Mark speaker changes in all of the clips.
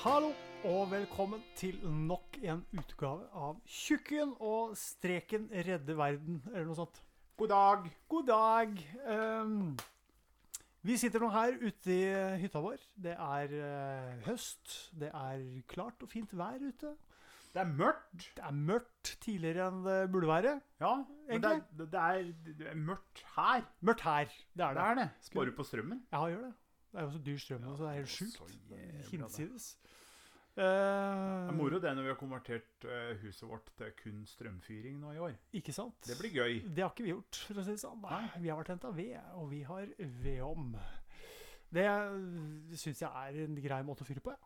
Speaker 1: Hallo og velkommen til nok en utgave av Tjukken og streken redde verden, eller noe sånt.
Speaker 2: God dag.
Speaker 1: God dag! Ehm, vi sitter nå her ute i hytta vår. Det er eh, høst, det er klart og fint vær ute.
Speaker 2: Det er mørkt.
Speaker 1: Det er mørkt tidligere enn det burde være.
Speaker 2: Ja, men det er,
Speaker 1: Egentlig.
Speaker 2: det, det er, det er mørkt her.
Speaker 1: Mørkt her, det er
Speaker 2: Det
Speaker 1: det.
Speaker 2: er det. Sparer du på strømmen?
Speaker 1: Ja, gjør det. Det er jo så dyr strøm nå, så det er helt
Speaker 2: det er så
Speaker 1: sjukt.
Speaker 2: jævla det.
Speaker 1: Hinsides. Ehm,
Speaker 2: Det
Speaker 1: Uh,
Speaker 2: er moro det når vi har konvertert eh, huset vårt til kun strømfyring nå i år.
Speaker 1: Ikke sant?
Speaker 2: Det blir gøy.
Speaker 1: Det har ikke vi gjort, for å si det sånn. Nei,
Speaker 2: Nei.
Speaker 1: vi har vært henta ved, og vi har vedom. Det syns jeg er en grei måte å fyre på, ja.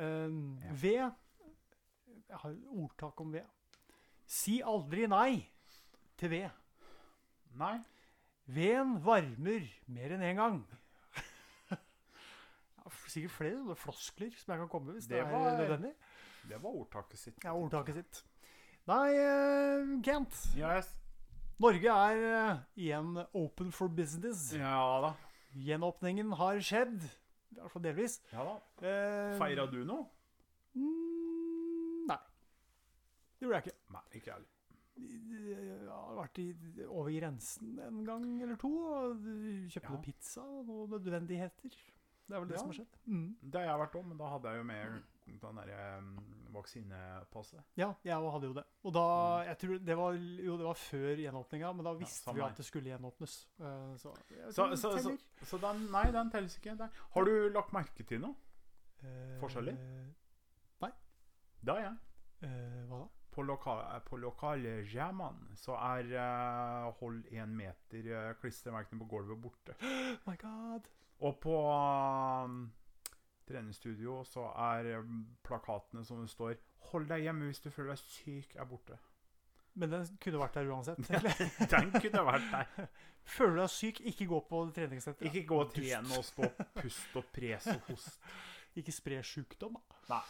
Speaker 1: Um,
Speaker 2: Ja.
Speaker 1: Ved Jeg har et ordtak om ved. Si aldri nei til ved.
Speaker 2: Nei.
Speaker 1: Veden varmer mer enn én gang. Ja, f- Sikkert flere sånne floskler som jeg kan komme med hvis det,
Speaker 2: Det
Speaker 1: er
Speaker 2: var-
Speaker 1: nødvendig.
Speaker 2: Det var ordtaket sitt.
Speaker 1: Det er ordtaket sitt. Nei, eh, Kent.
Speaker 2: Yes.
Speaker 1: Norge er eh, igjen open for business.
Speaker 2: Ja da.
Speaker 1: Gjenåpningen har skjedd. I hvert fall delvis.
Speaker 2: Ja da.
Speaker 1: Eh,
Speaker 2: Feira du noe?
Speaker 1: Mm, nei. Det gjorde jeg ikke.
Speaker 2: Nei, ikke jeg heller.
Speaker 1: Jeg har vært i, over grensen en gang eller to og kjøpte
Speaker 2: Ja.
Speaker 1: noe pizza og noen nødvendigheter. Det er vel det
Speaker 2: Ja.
Speaker 1: som har skjedd. Mm.
Speaker 2: Det har jeg vært om, men da hadde jeg jo med den derre eh, vaksinepasset.
Speaker 1: Ja, jeg hadde jo det. Og da, jeg tror det var, Jo, det var før gjenåpninga, men da visste
Speaker 2: Mm. samme
Speaker 1: vi
Speaker 2: her.
Speaker 1: at det skulle gjenåpnes. Eh, så jeg vet
Speaker 2: Så,
Speaker 1: ikke
Speaker 2: så,
Speaker 1: om det
Speaker 2: så,
Speaker 1: teller.
Speaker 2: så den, nei, den telles ikke. Der. Har du lagt merke til noe?
Speaker 1: Eh,
Speaker 2: forskjellig? Det har jeg.
Speaker 1: eh, hva da?
Speaker 2: På, loka på lokaljammene så er eh, hold én meter uh, klistremerkene på gulvet borte.
Speaker 1: Oh my god.
Speaker 2: Og på um, treningsstudio så er eh, plakatene som det står 'Hold deg hjemme hvis du føler deg syk', er borte.
Speaker 1: Men den kunne vært der uansett.
Speaker 2: Ja.
Speaker 1: egentlig.
Speaker 2: Den kunne vært der.
Speaker 1: Føler du deg syk, ikke gå på treningssenter.
Speaker 2: Ikke gå og
Speaker 1: Dust.
Speaker 2: trene og stå pust og pres og host.
Speaker 1: Ikke spre sjukdom. da.
Speaker 2: Nei.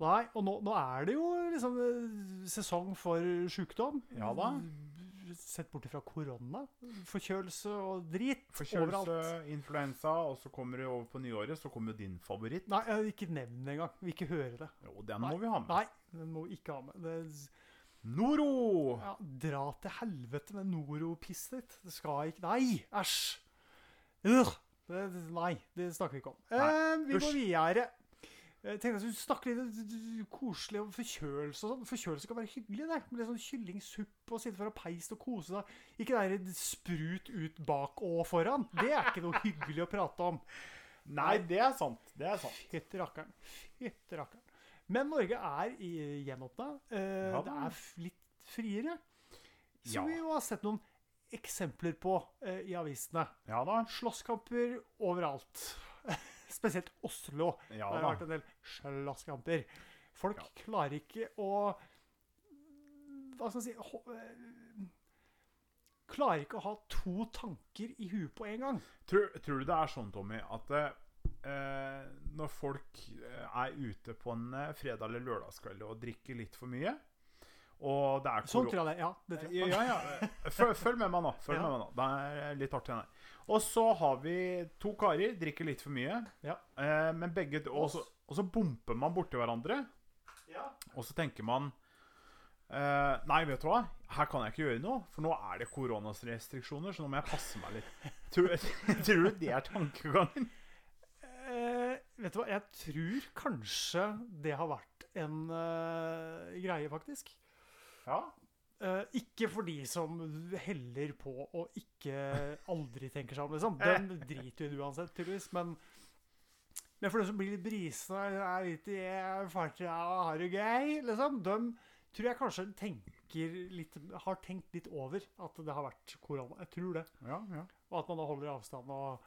Speaker 1: Nei, og nå, nå er det jo liksom eh, sesong for sjukdom.
Speaker 2: Ja da.
Speaker 1: Sett bort ifra korona. Forkjølelse og drit
Speaker 2: Forkjølelse,
Speaker 1: overalt.
Speaker 2: influensa, og så kommer det over på nyåret, så kommer jo din favoritt.
Speaker 1: Nei, jeg vil ikke nevn det engang. Vil ikke høre det.
Speaker 2: Jo, den må vi ha med.
Speaker 1: Nei, det må vi ikke ha med. Det,
Speaker 2: Noro!
Speaker 1: ja, dra til helvete med Noro-pisset ditt. Det skal ikke Nei! Æsj! Ugh. Det, det- nei, det snakker vi ikke om. Eh, vi går
Speaker 2: Usch.
Speaker 1: videre. Jeg tenkte at du snakker litt d- d- koselig om forkjølelse og sånn. Forkjølelse kan være hyggelig, det. Med litt sånn kyllingsuppe og sitte foran peisen og kose seg. Ikke det der sprut ut bak og foran. Det er ikke noe hyggelig å prate om.
Speaker 2: Nei, det er sant. Det er sant.
Speaker 1: Fytti rakkeren. Fytti rakkeren. Men Norge er i- gjenåpna. Eh,
Speaker 2: Ja da.
Speaker 1: det er f- litt friere. Som
Speaker 2: Ja.
Speaker 1: vi jo har sett noen eksempler på eh, i avisene.
Speaker 2: Ja da.
Speaker 1: Slåsskamper overalt. Spesielt Oslo.
Speaker 2: Ja
Speaker 1: det har
Speaker 2: da.
Speaker 1: vært en del slåsskamper. Folk
Speaker 2: Ja.
Speaker 1: klarer ikke å Hva skal jeg si ho- eh, Klarer ikke å ha to tanker i huet på en gang.
Speaker 2: Tror, tror du det er sånn, Tommy, at eh, når folk eh, er ute på en eh, fredag eller lørdagskveld og drikker litt for mye og det er
Speaker 1: Sånn
Speaker 2: koro-
Speaker 1: tror jeg det. Ja, det tror
Speaker 2: ja,
Speaker 1: jeg.
Speaker 2: ja, ja. Følg, følg med meg nå. Følg
Speaker 1: Ja.
Speaker 2: med meg nå. Det er litt artig. den her. Og så har vi to karer, drikker litt for mye.
Speaker 1: Ja.
Speaker 2: Eh, men begge og så, og så bomper man borti hverandre. Og så tenker man eh, Nei, vet du hva? Her kan jeg ikke gjøre noe, for nå er det koronarestriksjoner, så nå må jeg passe meg litt. Tror, tror du det er tankegangen?
Speaker 1: Eh, vet du hva, jeg tror kanskje det har vært en eh, greie, faktisk.
Speaker 2: Ja.
Speaker 1: Eh, ikke for de som heller på og ikke aldri tenker seg om, liksom. Den driter jo du uansett, tydeligvis. Men, men for de som blir litt brisne og er litt i eh, farta og har det gøy, liksom, dem tror jeg kanskje tenker litt, har tenkt litt over at det har vært korona. Jeg tror det.
Speaker 2: ja, ja.
Speaker 1: Og at man da holder avstand og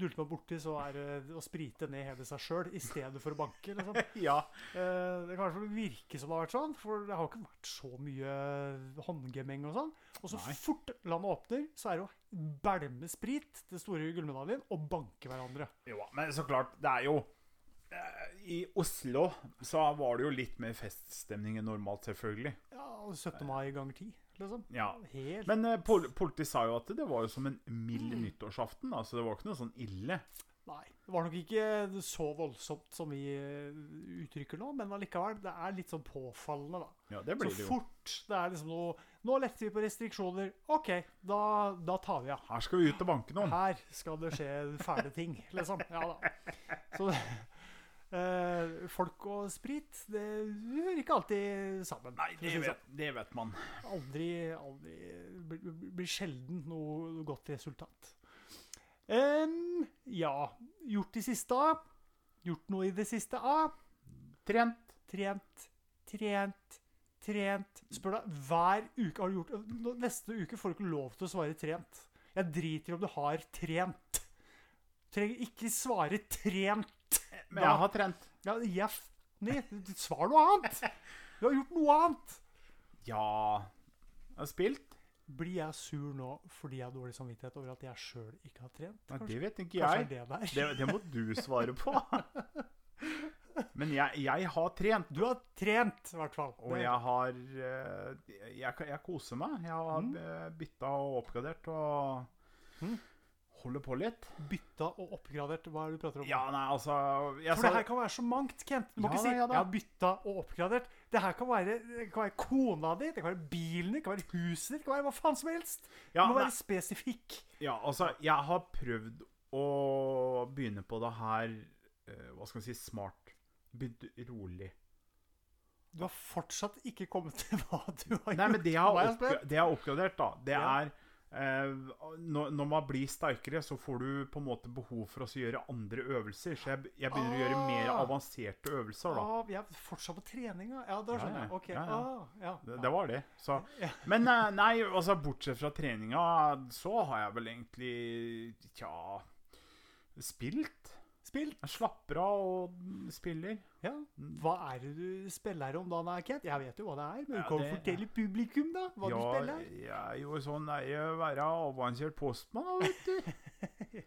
Speaker 1: dulter man borti, så er det å sprite ned hele seg sjøl i stedet for å banke. Liksom.
Speaker 2: Ja.
Speaker 1: Eh, Det kan i hvert fall virke som det har vært sånn, for det har ikke vært så mye håndgemeng og sånn. Og så
Speaker 2: Nei.
Speaker 1: fort landet åpner, så er det å bælme sprit, den store gullmedaljen, og banke hverandre.
Speaker 2: Jo, men så klart, det er jo eh, I Oslo så var det jo litt mer feststemning enn normalt, selvfølgelig.
Speaker 1: Ja, 17. mai ganger 10, liksom.
Speaker 2: Ja.
Speaker 1: Helt
Speaker 2: Mm. Men eh, pol politiet sa jo at det var jo som en mild nyttårsaften. Altså, det var ikke noe sånn ille.
Speaker 1: Nei. Det var nok ikke så voldsomt som vi eh, uttrykker nå, men allikevel. Det er litt sånn påfallende, da.
Speaker 2: Ja, det
Speaker 1: Så
Speaker 2: blir det jo.
Speaker 1: fort det er liksom noe Nå letter vi på restriksjoner. OK, da, da tar vi av.
Speaker 2: Her skal vi ut og banke noen.
Speaker 1: Her skal det skje fæle ting, liksom. Ja da. Så eh, folk og sprit, det hører ikke alltid sammen.
Speaker 2: Nei,
Speaker 1: for å
Speaker 2: det
Speaker 1: si det sånn.
Speaker 2: vet, det vet man.
Speaker 1: Aldri, aldri blir- Blir sjelden noe godt resultat. Em, ja. Gjort i siste A. Gjort noe i det siste A.
Speaker 2: Trent.
Speaker 1: Trent, trent, trent. Spør deg hver uke har du gjort Nå- Neste uke får du ikke lov til å svare trent. Jeg driter i om du har trent. Trenger ikke svare trent.
Speaker 2: Men jeg har trent.
Speaker 1: Ja, jeg f... Nei, svar noe annet! Du har gjort noe annet!
Speaker 2: Ja Jeg har spilt.
Speaker 1: Blir jeg sur nå fordi jeg har dårlig samvittighet over at jeg sjøl ikke har trent?
Speaker 2: Nei,
Speaker 1: Kanskje,
Speaker 2: det vet ikke
Speaker 1: kanskje
Speaker 2: jeg.
Speaker 1: er det der.
Speaker 2: Det, det må du svare på. Men jeg, jeg har trent,
Speaker 1: Du har trent, i hvert fall.
Speaker 2: og
Speaker 1: Det-
Speaker 2: jeg har eh, Jeg, jeg koser meg. Jeg har eh, bytta og oppgradert og
Speaker 1: Mm.
Speaker 2: holder på litt.
Speaker 1: Bytta og oppgradert, hva er det du prater om?
Speaker 2: Ja, nei, altså jeg
Speaker 1: For det
Speaker 2: sa-
Speaker 1: her kan være så mangt, Kent. Du må
Speaker 2: Ja
Speaker 1: ikke si
Speaker 2: da, ja da.
Speaker 1: 'jeg har bytta og oppgradert'. Det her kan være, det kan være kona di, det kan være bilen din, det kan være huset ditt, det kan være hva faen som helst. Du
Speaker 2: ja,
Speaker 1: må
Speaker 2: nei,
Speaker 1: være spesifikk.
Speaker 2: ja, altså, jeg har prøvd å begynne på det her eh, Hva skal man si smart. Begynt rolig.
Speaker 1: Du har fortsatt ikke kommet til hva du har
Speaker 2: Nei, men
Speaker 1: gjort.
Speaker 2: det jeg har,
Speaker 1: Hva er
Speaker 2: oppgra- det jeg har oppgradert, da, det
Speaker 1: Ja.
Speaker 2: er eh, når, når man blir sterkere, så får du på en måte behov for å så gjøre andre øvelser. Så jeg, jeg begynner å gjøre mer
Speaker 1: Ah.
Speaker 2: avanserte øvelser, da.
Speaker 1: ah, vi er fortsatt på treninga. Ja, da
Speaker 2: Ja,
Speaker 1: skjønner
Speaker 2: ja.
Speaker 1: jeg. Ok,
Speaker 2: Ja, ja.
Speaker 1: Ah, ja.
Speaker 2: Det, det var det. Så.
Speaker 1: Ja.
Speaker 2: Men eh, nei, altså bortsett fra treninga, så har jeg vel egentlig tja spilt.
Speaker 1: Spilt.
Speaker 2: Jeg slapper av og spiller.
Speaker 1: Ja. Hva er det du spiller om da, nei, Kent? Jeg vet jo hva det er, men
Speaker 2: Ja,
Speaker 1: du kan jo
Speaker 2: det- eh,
Speaker 1: fortelle publikum da hva du spiller.
Speaker 2: Jeg er jo sånn er jeg å være avansert postmann, da, vet du.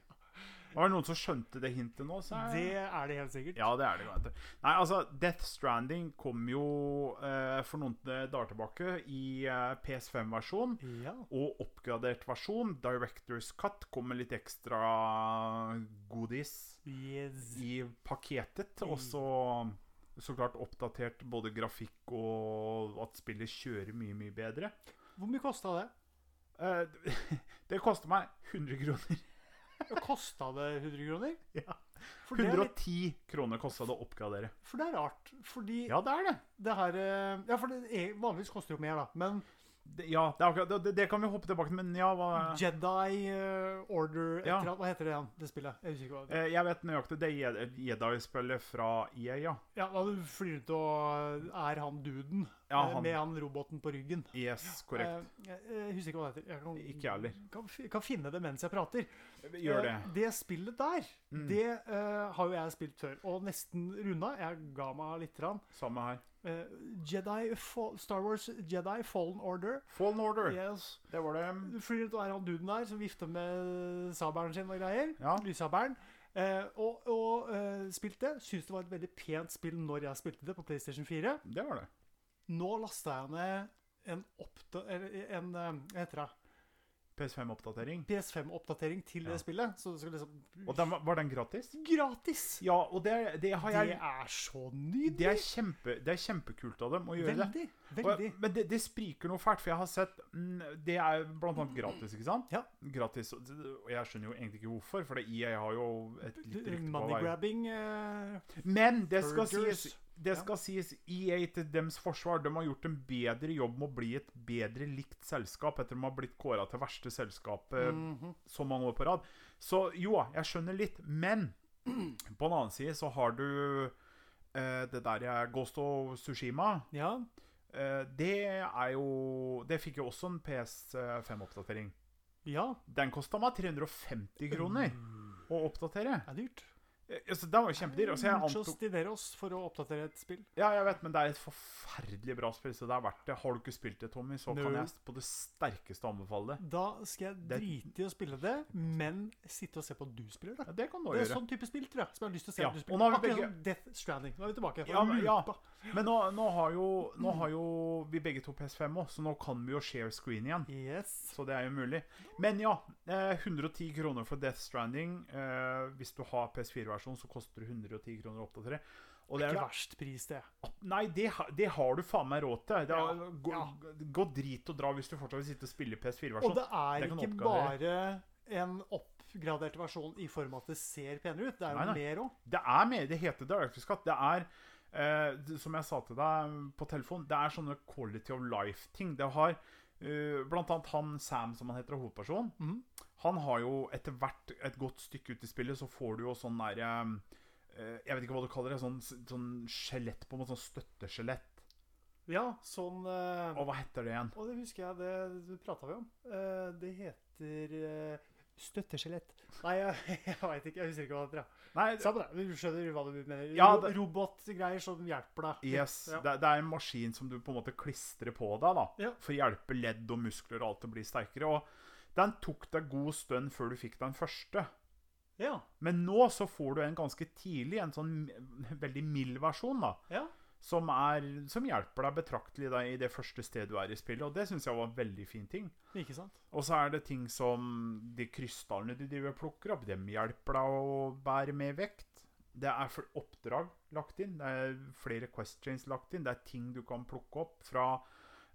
Speaker 2: Var det noen som skjønte det hintet nå? Så er
Speaker 1: Det er det helt sikkert.
Speaker 2: Ja, det er det. Vet du. Nei, altså, Death Stranding kom jo eh, for noen dager tilbake i eh, PS5-versjon.
Speaker 1: Ja.
Speaker 2: Og oppgradert versjon, Directors Cut, kom med litt ekstra godis
Speaker 1: Yes.
Speaker 2: i pakketet.
Speaker 1: I-
Speaker 2: Og så så klart oppdatert både grafikk og at spillet kjører mye, mye bedre.
Speaker 1: Hvor mye kosta det?
Speaker 2: Eh, det koster meg 100 kroner.
Speaker 1: Kosta det 100 kroner?
Speaker 2: Ja.
Speaker 1: For det, er litt,
Speaker 2: 110 kroner kosta det å oppgradere.
Speaker 1: for det er rart. Fordi
Speaker 2: Ja, det er det.
Speaker 1: det her eh, Ja, for det er, vanligvis koster det jo mer, da. Men
Speaker 2: det ja, det, er akkurat, det, det kan vi hoppe tilbake til, men ja, hva
Speaker 1: Jedi eh, Order et
Speaker 2: Ja.
Speaker 1: eller annet Hva heter det igjen, det spillet? Jeg husker ikke hva det
Speaker 2: Eh, Jeg vet nøyaktig. Det er Jed- Jedi-spillet fra EA, ja.
Speaker 1: Ja, da du flyr rundt og eh, er han duden
Speaker 2: Ja,
Speaker 1: eh,
Speaker 2: han.
Speaker 1: med han roboten på ryggen.
Speaker 2: Yes, E korrekt.
Speaker 1: Eh, jeg, jeg husker ikke hva det heter. Jeg kan,
Speaker 2: Ikke jeg heller.
Speaker 1: Kan, fi- kan finne det mens jeg prater.
Speaker 2: Gjør det. Mm.
Speaker 1: Eh, Det spillet der, det eh, har jo jeg spilt før. Og nesten runda. Jeg ga meg lite grann.
Speaker 2: Samme her.
Speaker 1: Eh, Jedi, Fall- Star Wars Jedi Fallen Order.
Speaker 2: Fallen Order.
Speaker 1: Yes.
Speaker 2: Det var
Speaker 1: Du
Speaker 2: det.
Speaker 1: flyr rundt og er han duden der som vifter med sabelen sin og greier.
Speaker 2: Ja.
Speaker 1: Lyssabelen. Eh, og og eh, spilte. Syns det var et veldig pent spill når jeg spilte det på PlayStation 4.
Speaker 2: Det var det.
Speaker 1: Nå lasta jeg ned en oppda... Eller en eh, Hva heter det?
Speaker 2: PS5-oppdatering.
Speaker 1: PS5-oppdatering til
Speaker 2: Ja.
Speaker 1: det spillet. Så det skal liksom
Speaker 2: Og den, var- var den gratis?
Speaker 1: Gratis!
Speaker 2: Ja, og det, det har
Speaker 1: Det
Speaker 2: jeg
Speaker 1: er så
Speaker 2: Det er,
Speaker 1: nydelig!
Speaker 2: kjempe, det er kjempekult av dem å gjøre det.
Speaker 1: Veldig.
Speaker 2: Og-
Speaker 1: Veldig.
Speaker 2: Men det, det spriker noe fælt, for jeg har sett mm, Det er blant annet gratis, ikke sant?
Speaker 1: Ja.
Speaker 2: Gratis, og og jeg skjønner jo egentlig ikke hvorfor, for det EA har jo et litt rykte på å være
Speaker 1: Moneygrabbing eh,
Speaker 2: Men det skal
Speaker 1: Purgers.
Speaker 2: sies det
Speaker 1: Ja.
Speaker 2: skal sies EA til dems forsvar. De har gjort en bedre jobb med å bli et bedre likt selskap etter de har blitt kåra til verste selskapet
Speaker 1: mhm.
Speaker 2: så mange år på rad. Så jo, jeg skjønner litt. Men på den annen side så har du eh, det der jeg Ghost of Sushima.
Speaker 1: Ja.
Speaker 2: Eh, det er jo Det fikk jo også en PS5-oppdatering.
Speaker 1: Ja.
Speaker 2: Den kosta meg 350 kroner
Speaker 1: Mm.
Speaker 2: å oppdatere.
Speaker 1: Det er dyrt.
Speaker 2: Eh, Så den var jo kjempedyr. Altså, jeg
Speaker 1: Muchos
Speaker 2: antok
Speaker 1: dineros for å oppdatere et spill.
Speaker 2: Ja, jeg vet, men det er et forferdelig bra spill, så det er verdt det. Har du ikke spilt det, Tommy, så kan
Speaker 1: No.
Speaker 2: jeg på det sterkeste anbefale det.
Speaker 1: Da skal jeg
Speaker 2: Det-
Speaker 1: drite i å spille det, men sitte og se på at du spiller det.
Speaker 2: Ja, det kan du
Speaker 1: Det er
Speaker 2: gjøre.
Speaker 1: sånn type spill, tror jeg, som jeg har lyst til å se
Speaker 2: Ja,
Speaker 1: at du
Speaker 2: og nå
Speaker 1: spiller.
Speaker 2: har vi
Speaker 1: Akkurat
Speaker 2: begge-
Speaker 1: som Death Stranding. Nå er vi tilbake.
Speaker 2: Ja, men- ja.
Speaker 1: Lupa.
Speaker 2: Men nå, nå, har jo, nå har jo vi begge to PS5 òg, så nå kan vi jo share screen igjen.
Speaker 1: Yes.
Speaker 2: Så det er jo mulig. Men ja, eh, 110 kroner for Death Stranding. Eh, hvis du har PS4-versjon, så koster det 110 kroner å oppdatere. Og det er,
Speaker 1: Ikke verst pris, det.
Speaker 2: nei, det, ha- det har du faen meg råd til. Det er,
Speaker 1: Ja,
Speaker 2: gå,
Speaker 1: ja.
Speaker 2: gå drit og dra hvis du fortsatt vil sitte og spille
Speaker 1: Og
Speaker 2: PS4-versjon.
Speaker 1: det er
Speaker 2: Det kan
Speaker 1: ikke bare
Speaker 2: oppgradere.
Speaker 1: en oppgradert versjon i form av at det ser penere ut. Det er
Speaker 2: Nei, nei.
Speaker 1: jo mer òg.
Speaker 2: Det er mer, det heter Directors Cut. Det er, eh, det- som jeg sa til deg på telefon, det er sånne quality of life-ting. Det har eh, blant annet han Sam, som han heter, og hovedpersonen.
Speaker 1: Mhm.
Speaker 2: Han har jo etter hvert et godt stykke ut i spillet, så får du jo sånn der eh, eh, Jeg vet ikke hva du kaller det. Sånn, sånn skjelett på en måte, sånn støtteskjelett.
Speaker 1: Ja, sånn eh,
Speaker 2: Og hva heter det igjen?
Speaker 1: Og det husker jeg, det, det prata vi om. Eh, det heter eh, støtteskjelett. Nei, jeg, jeg veit ikke. Jeg husker ikke hva det heter.
Speaker 2: Nei,
Speaker 1: ja. Samme det. Du skjønner hva du mener.
Speaker 2: Ja,
Speaker 1: Ro-
Speaker 2: det-
Speaker 1: Robotgreier som hjelper deg.
Speaker 2: Yes,
Speaker 1: Ja.
Speaker 2: det, det er en maskin som du på en måte klistrer på deg da,
Speaker 1: Ja.
Speaker 2: for å hjelpe ledd og muskler og alt til å bli sterkere. Og den tok deg god stund før du fikk den første.
Speaker 1: Ja.
Speaker 2: Men nå så får du en ganske tidlig, en sånn veldig mild versjon da,
Speaker 1: ja.
Speaker 2: som, er, som hjelper deg betraktelig da, i det første stedet du er i spillet, og det synes jeg var en veldig fin ting.
Speaker 1: Ikke sant?
Speaker 2: Og så er det ting som de krystallene du driver og plukker opp, dem hjelper deg å bære med vekt. Det er fl- oppdrag lagt inn, det er flere quest chains lagt inn, det er ting du kan plukke opp fra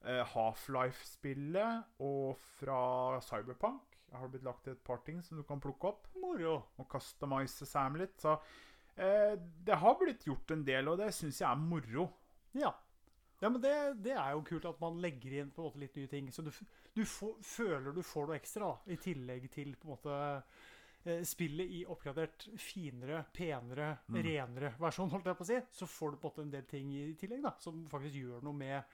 Speaker 2: eh, Half-Life-spillet og fra Cyberpunk. Det har blitt lagt til et par ting som du kan plukke opp
Speaker 1: Moro.
Speaker 2: og customize Sam litt. Så eh, det har blitt gjort en del, og det syns jeg er moro.
Speaker 1: Ja. Ja, men det, det er jo kult at man legger inn på en måte litt nye ting. Så du, f- du få- føler du får noe ekstra, da, i tillegg til på en måte eh, spillet i oppgradert finere, penere,
Speaker 2: Mm.
Speaker 1: renere versjon, holdt jeg på å si. Så får du på en måte en del ting i tillegg da, som faktisk gjør noe med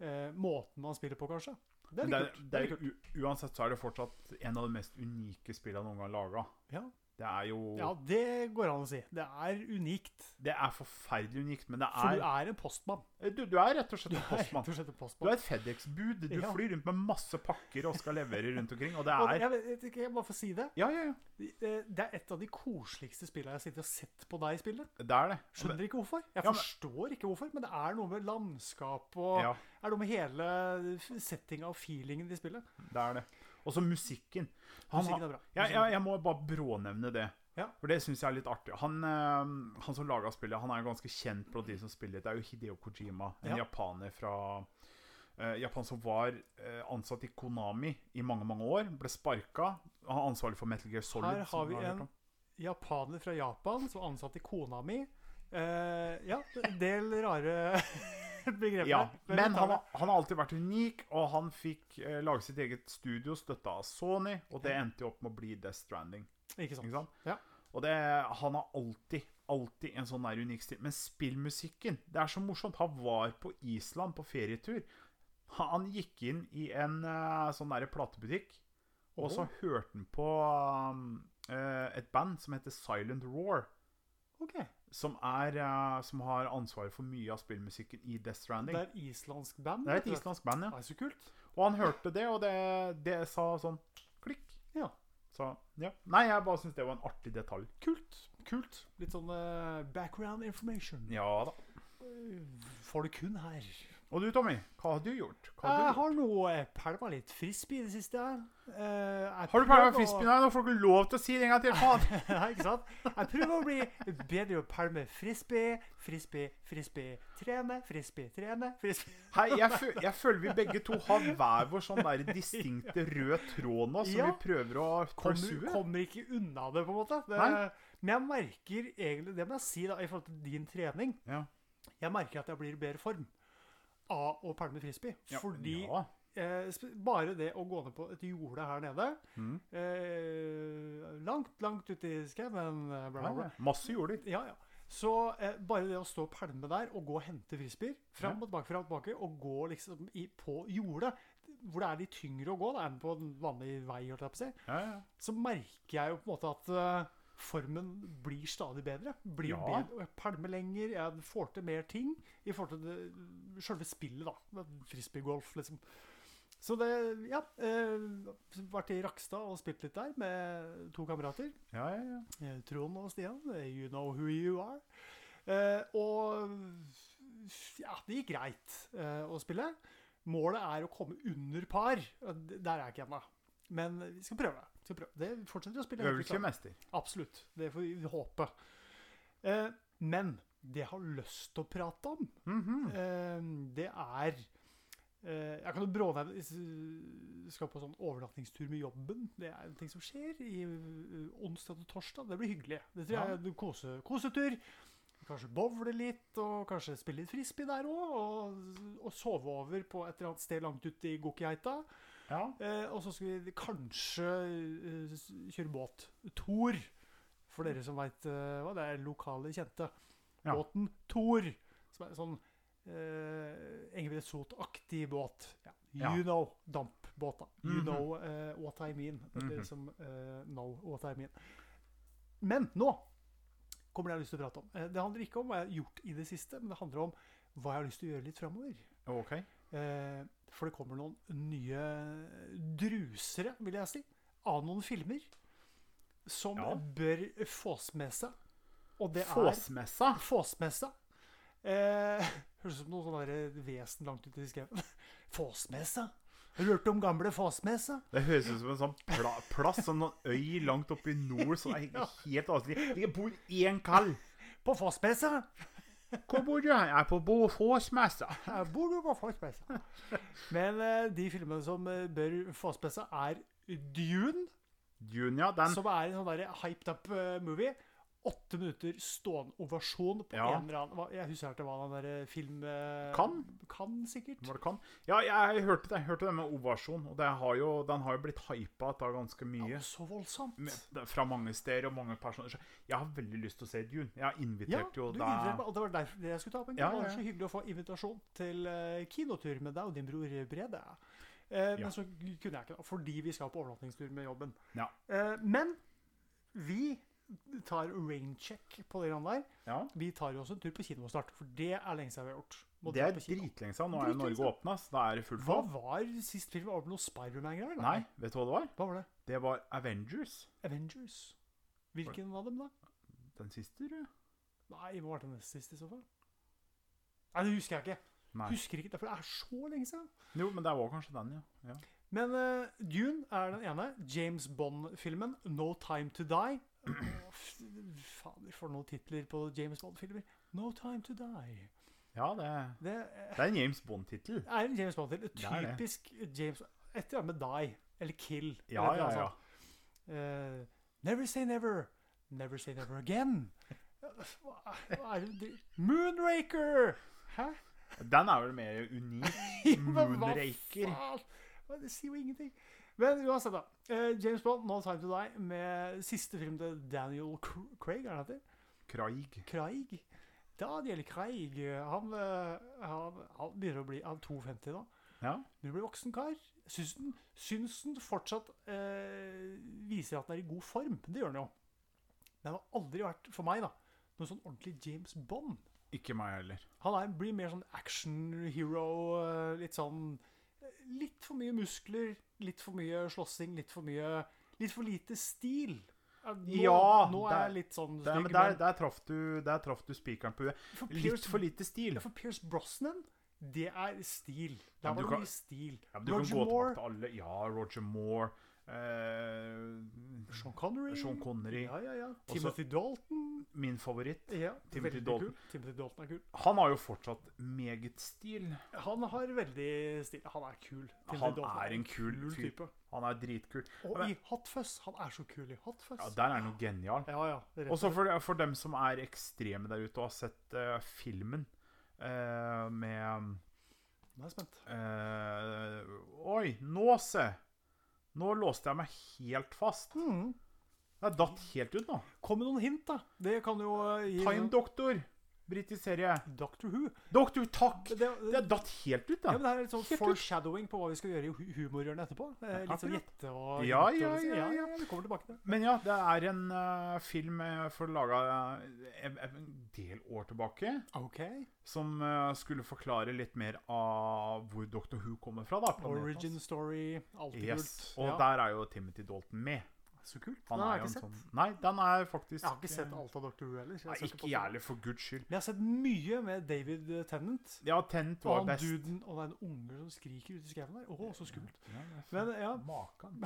Speaker 1: eh, måten man spiller på, kanskje. Det er
Speaker 2: Men
Speaker 1: litt kult.
Speaker 2: det er-
Speaker 1: Det er litt
Speaker 2: det
Speaker 1: kult.
Speaker 2: er u- Uansett så er det fortsatt en av de mest unike spillene noen gang laga.
Speaker 1: Ja.
Speaker 2: Det er jo
Speaker 1: ja, det går an å si. Det er unikt.
Speaker 2: Det er forferdelig unikt, men det
Speaker 1: For du
Speaker 2: er Eh,
Speaker 1: er en postmann.
Speaker 2: Du, du er rett og slett
Speaker 1: Du
Speaker 2: en
Speaker 1: er rett
Speaker 2: postmann.
Speaker 1: og slett en
Speaker 2: Du er
Speaker 1: postmann.
Speaker 2: et FedEx-bud. Du
Speaker 1: Ja.
Speaker 2: flyr rundt med masse pakker og skal levere rundt omkring, og det
Speaker 1: Og
Speaker 2: er
Speaker 1: jeg vet jeg vet ikke, jeg bare får si det.
Speaker 2: Ja, ja, ja.
Speaker 1: Det det er et av de koseligste spillene jeg har sittet og sett på deg spille.
Speaker 2: Det er det.
Speaker 1: Skjønner ikke hvorfor. Jeg
Speaker 2: Ja, men-
Speaker 1: forstår ikke hvorfor, men det er noe med landskap og
Speaker 2: Ja,
Speaker 1: er noe med hele f- settinga og feelingen i spillet.
Speaker 2: det er det. Og så musikken. Han har-
Speaker 1: Musikken er bra.
Speaker 2: Jeg,
Speaker 1: Musikken er
Speaker 2: jeg, jeg må bare brånevne det.
Speaker 1: Ja.
Speaker 2: For det syns jeg er litt artig. Han, eh, han som laga spillet, han er jo ganske kjent blant de som spiller. Det er jo Hideo Kojima, en
Speaker 1: Ja.
Speaker 2: japaner fra eh, Japan som var eh, ansatt i Konami i mange, mange år. Ble sparka. Han er ansvarlig for Metal Gear Solid.
Speaker 1: Her har
Speaker 2: som
Speaker 1: vi
Speaker 2: hørt
Speaker 1: en-
Speaker 2: om.
Speaker 1: Japaner fra Japan som ansatt i kona mi. Eh, ja, en del rare begreper.
Speaker 2: ja,
Speaker 1: der,
Speaker 2: Men
Speaker 1: vi tar
Speaker 2: han, har- han har alltid vært unik, og han fikk eh, lage sitt eget studio, støtta av Sony, og det endte jo opp med å bli Death Stranding.
Speaker 1: det. Ikke sant.
Speaker 2: Ikke sant?
Speaker 1: Ja.
Speaker 2: Og det, han har alltid, alltid en sånn der unik stil. Men spillmusikken, det er så morsomt. Han var på Island på ferietur. Han, han gikk inn i en eh, sånn der platebutikk, og så hørte han på um, eh, et band som heter Silent Roar.
Speaker 1: OK.
Speaker 2: Som, er, eh, som har ansvaret for mye av spillmusikken i Death
Speaker 1: Det
Speaker 2: Stranding.
Speaker 1: er islandsk band.
Speaker 2: Det er et
Speaker 1: vet du.
Speaker 2: islandsk band, ja.
Speaker 1: Det er så kult.
Speaker 2: Og han hørte det, og det, det sa sånn klikk.
Speaker 1: Ja.
Speaker 2: Så, ja. Nei, jeg bare syns det var en artig detalj.
Speaker 1: Kult. Kult. Litt sånn eh, background information.
Speaker 2: Ja da.
Speaker 1: Får du kun her.
Speaker 2: Og du, Tommy, hva har du gjort? Hva
Speaker 1: Jeg
Speaker 2: har, du gjort?
Speaker 1: har nå eh, pælma litt frisbee i det siste. Eh, jeg
Speaker 2: har du pælma
Speaker 1: prøver å-
Speaker 2: frisbee? Nei, nå får du ikke lov til å si det en gang til! Faen.
Speaker 1: Nei, ikke sant? Jeg prøver å bli bedre i å pælme frisbee, frisbee, frisbee, trene, frisbee, trene, frisbee
Speaker 2: Hei, jeg, fø jeg føler vi begge to har hver vår sånn der distinkte rød tråd nå, som
Speaker 1: Ja.
Speaker 2: vi prøver å
Speaker 1: kommer,
Speaker 2: pursue.
Speaker 1: kommer ikke unna det, på en måte. Det,
Speaker 2: Nei.
Speaker 1: men jeg merker egentlig Det må jeg si da, i forhold til din trening.
Speaker 2: Ja.
Speaker 1: Jeg merker at jeg blir i bedre form av å pælme frisbee.
Speaker 2: Ja,
Speaker 1: Fordi
Speaker 2: ja.
Speaker 1: Eh, sp- bare det å gå ned på et jorde her nede
Speaker 2: Mm.
Speaker 1: eh, Langt, langt ute i skauen eh, bla, bla,
Speaker 2: Ja,
Speaker 1: bla.
Speaker 2: Ah, ja. Masse jorder.
Speaker 1: Ja, ja. Så eh, bare det å stå og pælme der og gå og hente frisbeer fram og
Speaker 2: Ja.
Speaker 1: tilbake, fram og tilbake, og gå liksom i, på jordet, hvor det er litt tyngre å gå da, enn på en vanlig vei, holdt jeg på å si,
Speaker 2: Ja, ja.
Speaker 1: så merker jeg jo på en måte at eh, formen blir stadig bedre. Blir
Speaker 2: Ja.
Speaker 1: bedre, og jeg pælmer lenger, jeg får til mer ting i forhold til det, selve spillet, da. med Frisbeegolf, liksom. Så det, ja. Eh, vært i Rakstad og spilt litt der med to kamerater.
Speaker 2: Ja, ja, ja.
Speaker 1: Eh, Trond og Stian, eh, you know who you are. Eh, og ja, det gikk greit eh, å spille. Målet er å komme under par. og d- Der er jeg ikke ennå. Men vi skal prøve. Skal prøve. Det fortsetter vi å spille. helt til
Speaker 2: Øvelse
Speaker 1: slutt.
Speaker 2: mester.
Speaker 1: Absolutt. Det får vi håpe. Eh, men det jeg har lyst til å prate om,
Speaker 2: Mhm.
Speaker 1: eh, det er eh, Jeg kan jo brånevne hvis du Skal på sånn overnattingstur med jobben. Det er en ting som skjer i eh, onsdag til torsdag. Det blir hyggelig. Det tror jeg
Speaker 2: Ja.
Speaker 1: er en kose, kosetur. Kanskje bowle litt, og kanskje spille litt frisbee der òg. Og, og sove over på et eller annet sted langt ute i Gokkiheita.
Speaker 2: Ja.
Speaker 1: Eh, og så skal vi kanskje eh, s- kjøre båt. Tor, for dere som veit eh, hva det er, lokale kjente.
Speaker 2: Ja.
Speaker 1: Båten Tor, som er en sånn eh, Engebret Sot-aktig båt. Ja. You
Speaker 2: Ja.
Speaker 1: know dampbåta. You
Speaker 2: Mhm.
Speaker 1: know eh, what I mean. Dere
Speaker 2: Mhm.
Speaker 1: som eh, know what I mean. Men nå kommer det jeg har lyst til å prate om. Eh, det handler ikke om hva jeg har gjort i det siste, men det handler om hva jeg har lyst til å gjøre litt framover.
Speaker 2: OK.
Speaker 1: Eh, for det kommer noen nye drusere, vil jeg si, av noen filmer som
Speaker 2: Ja.
Speaker 1: bør fås med seg. Og det
Speaker 2: Fåsmessa.
Speaker 1: er Fås med seg. Eh, høres ut som noe sånn der vesen langt ute i skauen. Fås med seg. Har du hørt om gamle Fås med seg?
Speaker 2: Det høres ut som en sånn pla plass, sånn noen øy langt oppe i nord som er he- helt avskrevet. Det bor én kall.
Speaker 1: På Fås med seg.
Speaker 2: Hvor bor du? Jeg er på Båfåsmessa.
Speaker 1: Her bor du på Fås med seg. Men eh, de filmene som eh, bør fås med seg, er Dune.
Speaker 2: Junia, den
Speaker 1: Som er en sånn der hyped up eh, movie. Åtte minutter stående ovasjon på
Speaker 2: Ja.
Speaker 1: en eller annen hva- Jeg husker ikke hva den der eh, film eh,
Speaker 2: Kan?
Speaker 1: Kan, sikkert.
Speaker 2: Var det kan? Ja, jeg hørte det. Jeg hørte det med ovasjon. Og det har jo, den har jo blitt hypa av ganske mye.
Speaker 1: Ja, så voldsomt.
Speaker 2: Med, det, fra mange steder og mange personer. Så jeg har veldig lyst til å se Dune. Jeg har
Speaker 1: Ja,
Speaker 2: invitert
Speaker 1: du
Speaker 2: jo
Speaker 1: inviterte meg,
Speaker 2: deg.
Speaker 1: og det var derfor det jeg skulle ta opp en
Speaker 2: Ja,
Speaker 1: gang. Det
Speaker 2: ja,
Speaker 1: var så hyggelig å få invitasjon til eh, kinotur med deg og din bror Brede. Eh,
Speaker 2: Ja.
Speaker 1: Men så kunne jeg ikke, da, fordi vi skal på overnattingstur med jobben.
Speaker 2: Ja.
Speaker 1: Eh, men vi tar raincheck på det grann der.
Speaker 2: Ja.
Speaker 1: Vi tar jo også en tur på kino snart, for det er lenge siden vi har gjort. Må
Speaker 2: Det
Speaker 1: dra
Speaker 2: er
Speaker 1: på kino.
Speaker 2: dritlenge siden. Nå er jo Norge åpna, så da er det fullt
Speaker 1: Hva
Speaker 2: fall.
Speaker 1: var sist film? Var det noe Spiderman-greier? eller?
Speaker 2: Nei, vet du hva det var?
Speaker 1: Hva var det?
Speaker 2: Det var Avengers.
Speaker 1: Avengers. Hvilken av dem, da?
Speaker 2: Den siste, tror jeg.
Speaker 1: Nei, det må ha vært den nest siste i så fall. Nei, det husker jeg ikke.
Speaker 2: Nei.
Speaker 1: Husker ikke, For det er så lenge siden.
Speaker 2: Jo, men det var kanskje den, ja. ja.
Speaker 1: Men eh, Dune er den ene. James Bond-filmen 'No Time To Die'. Å, f- Fader, for noen titler på James Bond-filmer. 'No Time To Die'.
Speaker 2: Ja, det,
Speaker 1: Det eh,
Speaker 2: det er en James Bond-tittel.
Speaker 1: er en James Bond-tittel.
Speaker 2: Det er det.
Speaker 1: Typisk James Et eller annet med 'Die' eller 'Kill'. eller et eller
Speaker 2: Ja, ja,
Speaker 1: annet sånt.
Speaker 2: ja.
Speaker 1: Eh, never say never. Never say never again. Hva hva er det de- Moonraker! Hæ?
Speaker 2: Den er vel mer unik.
Speaker 1: Ja, men hva
Speaker 2: Moonraker.
Speaker 1: faen? Hva, Det sier jo ingenting. Men uansett, da. Eh, James Bond, No Time To Die, med siste film til Daniel Cr- Craig, er det han heter?
Speaker 2: Craig.
Speaker 1: Craig? Daniel Craig. Han, eh, han, han begynner å bli Han er 52 nå.
Speaker 2: Ja.
Speaker 1: Begynner å bli voksen kar. Syns den, syns den fortsatt eh, viser at den er i god form. Det gjør den jo. Men han har aldri vært, for meg, da, noen sånn ordentlig James Bond.
Speaker 2: Ikke meg heller.
Speaker 1: Han er, blir mer sånn action-hero. eh, Litt sånn eh, Litt for mye muskler, litt for mye slåssing, litt for mye Litt for lite stil. Eh, Nå,
Speaker 2: Ja,
Speaker 1: nå er jeg
Speaker 2: der-
Speaker 1: litt sånn
Speaker 2: Der,
Speaker 1: stygg,
Speaker 2: men der,
Speaker 1: men
Speaker 2: der traff du, der traff du spikeren på huet.
Speaker 1: for
Speaker 2: Litt
Speaker 1: Pierce-
Speaker 2: for lite stil.
Speaker 1: ja, for Pierce Brosnan, det er stil.
Speaker 2: Ja,
Speaker 1: Der
Speaker 2: men
Speaker 1: var
Speaker 2: du
Speaker 1: det
Speaker 2: kan-
Speaker 1: mye stil.
Speaker 2: Ja, men du kan gå tilbake til alle. Ja, Roger Moore. Eh,
Speaker 1: Sean Connery.
Speaker 2: Sean Connery.
Speaker 1: Ja, ja, ja.
Speaker 2: Også-
Speaker 1: Timothy Dalton.
Speaker 2: Min favoritt.
Speaker 1: Ja,
Speaker 2: Timothy
Speaker 1: veldig
Speaker 2: Dalton.
Speaker 1: Kul. Timothy Dalton er kul.
Speaker 2: Han har jo fortsatt meget stil.
Speaker 1: Han har veldig stil. Han er kul. Timothy
Speaker 2: Han
Speaker 1: Dalton
Speaker 2: er en kul fyr.
Speaker 1: type.
Speaker 2: Han er dritkul.
Speaker 1: Og
Speaker 2: Men-
Speaker 1: i Hot Fuzz. Han er så kul i Hot Fuzz.
Speaker 2: Ja, der er han jo genial.
Speaker 1: Ja, ja. Rett.
Speaker 2: Også for, for dem som er ekstreme der ute og har sett eh, filmen eh, med
Speaker 1: Nå er jeg spent.
Speaker 2: eh, Oi, nå se! Nå låste jeg meg helt fast.
Speaker 1: Mm.
Speaker 2: Jeg datt helt ut nå.
Speaker 1: Kom med noen hint, da. Det kan jo eh, gi
Speaker 2: Time Doctor. Britisk serie.
Speaker 1: Doctor Who.
Speaker 2: Doktor, takk!
Speaker 1: Det, det,
Speaker 2: Jeg datt helt ut,
Speaker 1: ja,
Speaker 2: da.
Speaker 1: men det er litt sånn
Speaker 2: Helt ut.
Speaker 1: foreshadowing på hva vi skal gjøre i hu- humorhjørnet etterpå. Eh, Litt sånn
Speaker 2: akkurat.
Speaker 1: gjette og
Speaker 2: Ja,
Speaker 1: hint og-
Speaker 2: ja, ja, ja.
Speaker 1: Vi kommer tilbake til det.
Speaker 2: Men ja, det er en eh, film eh, for laga en del år tilbake.
Speaker 1: OK.
Speaker 2: Som eh, skulle forklare litt mer av hvor Doctor Who kommer fra. da planeten hans.
Speaker 1: Origin story. Alltid
Speaker 2: Yes.
Speaker 1: kult.
Speaker 2: Og
Speaker 1: Ja.
Speaker 2: der er jo Timothy Dalton med. ikke så kult. Han
Speaker 1: Den har
Speaker 2: er jo
Speaker 1: jeg
Speaker 2: en
Speaker 1: ikke
Speaker 2: sånn Nei, den er faktisk
Speaker 1: Jeg
Speaker 2: eh,
Speaker 1: har ikke sett alt av Dr. Who heller. så
Speaker 2: Nei,
Speaker 1: skal
Speaker 2: ikke
Speaker 1: på-
Speaker 2: jeg heller, for guds skyld.
Speaker 1: Men jeg har sett mye med David Tennant.
Speaker 2: Ja,
Speaker 1: Og
Speaker 2: Tent var
Speaker 1: han
Speaker 2: best.
Speaker 1: duden og den ungen som skriker ute i skauen der. Åh, så skummelt.
Speaker 2: Ja,
Speaker 1: Men ja,
Speaker 2: Makan.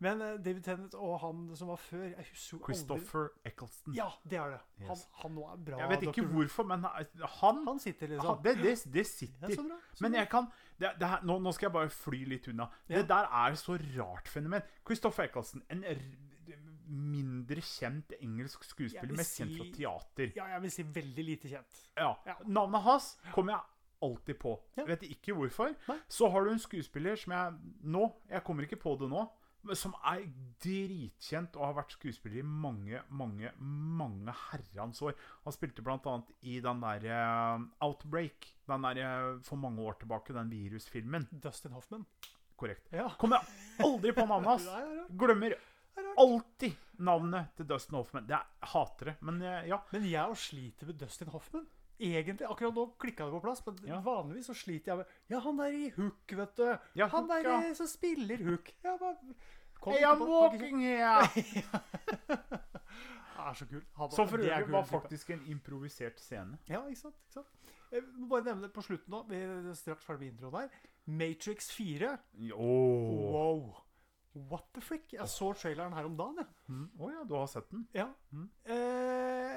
Speaker 1: men eh, David Tennant og han som var før Jeg husker jo aldri-
Speaker 2: Christopher Eccleston.
Speaker 1: Ja, det er det. Han,
Speaker 2: Yes.
Speaker 1: han nå er bra.
Speaker 2: jeg vet ikke
Speaker 1: Dr. Who.
Speaker 2: hvorfor, men eh, han,
Speaker 1: Han sitter
Speaker 2: han
Speaker 1: liksom.
Speaker 2: det, Ah, det, det
Speaker 1: Ja, sånn, så
Speaker 2: sitter.
Speaker 1: bra. Så
Speaker 2: Men
Speaker 1: bra.
Speaker 2: jeg kan det, det her, nå, nå skal jeg bare fly litt unna.
Speaker 1: Ja.
Speaker 2: Det der er så rart fenomen. Christopher Eccleston, en r mindre kjent engelsk
Speaker 1: Jeg
Speaker 2: skuespiller,
Speaker 1: vil
Speaker 2: mest kjent fra
Speaker 1: si-
Speaker 2: teater.
Speaker 1: Ja, jeg vil si veldig lite kjent.
Speaker 2: Ja.
Speaker 1: Ja.
Speaker 2: Navnet hans kommer jeg alltid på.
Speaker 1: Ja.
Speaker 2: Vet ikke hvorfor.
Speaker 1: Nei.
Speaker 2: Så har du en skuespiller som jeg Nå, jeg kommer ikke på det nå, men som er dritkjent og har vært skuespiller i mange, mange, mange herrens år. Han spilte bl.a. i den der eh, Outbreak. Den der eh, for mange år tilbake, den virusfilmen.
Speaker 1: Dustin Hoffman.
Speaker 2: Korrekt.
Speaker 1: Ja.
Speaker 2: Kommer jeg aldri på navnet hans.
Speaker 1: Det er rart.
Speaker 2: Glemmer
Speaker 1: Det er rart.
Speaker 2: alltid navnet til Dustin Hoffman. Det er, jeg hater det, men eh, ja.
Speaker 1: Men jeg også sliter med Dustin Hoffman. Egentlig, Akkurat nå klikka det på plass, men
Speaker 2: Ja.
Speaker 1: vanligvis så sliter jeg med Ja, han der i Hook, vet du.
Speaker 2: Ja,
Speaker 1: han
Speaker 2: Hook,
Speaker 1: der
Speaker 2: ja.
Speaker 1: eh, som spiller Hook. Jeg bare kom
Speaker 2: Hey,
Speaker 1: ikke
Speaker 2: I'm
Speaker 1: på- kom ikke-
Speaker 2: walking here!
Speaker 1: Det er så kul. Han
Speaker 2: Som for
Speaker 1: det er
Speaker 2: øvrig
Speaker 1: kul
Speaker 2: var
Speaker 1: type.
Speaker 2: faktisk en improvisert scene.
Speaker 1: Ja, ikke sant, ikke sant. Jeg må bare nevne det på slutten nå. Vi er straks ferdig med introen her. Matrix 4.
Speaker 2: Ååå.
Speaker 1: Wow. What the frick? Jeg så traileren her om dagen, jeg.
Speaker 2: ja, du har sett den?
Speaker 1: Ja.
Speaker 2: Mm.
Speaker 1: Eh,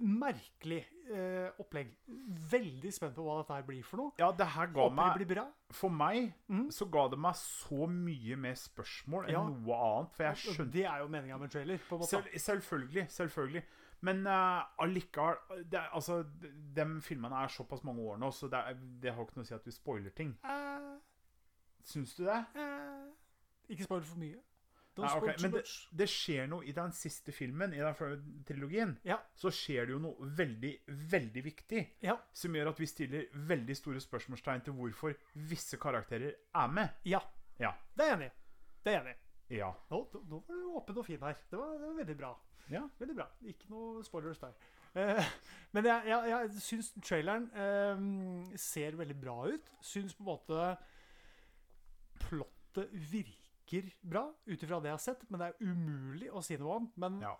Speaker 1: merkelig eh, opplegg. Veldig spent på hva dette her blir for noe.
Speaker 2: Ja, det Mm. her ga
Speaker 1: Håper det
Speaker 2: meg
Speaker 1: blir bra.
Speaker 2: For meg
Speaker 1: Mhm.
Speaker 2: så ga det meg så mye mer spørsmål enn
Speaker 1: Ja.
Speaker 2: noe annet, for jeg skjønte
Speaker 1: Det er jo meninga med en trailer. på en måte.
Speaker 2: Sel, Selvfølgelig. Selvfølgelig. Men eh, allikevel det, er- Altså, de, de filmene er såpass mange år nå, så det, er, det har ikke noe å si at vi spoiler ting.
Speaker 1: Eh,
Speaker 2: Syns du det?
Speaker 1: eh, ikke spoil for mye. Don't
Speaker 2: Nei, ok,
Speaker 1: spoil too
Speaker 2: Men det,
Speaker 1: much.
Speaker 2: det skjer noe i den siste filmen, i den første trilogien.
Speaker 1: Ja.
Speaker 2: Så skjer det jo noe veldig, veldig viktig.
Speaker 1: Ja.
Speaker 2: som gjør at vi stiller veldig store spørsmålstegn til hvorfor visse karakterer er med.
Speaker 1: ja.
Speaker 2: Ja.
Speaker 1: Det er jeg enig i. Det er jeg enig i.
Speaker 2: Ja.
Speaker 1: Nå, nå var du åpen og fin her. Det var, det var veldig bra.
Speaker 2: Ja.
Speaker 1: Veldig bra. Ikke noe spoilers der. Eh, men jeg, jeg, jeg syns traileren eh, ser veldig bra ut. Syns på en måte plottet virker bra ut ifra det jeg har sett, men det er umulig å si noe om. Men,
Speaker 2: Ja.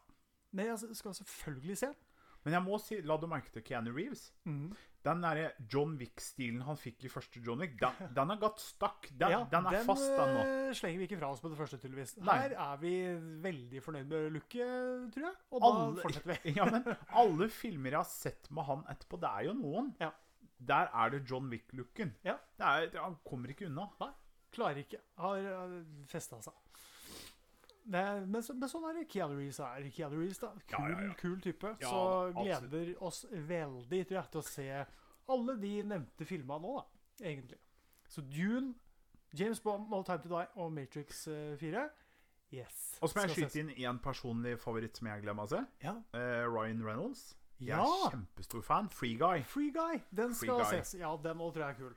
Speaker 1: men jeg skal selvfølgelig se den.
Speaker 2: Men jeg må si, la du merke til Keanu Reeves? Den derre John Wick-stilen han fikk i første John Wick, den, den har gått stakk. Den,
Speaker 1: Ja,
Speaker 2: den er fast, den nå.
Speaker 1: eh, slenger vi ikke fra oss på det første, tydeligvis.
Speaker 2: Nei.
Speaker 1: Her er vi veldig fornøyd med looket, tror jeg. Og da fortsetter
Speaker 2: Alle,
Speaker 1: vi.
Speaker 2: ja, men alle filmer jeg har sett med han etterpå, det er jo noen.
Speaker 1: Ja.
Speaker 2: Der er det John Wick-looken.
Speaker 1: Ja.
Speaker 2: Det er- det- Han kommer ikke unna.
Speaker 1: Nei, klarer ikke. Har festa seg. Det, er- men, så, men sånn er det. Keanu Reeves er Keanu Reeves, da. Kul,
Speaker 2: Ja, ja, ja.
Speaker 1: kul type.
Speaker 2: Ja,
Speaker 1: så
Speaker 2: absolutt.
Speaker 1: gleder oss veldig tror jeg, til å se alle de nevnte filmene nå, da. Egentlig. Så Dune, James Bond, No Time To Die og Matrix eh, 4. Yes.
Speaker 2: Og så må jeg
Speaker 1: Skal
Speaker 2: skyte inn én personlig favoritt som jeg glemmer å se.
Speaker 1: ses. Ja.
Speaker 2: Eh, Ryan Reynolds. Jeg er
Speaker 1: Ja.
Speaker 2: kjempestor fan. Free Guy.
Speaker 1: Free Guy. Den
Speaker 2: Free
Speaker 1: skal
Speaker 2: Guy.
Speaker 1: ses. Ja, den òg tror jeg er kul.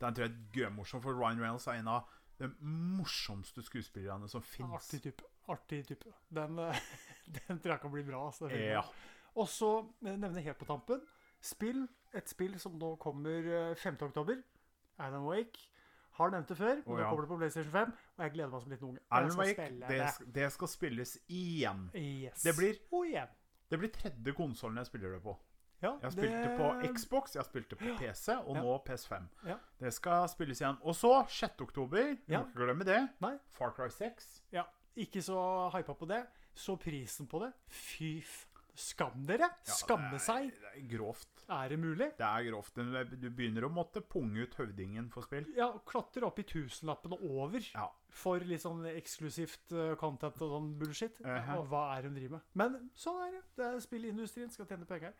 Speaker 2: Den tror jeg er gøymorsom, for Ryan Reynolds er en av de morsomste skuespillerne som fins.
Speaker 1: Artig type. Artig type. Den, eh, den tror jeg kan bli bra. Altså, den filmen.
Speaker 2: Ja.
Speaker 1: Og så eh, nevne helt på tampen spill, et spill som nå kommer eh, 5. oktober. Alan Wake. Har nevnt det før, men
Speaker 2: Å,
Speaker 1: nå
Speaker 2: ja.
Speaker 1: kommer det på PlayStation 5. Og jeg gleder meg som liten unge. Og jeg
Speaker 2: Alan
Speaker 1: skal
Speaker 2: Wake,
Speaker 1: spille
Speaker 2: det, sk- det skal spilles igjen.
Speaker 1: Yes.
Speaker 2: Det blir-
Speaker 1: Og igjen.
Speaker 2: Det blir tredje konsollen jeg spiller det på.
Speaker 1: Ja,
Speaker 2: Jeg spilte på
Speaker 1: det-
Speaker 2: Xbox, jeg spilte på PC, og
Speaker 1: Ja.
Speaker 2: nå PS5.
Speaker 1: Ja.
Speaker 2: Det skal spilles igjen. Og så 6. oktober, vi
Speaker 1: Ja.
Speaker 2: må ikke glemme det.
Speaker 1: Nei.
Speaker 2: Far Cry 6.
Speaker 1: Ja, ikke så hypa på det. Så prisen på det. Fy f... Skam dere!
Speaker 2: Ja,
Speaker 1: Skamme
Speaker 2: det er-
Speaker 1: seg!
Speaker 2: Det er grovt.
Speaker 1: Er det mulig?
Speaker 2: Det er grovt. Du- Du begynner å måtte punge ut høvdingen for spill.
Speaker 1: Ja, klatre opp i tusenlappen og over
Speaker 2: Ja.
Speaker 1: for litt sånn eksklusivt eh, content og sånn bullshit.
Speaker 2: Ehe.
Speaker 1: Og hva er det de driver med? Men sånn er det. det er Spillindustrien skal tjene penger.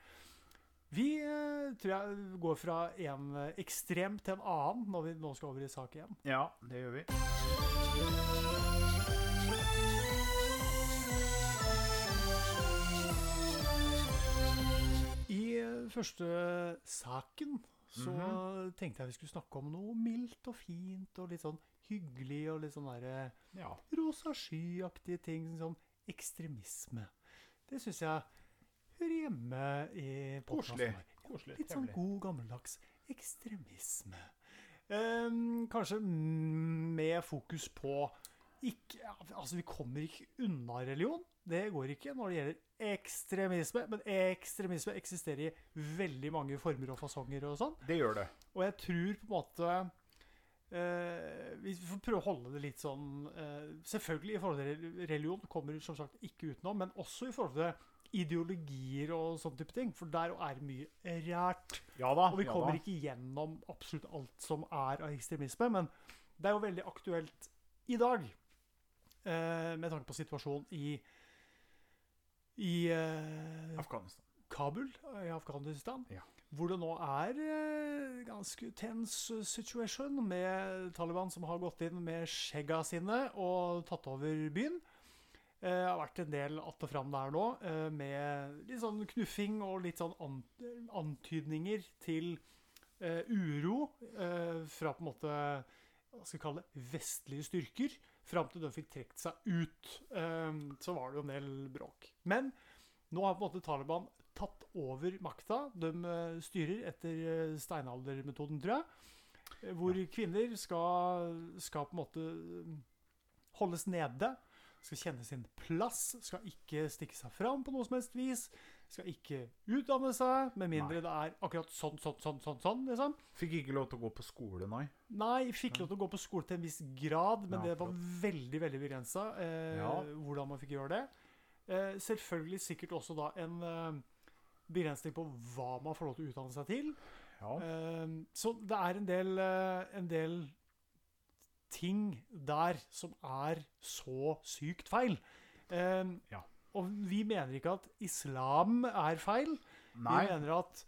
Speaker 1: Vi eh, tror jeg går fra en eh, ekstrem til en annen når vi nå skal over i sak igjen.
Speaker 2: ja, det gjør vi.
Speaker 1: I eh, første saken så tenkte jeg vi skulle snakke om noe mildt og fint og litt sånn hyggelig og litt sånn derre
Speaker 2: Ja.
Speaker 1: rosa skyaktige ting sånn som ekstremisme. Det syns jeg hører hjemme i
Speaker 2: Koselig.
Speaker 1: podcasten vår.
Speaker 2: Koselig.
Speaker 1: Litt sånn
Speaker 2: trevelig.
Speaker 1: god, gammeldags ekstremisme. Ehm, kanskje mm, med fokus på ikke, altså Vi kommer ikke unna religion. Det går ikke når det gjelder ekstremisme. Men ekstremisme eksisterer i veldig mange former og fasonger. og sånn.
Speaker 2: Det gjør det.
Speaker 1: Og jeg tror på en måte eh, Vi får prøve å holde det litt sånn eh, Selvfølgelig i forhold til rel- religion kommer du som sagt ikke utenom, men også i forhold til ideologier og sånn type ting. For der er det mye rært.
Speaker 2: Ja da.
Speaker 1: Og vi
Speaker 2: ja
Speaker 1: kommer
Speaker 2: da.
Speaker 1: ikke gjennom absolutt alt som er av ekstremisme, men det er jo veldig aktuelt i dag. eh, med tanke på situasjonen i, i eh,
Speaker 2: Afghanistan.
Speaker 1: Kabul eh, i Afghanistan.
Speaker 2: Ja.
Speaker 1: Hvor det nå er eh, ganske tense situation med Taliban som har gått inn med skjegga sine og tatt over byen. Eh, Det har vært en del att og fram der nå, eh, med litt sånn knuffing og litt sånn an antydninger til eh, uro eh, fra på en måte hva skal vi kalle det, vestlige styrker. Fram til de fikk trukket seg ut, eh, så var det jo en del bråk. Men nå har på en måte Taliban tatt over makta. De eh, styrer etter eh, steinaldermetoden, tror jeg. eh, Hvor kvinner skal, skal på en måte eh, holdes nede. Skal kjenne sin plass. Skal ikke stikke seg fram på noe som helst vis. Skal ikke utdanne seg, med mindre det er akkurat sånn, sånn, sånn, sånn, sånn liksom.
Speaker 2: Fikk ikke lov til å gå på skole, nei.
Speaker 1: Nei, fikk lov til å gå på skole til en viss grad, men
Speaker 2: Ja,
Speaker 1: det var veldig veldig begrensa eh,
Speaker 2: Ja.
Speaker 1: hvordan man fikk gjøre det. Eh, selvfølgelig sikkert også da en eh, begrensning på hva man får lov til å utdanne seg til.
Speaker 2: Ja.
Speaker 1: Eh, så det er en del, eh, en del ting der som er så sykt feil. Eh,
Speaker 2: Ja.
Speaker 1: Og vi mener ikke at islam er feil.
Speaker 2: Nei.
Speaker 1: Vi mener at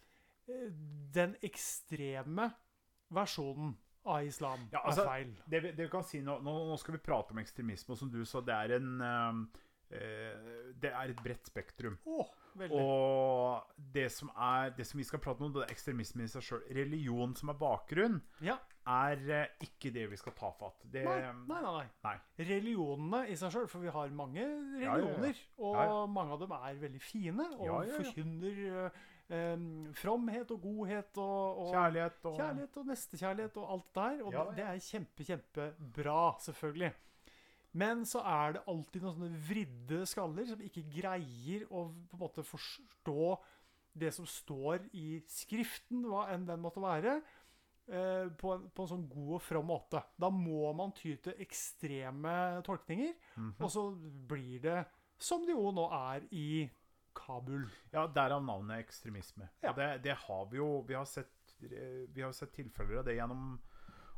Speaker 1: eh, den ekstreme versjonen av islam
Speaker 2: Ja, altså-
Speaker 1: er feil.
Speaker 2: Det vi, det vi kan si nå, nå, nå skal vi prate om ekstremisme, og som du sa, det er en eh, eh, Det er et bredt spektrum.
Speaker 1: Å, veldig.
Speaker 2: Og det som, er, det som vi skal prate om, det er ekstremisme i seg sjøl. Religion som er bakgrunn,
Speaker 1: ja.
Speaker 2: er eh, ikke det vi skal ta fatt. Det,
Speaker 1: Nei, nei, nei, nei.
Speaker 2: Eh, nei.
Speaker 1: Religionene i seg sjøl, for vi har mange
Speaker 2: ja, ja.
Speaker 1: religioner. Og
Speaker 2: Ja, ja.
Speaker 1: mange av dem er veldig fine og
Speaker 2: Ja, ja, ja.
Speaker 1: forkynner eh, em, fromhet og godhet og, og
Speaker 2: Kjærlighet og
Speaker 1: Kjærlighet og nestekjærlighet og alt det der. Og
Speaker 2: Ja,
Speaker 1: det- det er kjempe, kjempebra, selvfølgelig. Men så er det alltid noen sånne vridde skaller som ikke greier å på en måte forstå det som står i skriften, hva enn den måtte være, eh, på en, på en sånn god og from måte. Da må man ty til ekstreme tolkninger,
Speaker 2: Mm. Mhm.
Speaker 1: og så blir det som det jo nå er i Kabul.
Speaker 2: Ja, derav navnet ekstremisme.
Speaker 1: Ja.
Speaker 2: Og det, det har vi jo Vi har sett, eh, vi har sett tilfeller av det gjennom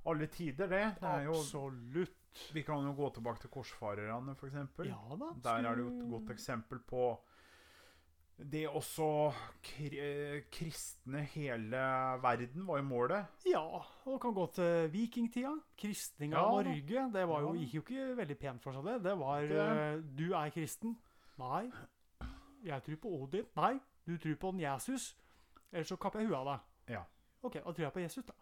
Speaker 2: alle tider, det. det er jo,
Speaker 1: Absolutt.
Speaker 2: vi kan jo gå tilbake til korsfarerne, f.eks.
Speaker 1: Ja da.
Speaker 2: Der er det jo
Speaker 1: skulle-
Speaker 2: et godt eksempel på det også kri- eh, kristne hele verden var jo målet.
Speaker 1: Ja, og kan gå til vikingtida. Kristninga
Speaker 2: Ja,
Speaker 1: av
Speaker 2: da.
Speaker 1: Norge. Det var jo,
Speaker 2: Ja, da.
Speaker 1: gikk jo ikke veldig pent for seg, det. Det var
Speaker 2: Ikke
Speaker 1: eh, Du er kristen. Nei. Jeg tror på Odin. Nei, du tror på en Jesus. Ellers så kapper jeg huet av deg.
Speaker 2: Ja.
Speaker 1: OK, da tror jeg på Jesus, da.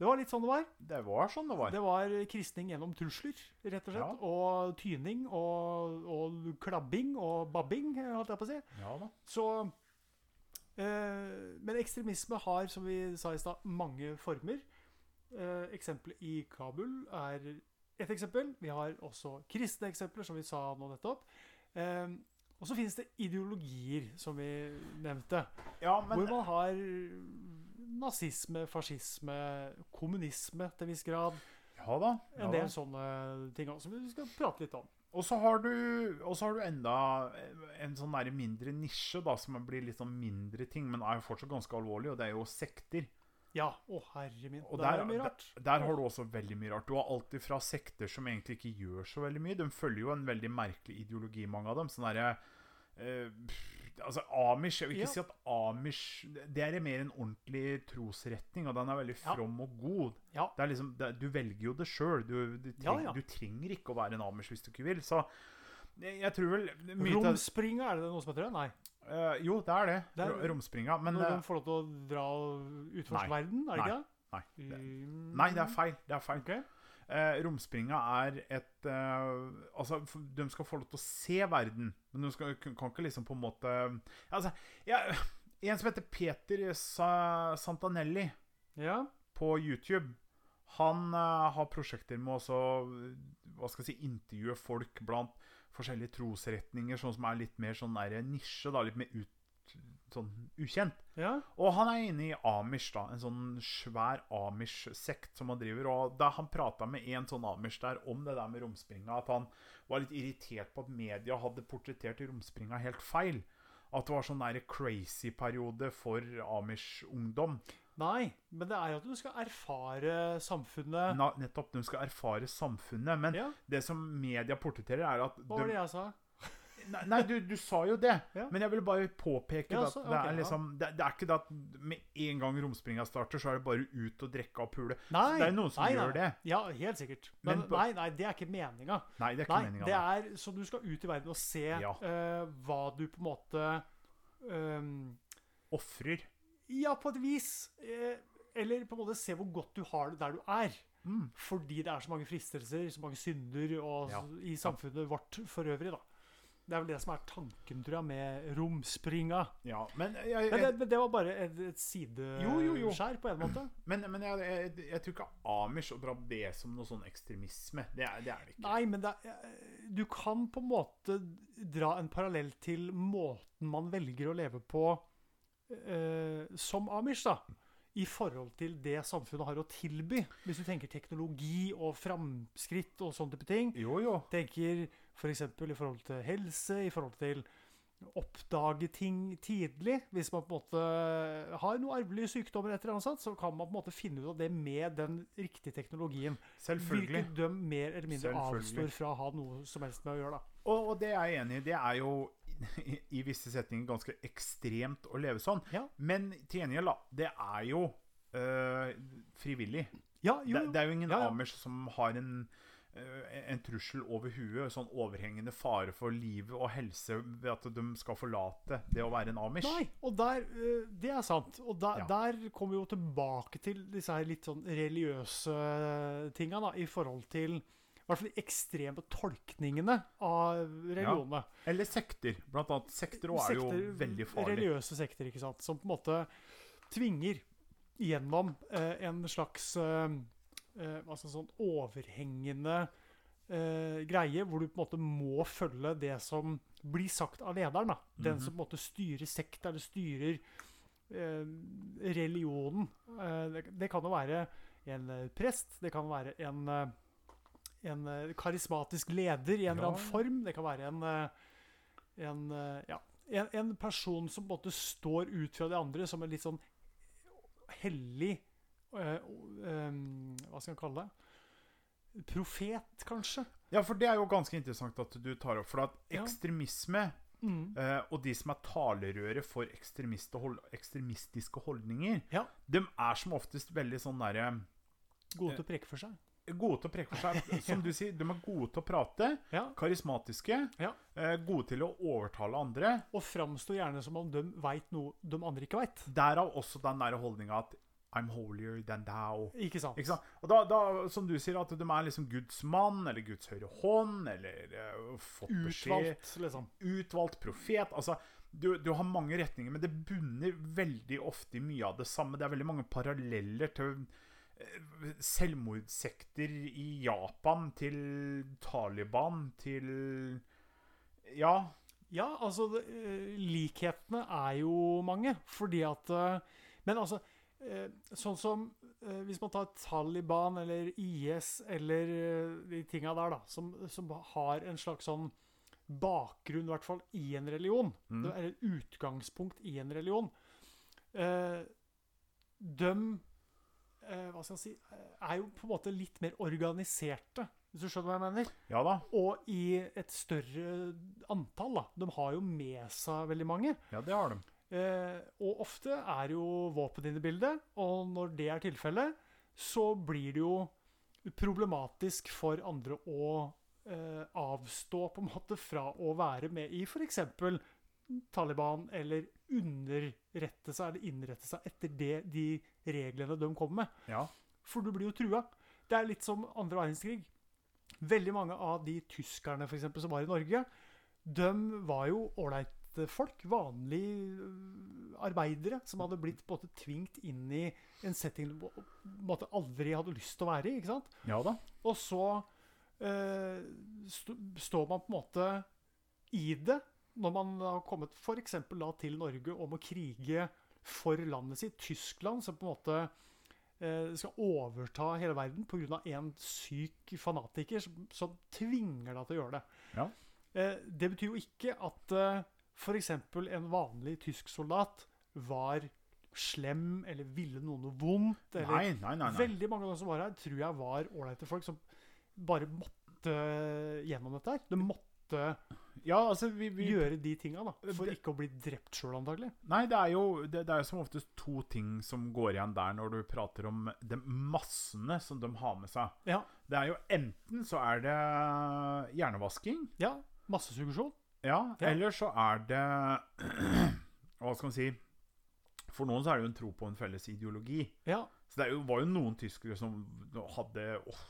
Speaker 1: Det var litt sånn det var.
Speaker 2: Det var sånn det var.
Speaker 1: Det var kristning gjennom trusler, rett og slett. Og tyning og, og klabbing og babbing, holdt jeg på å si.
Speaker 2: Ja da.
Speaker 1: Så eh, Men ekstremisme har, som vi sa i stad, mange former. Eh, eksempelet i Kabul er ett eksempel. Vi har også kristne eksempler, som vi sa nå nettopp. Eh, og så finnes det ideologier, som vi nevnte.
Speaker 2: Ja, men
Speaker 1: hvor man har nazisme, fascisme, kommunisme til en viss grad.
Speaker 2: Ja da.
Speaker 1: En
Speaker 2: Ja, da.
Speaker 1: del sånne ting også, som vi skal prate litt om.
Speaker 2: Og så har, du- og så har du enda en sånn der mindre nisje, da, som blir litt sånn mindre ting, men er jo fortsatt ganske alvorlig, og det er jo sekter.
Speaker 1: Ja, å herre min.
Speaker 2: Og
Speaker 1: Der
Speaker 2: der,
Speaker 1: er det mye rart.
Speaker 2: der, der har du også veldig mye rart. Du har alt fra sekter som egentlig ikke gjør så veldig mye. De følger jo en veldig merkelig ideologi, mange av dem. Sånn derre eh, pff, Altså, Amish Jeg vil ikke
Speaker 1: Ja.
Speaker 2: si at Amish Det er mer en ordentlig trosretning, og den er veldig
Speaker 1: Ja.
Speaker 2: from og god.
Speaker 1: Ja.
Speaker 2: Det er liksom, det, du velger jo det sjøl. Du, du, treng,
Speaker 1: Ja, ja.
Speaker 2: du trenger ikke å være en Amish hvis du ikke vil. Så jeg, jeg tror vel mye til-
Speaker 1: Romspringa, er det noe som heter det? Nei.
Speaker 2: eh, Jo, det er det.
Speaker 1: Det er-
Speaker 2: Ro- Romspringa. Men
Speaker 1: Når
Speaker 2: eh,
Speaker 1: de får lov til å dra og utforske
Speaker 2: Nei.
Speaker 1: verden, er det ikke det?
Speaker 2: nei, det,
Speaker 1: Mm.
Speaker 2: nei, det er feil. Det er feil.
Speaker 1: Ok.
Speaker 2: Eh, romspringa er et eh, Altså, f- de skal få lov til å se verden, men de skal, kan ikke liksom på en måte Altså, jeg, en som heter Peter Sa Santanelli
Speaker 1: Ja.
Speaker 2: på YouTube, Han eh, har prosjekter med også, hva skal jeg si, intervjue folk blant forskjellige trosretninger, sånn som er litt mer sånn der nisje, da, litt mer ut, sånn ukjent.
Speaker 1: Ja.
Speaker 2: Og han er inne i Amish, da, en sånn svær Amish-sekt som han driver. Og da han prata med en sånn Amish der om det der med romspringa, at han var litt irritert på at media hadde portrettert romspringa helt feil. At det var sånn der crazy periode for Amish-ungdom.
Speaker 1: Nei, men det er jo at du skal erfare samfunnet.
Speaker 2: Na- Nettopp, de skal erfare samfunnet. Men
Speaker 1: Ja,
Speaker 2: det som media portretterer, er at
Speaker 1: hva var
Speaker 2: de-
Speaker 1: det jeg sa?
Speaker 2: Nei, nei du, du sa jo det.
Speaker 1: Ja.
Speaker 2: Men jeg vil bare påpeke
Speaker 1: Ja,
Speaker 2: det
Speaker 1: så-
Speaker 2: at det
Speaker 1: ok,
Speaker 2: er
Speaker 1: ja.
Speaker 2: liksom det, det er ikke det at med en gang romspringa starter, så er det bare ut og drikke og pule.
Speaker 1: Nei,
Speaker 2: Det er noen som
Speaker 1: nei,
Speaker 2: gjør
Speaker 1: nei.
Speaker 2: det.
Speaker 1: Ja, helt sikkert. Men,
Speaker 2: Men på-
Speaker 1: nei, nei, det er ikke meninga.
Speaker 2: Nei, det er ikke
Speaker 1: Nei,
Speaker 2: meninga.
Speaker 1: det er så du skal ut i verden og se
Speaker 2: Ja.
Speaker 1: eh, hva du på en måte ehm,
Speaker 2: Ofrer.
Speaker 1: Ja, på et vis. eh, eller på en måte se hvor godt du har det der du er.
Speaker 2: Mm.
Speaker 1: Fordi det er så mange fristelser, så mange synder og,
Speaker 2: Ja.
Speaker 1: i samfunnet vårt for øvrig. da. Det er vel det som er tanken, tror jeg, med romspringa.
Speaker 2: Ja, men jeg,
Speaker 1: Men det,
Speaker 2: jeg,
Speaker 1: men det var bare et, et
Speaker 2: Jo, jo, jo.
Speaker 1: sideskjær, på en måte.
Speaker 2: men, men jeg, jeg, jeg tror ikke Amish å dra det som noe sånn ekstremisme. Det er det, er det ikke.
Speaker 1: Nei, men det er, eh, du kan på en måte dra en parallell til måten man velger å leve på eh, som Amish, da. I forhold til det samfunnet har å tilby. Hvis du tenker teknologi og framskritt og sånne type ting.
Speaker 2: Jo, jo.
Speaker 1: Tenker f.eks. i forhold til helse, i forhold til oppdage ting tidlig. Hvis man på en måte har noen arvelige sykdommer, etter annet, sånt, så kan man på en måte finne ut av det med den riktige teknologien.
Speaker 2: Selvfølgelig.
Speaker 1: Hvilket de mer eller mindre
Speaker 2: Selvfølgelig.
Speaker 1: avstår fra å ha noe som helst med å gjøre, da.
Speaker 2: Og, og det er jeg enig i. Det er jo i, i visse setninger ganske ekstremt å leve sånn.
Speaker 1: Ja.
Speaker 2: Men til gjengjeld, da. Det er jo øh, frivillig.
Speaker 1: Ja, jo,
Speaker 2: Det, det er jo ingen
Speaker 1: Ja, ja.
Speaker 2: Amish som har en øh, en trussel over huet, sånn overhengende fare for livet og helse ved at de skal forlate det å være en Amish.
Speaker 1: Nei, og der, eh, det er sant. Og der,
Speaker 2: Ja.
Speaker 1: der kommer vi jo tilbake til disse her litt sånn religiøse tinga, da, i forhold til i hvert fall de ekstreme tolkningene av religionene.
Speaker 2: Eller sekter. Blant annet sekter også er jo veldig farlig.
Speaker 1: Religiøse sekter, ikke sant. Som på en måte tvinger gjennom eh, en slags eh, eh, altså sånn overhengende eh, greie, hvor du på en måte må følge det som blir sagt av lederen. Da. Den
Speaker 2: Mhm.
Speaker 1: som på en måte styrer sekta, eller styrer eh, religionen. Eh, det, det kan jo være en eh, prest, det kan være en eh, en eh, karismatisk leder i en eller
Speaker 2: Ja.
Speaker 1: annen form. Det kan være en, eh, en, eh, ja, en, en person som på en måte står ut fra de andre som en litt sånn hellig eh, o- em, Hva skal man kalle det? Profet, kanskje?
Speaker 2: Ja, for det er jo ganske interessant at du tar opp. For at
Speaker 1: Ja.
Speaker 2: ekstremisme
Speaker 1: Mm.
Speaker 2: eh, og de som er talerøret for ekstremiste hold, ekstremistiske holdninger,
Speaker 1: Ja.
Speaker 2: de er som oftest veldig sånn derre
Speaker 1: Gode til å preke for seg.
Speaker 2: Gode til å preke for seg. Som du sier, de er gode til å prate.
Speaker 1: Ja.
Speaker 2: Karismatiske.
Speaker 1: Ja.
Speaker 2: Eh, gode til å overtale andre.
Speaker 1: Og framstår gjerne som om de veit noe de andre ikke veit.
Speaker 2: Derav også den der holdninga at I'm holier than thou.
Speaker 1: Ikke sant?
Speaker 2: Ikke sant? Og da, da, som du sier, at de er liksom Guds mann, eller Guds høyre hånd, eller eh, fått beskjed
Speaker 1: Utvalgt, liksom.
Speaker 2: utvalgt profet. Altså, du, du har mange retninger, men det bunner veldig ofte i mye av det samme. Det er veldig mange paralleller til eh, selvmordssekter i Japan, til Taliban, til Ja.
Speaker 1: Ja, altså det, eh, Likhetene er jo mange. Fordi at eh, Men altså eh, Sånn som eh, hvis man tar Taliban eller IS eller eh, de tinga der, da, som, som har en slags sånn bakgrunn, i hvert fall i en religion.
Speaker 2: Mm.
Speaker 1: Det er et utgangspunkt i en religion. Eh, døm eh, Hva skal jeg si eh, Er jo på en måte litt mer organiserte, hvis du skjønner hva jeg mener?
Speaker 2: Ja da.
Speaker 1: Og i et større antall, da. De har jo med seg veldig mange.
Speaker 2: Ja, det har de.
Speaker 1: Eh, og ofte er jo våpen inne i bildet, og når det er tilfellet, så blir det jo problematisk for andre å eh, avstå på en måte fra å være med i f.eks. Taliban, eller underrette seg eller innrette seg etter det, de reglene de kommer med.
Speaker 2: Ja.
Speaker 1: For du blir jo trua. Det er litt som andre verdenskrig. Veldig mange av de tyskerne for eksempel, som var i Norge, de var jo ålreit arbeidsfolk, vanlige øh, arbeidere, som hadde blitt på en måte tvingt inn i en setting du på en måte aldri hadde lyst til å være i. ikke sant?
Speaker 2: Ja da.
Speaker 1: Og så eh, sto- står man på en måte i det når man har kommet f.eks. til Norge om å krige for landet sitt. Tyskland som på en måte eh, skal overta hele verden pga. en syk fanatiker som, som tvinger deg til å gjøre det.
Speaker 2: Ja.
Speaker 1: Eh, det betyr jo ikke at eh, f.eks. en vanlig tysk soldat var slem eller ville noen noe vondt. Eller,
Speaker 2: Nei, nei, nei. nei.
Speaker 1: Veldig mange av de som var her, tror jeg var ålreite folk som bare måtte eh, gjennom dette her. De måtte
Speaker 2: Ja, altså, vi, vi
Speaker 1: gjøre de tinga, da. For
Speaker 2: Det-
Speaker 1: ikke å bli drept sjøl, antagelig.
Speaker 2: Nei, det er jo det, det er jo som oftest to ting som går igjen der når du prater om de massene som de har med seg.
Speaker 1: Ja.
Speaker 2: Det er jo enten så er det hjernevasking,
Speaker 1: ja. Massesuggesjon.
Speaker 2: ja,
Speaker 1: Ja.
Speaker 2: eller så er det Hva skal man si? For noen så er det jo en tro på en felles ideologi.
Speaker 1: Ja,
Speaker 2: Så det er jo, var jo noen tyskere som hadde Åh,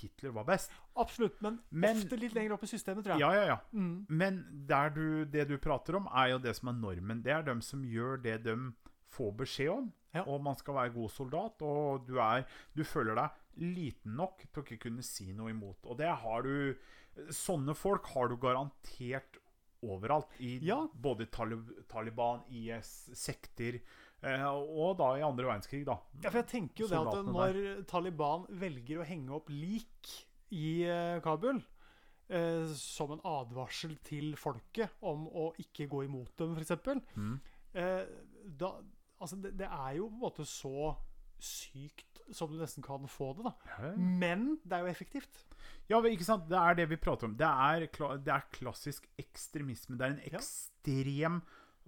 Speaker 2: Hitler var best.
Speaker 1: absolutt. Men,
Speaker 2: Men-
Speaker 1: ofte litt lenger opp i systemet, tror jeg.
Speaker 2: Ja, ja, ja.
Speaker 1: Mm.
Speaker 2: Men der du, det du prater om, er jo det som er normen. Det er dem som gjør det de får beskjed om.
Speaker 1: Ja.
Speaker 2: Og man skal være god soldat, og du, er, du føler deg liten nok til å ikke kunne si noe imot. Og det har du Sånne folk har du garantert overalt. I
Speaker 1: Ja.
Speaker 2: både Talib Taliban, IS, sekter eh, og da i andre verdenskrig, da.
Speaker 1: Ja, for jeg tenker jo det at
Speaker 2: Soldatene
Speaker 1: når Taliban velger å henge opp lik i eh, Kabul eh, som en advarsel til folket om å ikke gå imot dem, f.eks.
Speaker 2: Mm.
Speaker 1: Eh, da, altså det, det er jo på en måte så sykt som du nesten kan få det, da. Men det er jo effektivt.
Speaker 2: Ja, men ikke sant? Det er det vi prater om. Det er, kla- det er klassisk ekstremisme. Det er en
Speaker 1: Ja.
Speaker 2: ekstrem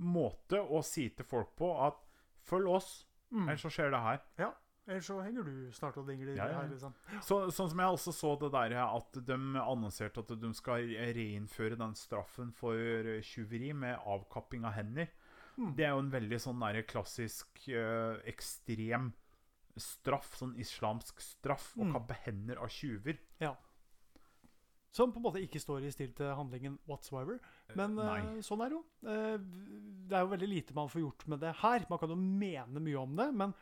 Speaker 2: måte å si til folk på at følg oss,
Speaker 1: Mm.
Speaker 2: ellers så skjer det her.
Speaker 1: Ja. Ellers så henger du snart og dingler
Speaker 2: Ja, ja, ja.
Speaker 1: her, liksom.
Speaker 2: Så, sånn som jeg også så det der at de annonserte at de skal reinnføre den straffen for tjuveri med avkapping av hender.
Speaker 1: Mm.
Speaker 2: Det er jo en veldig sånn der klassisk eh, ekstrem straff, sånn islamsk straff, å
Speaker 1: Mm.
Speaker 2: kappe hender av tjuver.
Speaker 1: Som på en måte ikke står i stil til handlingen whatsoever. Men
Speaker 2: Nei.
Speaker 1: eh, sånn er det jo. Eh, det er jo veldig lite man får gjort med det her. Man kan jo mene mye om det, men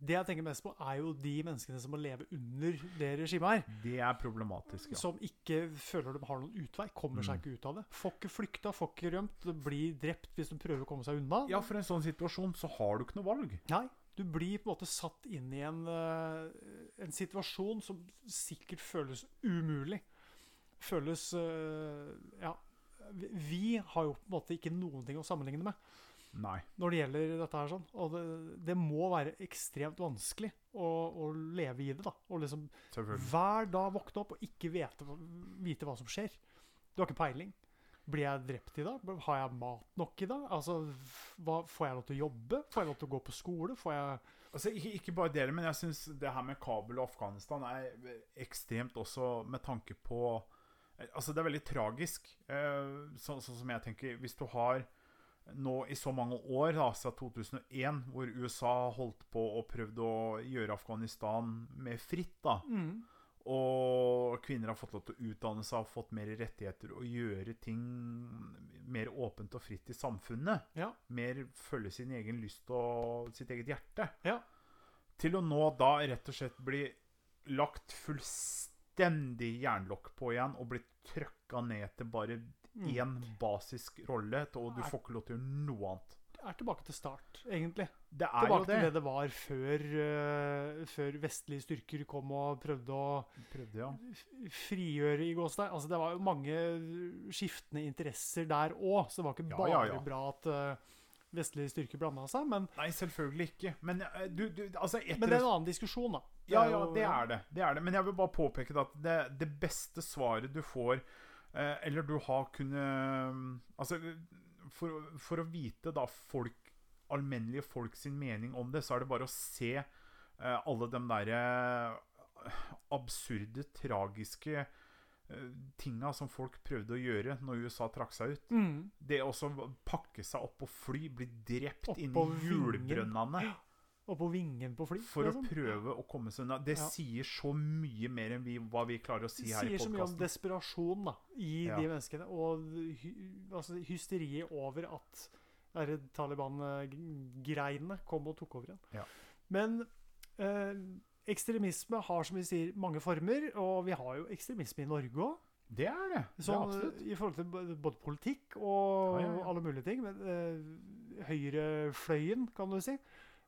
Speaker 1: det jeg tenker mest på, er jo de menneskene som må leve under det regimet her.
Speaker 2: Det er problematisk, ja. Mm.
Speaker 1: Som ikke føler de har noen utvei. Kommer seg ikke ut av det. Får ikke flykta, får ikke rømt. Blir drept hvis de prøver å komme seg unna.
Speaker 2: Ja, for en sånn situasjon så har du ikke noe valg.
Speaker 1: Nei, du blir på en måte satt inn i en, eh, en situasjon som sikkert føles umulig. Føles eh, Ja. Vi vi har jo på en måte ikke noen ting å sammenligne med
Speaker 2: Nei.
Speaker 1: når det gjelder dette her. sånn. Og det, det må være ekstremt vanskelig å, å leve i det. da. Og liksom
Speaker 2: Selvfølgelig.
Speaker 1: hver dag våkne opp og ikke vite, vite hva som skjer. Du har ikke peiling. Blir jeg drept i dag? Har jeg mat nok i dag? Altså, hva, får jeg lov til å jobbe? Får jeg lov til å gå på skole? Får jeg
Speaker 2: Altså, ikke, ikke bare dere, men jeg syns det her med Kabul og Afghanistan er ekstremt også med tanke på Altså, det er veldig tragisk, eh, sånn sånn som jeg tenker. Hvis du har nå i så mange år, da, altså siden 2001, hvor USA holdt på og prøvde å gjøre Afghanistan mer fritt, da,
Speaker 1: Mm.
Speaker 2: og kvinner har fått lov til å utdanne seg, har fått mer rettigheter og gjøre ting mer åpent og fritt i samfunnet
Speaker 1: Ja.
Speaker 2: mer følge sin egen lyst og sitt eget hjerte.
Speaker 1: Ja.
Speaker 2: Til å nå da rett og slett bli lagt fullstendig jernlokk på igjen og bli trøkka ned til bare
Speaker 1: Mm.
Speaker 2: én basisk rolle, til- og du får ikke lov til å gjøre noe annet.
Speaker 1: Er tilbake til start, egentlig.
Speaker 2: Det er
Speaker 1: Tilbake
Speaker 2: jo
Speaker 1: til det
Speaker 2: det.
Speaker 1: det var før, eh, før vestlige styrker kom og prøvde å
Speaker 2: Prøvde, ja.
Speaker 1: f- frigjøre i Gåstein. Altså, det var jo mange skiftende interesser der òg, så det var ikke
Speaker 2: Ja,
Speaker 1: bare
Speaker 2: ja, ja.
Speaker 1: bra at eh, vestlige styrker blanda seg. Men,
Speaker 2: Nei, selvfølgelig ikke. Men eh, du, du altså etter
Speaker 1: men det er en annen diskusjon, da.
Speaker 2: Ja,
Speaker 1: er
Speaker 2: ja,
Speaker 1: jo-
Speaker 2: det er det. det er det. Men jeg vil bare påpeke det at det, det beste svaret du får, eh, eller du har kunnet Altså, for, å- for å vite da folk, alminnelige folk sin mening om det, så er det bare å se eh, alle de derre absurde, tragiske eh, tinga som folk prøvde å gjøre når USA trakk seg ut.
Speaker 1: Mm.
Speaker 2: Det å så pakke seg opp og fly, bli drept
Speaker 1: Oppå
Speaker 2: inni
Speaker 1: vingen.
Speaker 2: hjulbrønnene.
Speaker 1: Oppå vingen på fly.
Speaker 2: For å
Speaker 1: liksom.
Speaker 2: prøve å komme seg unna. Det
Speaker 1: Ja.
Speaker 2: sier så mye mer enn vi, hva vi klarer å si
Speaker 1: Det
Speaker 2: her i
Speaker 1: sier så mye om
Speaker 2: podkasten.
Speaker 1: desperasjon da, i
Speaker 2: Ja.
Speaker 1: de menneskene. Og hy, altså, hysteriet over at der Taliban-greiene kom og tok over igjen.
Speaker 2: Ja.
Speaker 1: Men eh, ekstremisme har, som vi sier, mange former. Og vi har jo ekstremisme i Norge òg.
Speaker 2: Det er det. det er
Speaker 1: Sånn,
Speaker 2: absolutt.
Speaker 1: I forhold til b- både politikk og
Speaker 2: Ja, ja, ja.
Speaker 1: alle mulige ting. Men eh, høyrefløyen, kan du si,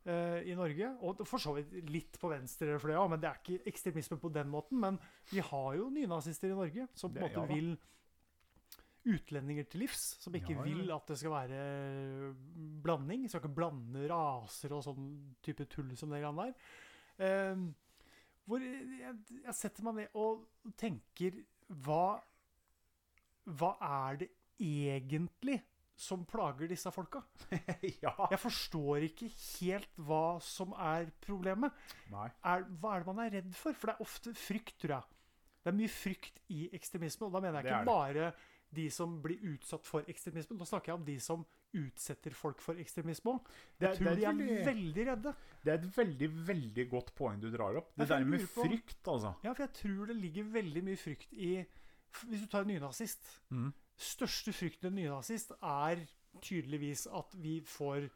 Speaker 1: eh, i Norge. Og for så vidt litt på venstrefløya, men det er ikke ekstremisme på den måten. Men vi har jo nynazister i Norge som på en
Speaker 2: Det- ja
Speaker 1: måte
Speaker 2: da.
Speaker 1: vil utlendinger til livs. Som ikke
Speaker 2: Ja, ja,
Speaker 1: vil
Speaker 2: ja.
Speaker 1: at det skal være eh, blanding. Skal ikke blande raser og sånn type tull som det greiene der. Eh, hvor jeg, jeg setter meg ned og tenker hva, hva er det egentlig som plager disse folka? eh,
Speaker 2: ja.
Speaker 1: Jeg forstår ikke helt hva som er problemet.
Speaker 2: Nei.
Speaker 1: Er, hva er det man er redd for? For det er ofte frykt, tror jeg. Det er mye frykt i ekstremisme, og da mener jeg
Speaker 2: Det
Speaker 1: ikke
Speaker 2: er det.
Speaker 1: bare de som blir utsatt for ekstremisme. Nå snakker jeg om de som utsetter folk for ekstremisme òg.
Speaker 2: Det
Speaker 1: Jeg
Speaker 2: er-
Speaker 1: tror
Speaker 2: det
Speaker 1: de
Speaker 2: er
Speaker 1: er
Speaker 2: veldig-
Speaker 1: veldig redde.
Speaker 2: Det er et veldig, veldig godt poeng du drar opp.
Speaker 1: Ja,
Speaker 2: Det
Speaker 1: for jeg
Speaker 2: der med
Speaker 1: lurer på-
Speaker 2: frykt, altså.
Speaker 1: Ja, for jeg tror det ligger veldig mye frykt i f- Hvis du tar en nynazist
Speaker 2: Mhm.
Speaker 1: Største frykten en nynazist er tydeligvis at vi får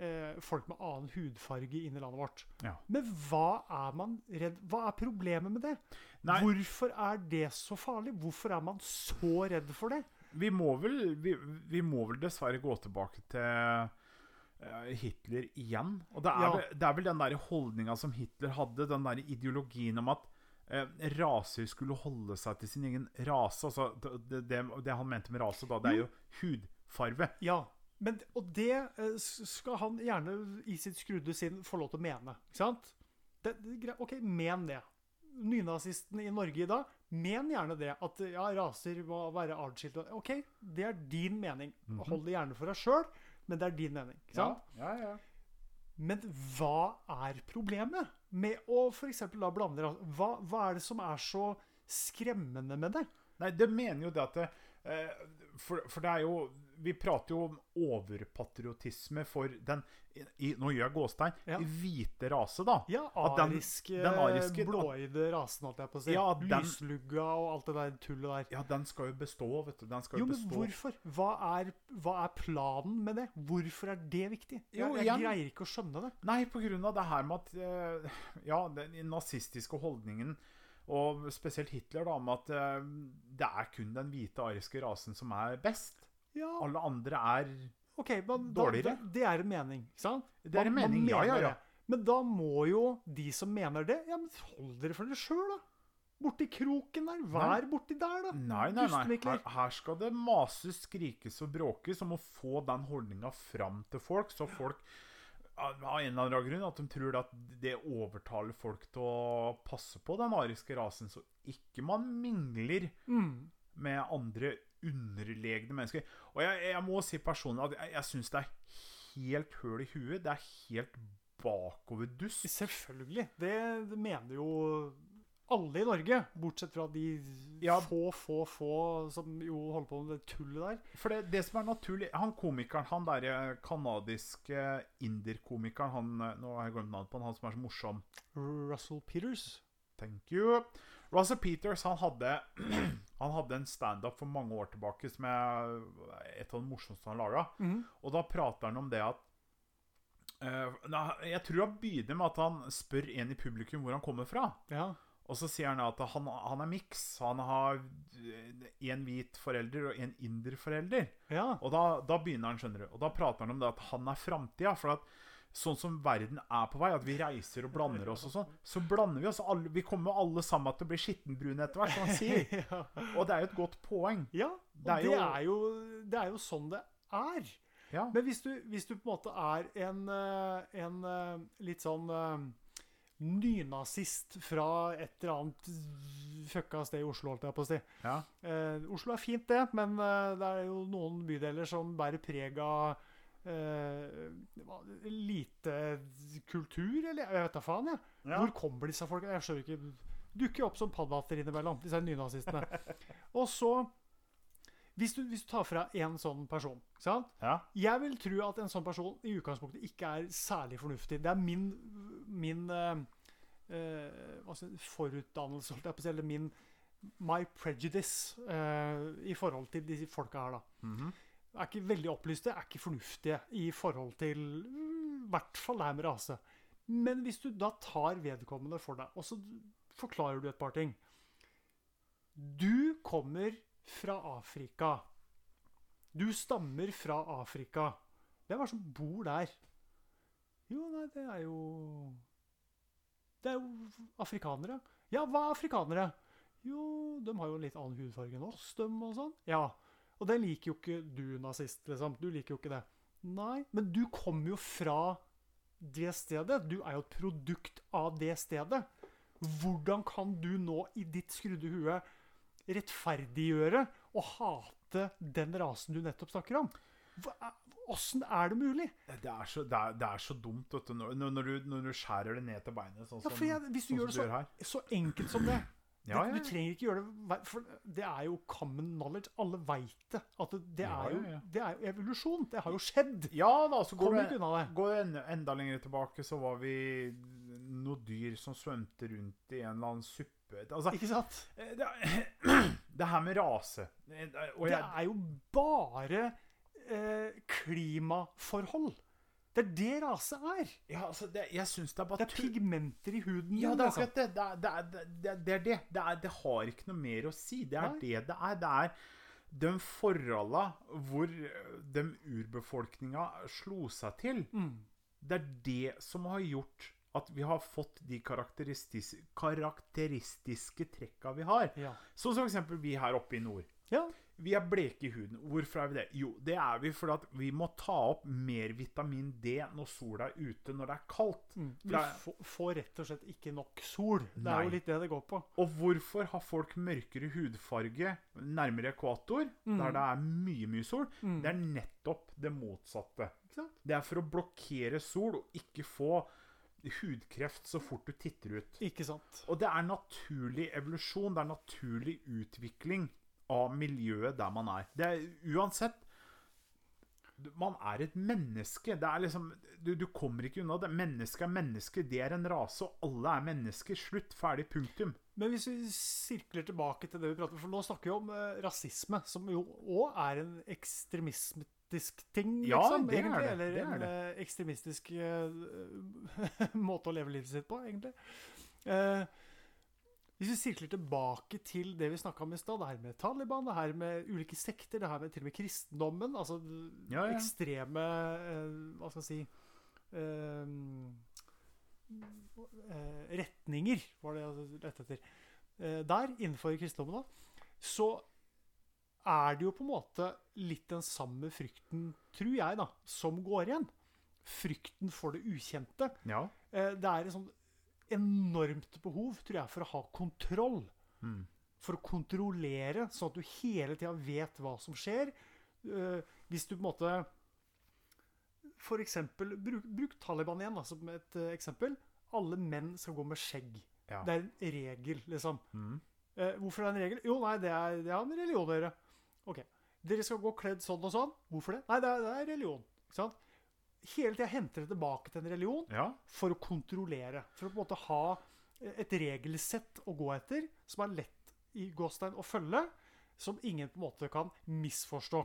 Speaker 1: eh, folk med annen hudfarge inn i landet vårt.
Speaker 2: Ja.
Speaker 1: Men hva er man redd Hva er problemet med det?
Speaker 2: Nei.
Speaker 1: Hvorfor er det så farlig? Hvorfor er man så redd for det?
Speaker 2: Vi må vel, vi, vi må vel dessverre gå tilbake til eh, Hitler igjen. Og det er,
Speaker 1: Ja.
Speaker 2: vel, det er vel den der holdninga som Hitler hadde, den der ideologien om at eh, raser skulle holde seg til sin egen rase. Altså, det, det, det han mente med rase da, det er jo hudfarve.
Speaker 1: Ja, men, og det eh, s- skal han gjerne i sitt skrudde sinn få lov til å mene. Ikke sant? Det, det, er greit. ok, men det. Nynazistene i Norge i dag, men gjerne det. At ja, raser må være artsskilt. Ok, det er din mening.
Speaker 2: Mhm.
Speaker 1: Hold det gjerne for deg sjøl, men det er din mening. Ikke sant?
Speaker 2: ja, ja.
Speaker 1: Men hva er problemet med å f.eks. da blande ras- hva, hva er det som er så skremmende med det?
Speaker 2: Nei, det mener jo det at det, eh, for, for det er jo Vi prater jo om overpatriotisme for den i, i, Nå gjør jeg gåstegn.
Speaker 1: Ja.
Speaker 2: Hvite rase, da.
Speaker 1: Ja,
Speaker 2: At den-
Speaker 1: ariske,
Speaker 2: den ariske-
Speaker 1: blåøyde rasen, holdt jeg på å si.
Speaker 2: Ja, den-
Speaker 1: Lyslugga og alt det der tullet der.
Speaker 2: Ja, den skal jo bestå, vet du. Den skal
Speaker 1: Jo,
Speaker 2: jo,
Speaker 1: men
Speaker 2: bestå.
Speaker 1: hvorfor? Hva er, hva er planen med det? Hvorfor er det viktig? Jeg,
Speaker 2: Jo,
Speaker 1: jeg
Speaker 2: igjen-
Speaker 1: greier ikke å skjønne det.
Speaker 2: Nei, på grunn av det her med at eh, Ja, den nazistiske holdningen, og spesielt Hitler, da, med at eh, det er kun den hvite ariske rasen som er best.
Speaker 1: Ja,
Speaker 2: Alle andre er
Speaker 1: ok, men da,
Speaker 2: Dårligere?
Speaker 1: det- Det er en mening, ikke sant?
Speaker 2: Det er en
Speaker 1: Man- man
Speaker 2: mening, ja, ja,
Speaker 1: mener
Speaker 2: ja.
Speaker 1: det. Men da må jo de som mener det, ja, men hold dere for dere sjøl, da. Borti kroken der. Vær borti der, da.
Speaker 2: Nei, nei, nei.
Speaker 1: Dustevikler.
Speaker 2: Her, her skal det mases, skrikes og bråkes om å få den holdninga fram til folk, så folk av av en eller annen grunn at de tror at det overtaler folk til å passe på den ariske rasen, så ikke man mingler
Speaker 1: Mm.
Speaker 2: med andre underlegne mennesker. Og jeg, jeg må si personlig at jeg, jeg syns det er helt høl i huet. Det er helt bakoverduss.
Speaker 1: Selvfølgelig. Det mener jo alle i Norge, bortsett fra de
Speaker 2: Ja.
Speaker 1: få, få, få som jo holder på med det tullet der.
Speaker 2: For det, det som er naturlig Han komikeren, han derre kanadiske inderkomikeren han, eh, Nå har jeg glemt navnet på han, han som er så morsom.
Speaker 1: Russell Peters.
Speaker 2: Thank you. Russell Peters han hadde, han hadde en standup for mange år tilbake som er et av de morsomste han laga.
Speaker 1: Mhm.
Speaker 2: Og da prater han om det at eh, nei, Jeg tror han begynner med at han spør en i publikum hvor han kommer fra.
Speaker 1: Ja.
Speaker 2: Og så sier han at han, han er miks. Han har én hvit forelder og én inder forelder.
Speaker 1: ja.
Speaker 2: Og da, da begynner han, skjønner du. Og da prater han om det at han er framtida. For at sånn som verden er på vei, at vi reiser og blander oss og sånn, så blander vi oss. Alle, vi kommer jo alle sammen til å bli skittenbrune etter hvert, som han sier.
Speaker 1: ja.
Speaker 2: Og det er jo et godt poeng.
Speaker 1: Ja, og
Speaker 2: Det
Speaker 1: det
Speaker 2: er
Speaker 1: er,
Speaker 2: jo-
Speaker 1: jo, det, er jo, sånn det er.
Speaker 2: Ja.
Speaker 1: Men hvis du, hvis du på en måte er en, eh, en eh, litt sånn eh, nynazist fra et eller annet fucka sted i Oslo, holdt jeg på å si.
Speaker 2: ja.
Speaker 1: Eh, Oslo er fint, det, men eh, det er jo noen bydeler som bærer preg av eh, hva- lite kultur, eller jeg vet da faen, jeg.
Speaker 2: Ja.
Speaker 1: Hvor kommer disse folka? Jeg skjønner ikke. Dukker jo opp som paddehatter innimellom, disse nynazistene. Og så Hvis du, hvis du tar fra en sånn person ikke sant?
Speaker 2: Ja.
Speaker 1: Jeg vil tro at en sånn person i utgangspunktet ikke er særlig fornuftig. Det er min, min eh, eh, hva skal jeg si, forutdannelse, holdt jeg på å si, eller min my prejudice eh, i forhold til disse folka her, da
Speaker 2: Mhm.
Speaker 1: er ikke veldig opplyste, er ikke fornuftige i forhold til mm, i hvert fall det her med rase. Men hvis du da tar vedkommende for deg, og så forklarer du et par ting Du kommer fra Afrika. Du stammer fra Afrika. Hvem er det som bor der? Jo, nei, det er jo Det er jo afrikanere. Ja, hva er afrikanere? Jo, de har jo en litt annen hudfarge enn oss, dem og sånn. Ja. Og det liker jo ikke du, nazist, liksom. Du liker jo ikke det. Nei, men du kommer jo fra det stedet. Du er jo et produkt av det stedet. Hvordan kan du nå, i ditt skrudde hue, rettferdiggjøre og hate den rasen du nettopp snakker om? Hva, hvordan er det mulig?
Speaker 2: Det, er så, det, er, det er så dumt, vet du. Når, når- når du. når du skjærer det ned til beinet, sånn
Speaker 1: Ja,
Speaker 2: som
Speaker 1: for jeg, hvis du
Speaker 2: sånn
Speaker 1: gjør det
Speaker 2: som du
Speaker 1: så,
Speaker 2: her.
Speaker 1: så enkelt som det
Speaker 2: Ja,
Speaker 1: det,
Speaker 2: ja,
Speaker 1: Du trenger ikke gjøre det hver- For det er jo common knowledge. Alle veit det. At det, det,
Speaker 2: Ja,
Speaker 1: er jo,
Speaker 2: ja, ja.
Speaker 1: det er jo evolusjon. Det har jo skjedd.
Speaker 2: ja da, så går
Speaker 1: Kommer
Speaker 2: det
Speaker 1: ikke unna det.
Speaker 2: Går jeg enda, enda lenger tilbake, så var vi noen dyr som svømte rundt i en eller annen suppe Altså,
Speaker 1: Ikke sant?
Speaker 2: eh, det, det her med rase eh, og
Speaker 1: Det
Speaker 2: jeg,
Speaker 1: er jo bare eh, klimaforhold. Det er det rase er.
Speaker 2: ja, altså, det, jeg syns det er
Speaker 1: Det
Speaker 2: bare
Speaker 1: er
Speaker 2: tull.
Speaker 1: pigmenter i huden.
Speaker 2: Ja,
Speaker 1: din,
Speaker 2: det er
Speaker 1: altså.
Speaker 2: akkurat det. Det er det. Er, det, er- det, er det. Det, er, det har ikke noe mer å si. Det er
Speaker 1: Nei.
Speaker 2: det det er. Det er de forholda hvor eh, de urbefolkninga slo seg til.
Speaker 1: Mm.
Speaker 2: Det er det som har gjort at vi har fått de karakteristis karakteristiske trekka vi har.
Speaker 1: Ja.
Speaker 2: Sånn som for eksempel vi her oppe i nord.
Speaker 1: ja.
Speaker 2: Vi er bleke i huden. Hvorfor er vi det? Jo, det er vi fordi at vi må ta opp mer vitamin D når sola er ute, når det er kaldt.
Speaker 1: Mm.
Speaker 2: For
Speaker 1: Du
Speaker 2: det er-
Speaker 1: få- får rett og slett ikke nok sol. Det er
Speaker 2: Nei.
Speaker 1: jo litt det det går på.
Speaker 2: Og hvorfor har folk mørkere hudfarge nærmere ekvator, der det er mye, mye sol?
Speaker 1: Mm.
Speaker 2: Det er nettopp det motsatte.
Speaker 1: Ikke sant?
Speaker 2: Det er for å blokkere sol og ikke få hudkreft så fort du titter ut.
Speaker 1: Ikke sant.
Speaker 2: Og det er naturlig evolusjon, det er naturlig utvikling av miljøet der man er. Det er uansett Man er et menneske. Det er liksom Du, du kommer ikke unna det. Menneske er menneske. Det er en rase, og alle er mennesker. Slutt. Ferdig. Punktum.
Speaker 1: Men hvis vi sirkler tilbake til det vi prater om, for nå snakker vi om eh, rasisme, som jo òg er en ekstremistisk ting,
Speaker 2: Ja,
Speaker 1: liksom,
Speaker 2: det er
Speaker 1: egentlig.
Speaker 2: det,
Speaker 1: Eller
Speaker 2: det er
Speaker 1: en eh, ekstremistisk eh, måte å leve livet sitt på, egentlig. Eh, hvis vi sirkler tilbake til det vi snakka om i stad, det her med Taliban, det her med ulike sekter, det her med til og med kristendommen, altså
Speaker 2: Ja, ja.
Speaker 1: ekstreme eh, Hva skal jeg si eh, eh, Retninger, var det jeg lette etter. Eh, der, innenfor kristendommen, da, så er det jo på en måte litt den samme frykten, tror jeg, da, som går igjen. Frykten for det ukjente.
Speaker 2: Ja.
Speaker 1: Eh, Det er et sånt enormt behov, tror jeg, for å ha kontroll.
Speaker 2: Mm.
Speaker 1: For å kontrollere, sånn at du hele tida vet hva som skjer. Eh, Hvis du på en måte F.eks. Bruk, bruk Taliban igjen da, som et eh, eksempel. Alle menn skal gå med skjegg.
Speaker 2: Ja.
Speaker 1: Det er en regel, liksom.
Speaker 2: Mm.
Speaker 1: Eh, hvorfor er det en regel? Jo, nei, det er, det er en religion, dere. Ok. Dere skal gå kledd sånn og sånn. Hvorfor det? Nei, det er, det er religion. Ikke sant? Hele tida henter det tilbake til en religion
Speaker 2: ja.
Speaker 1: for å kontrollere. For å på en måte ha eh, et regelsett å gå etter som er lett i gåstein å følge, som ingen på en måte kan misforstå.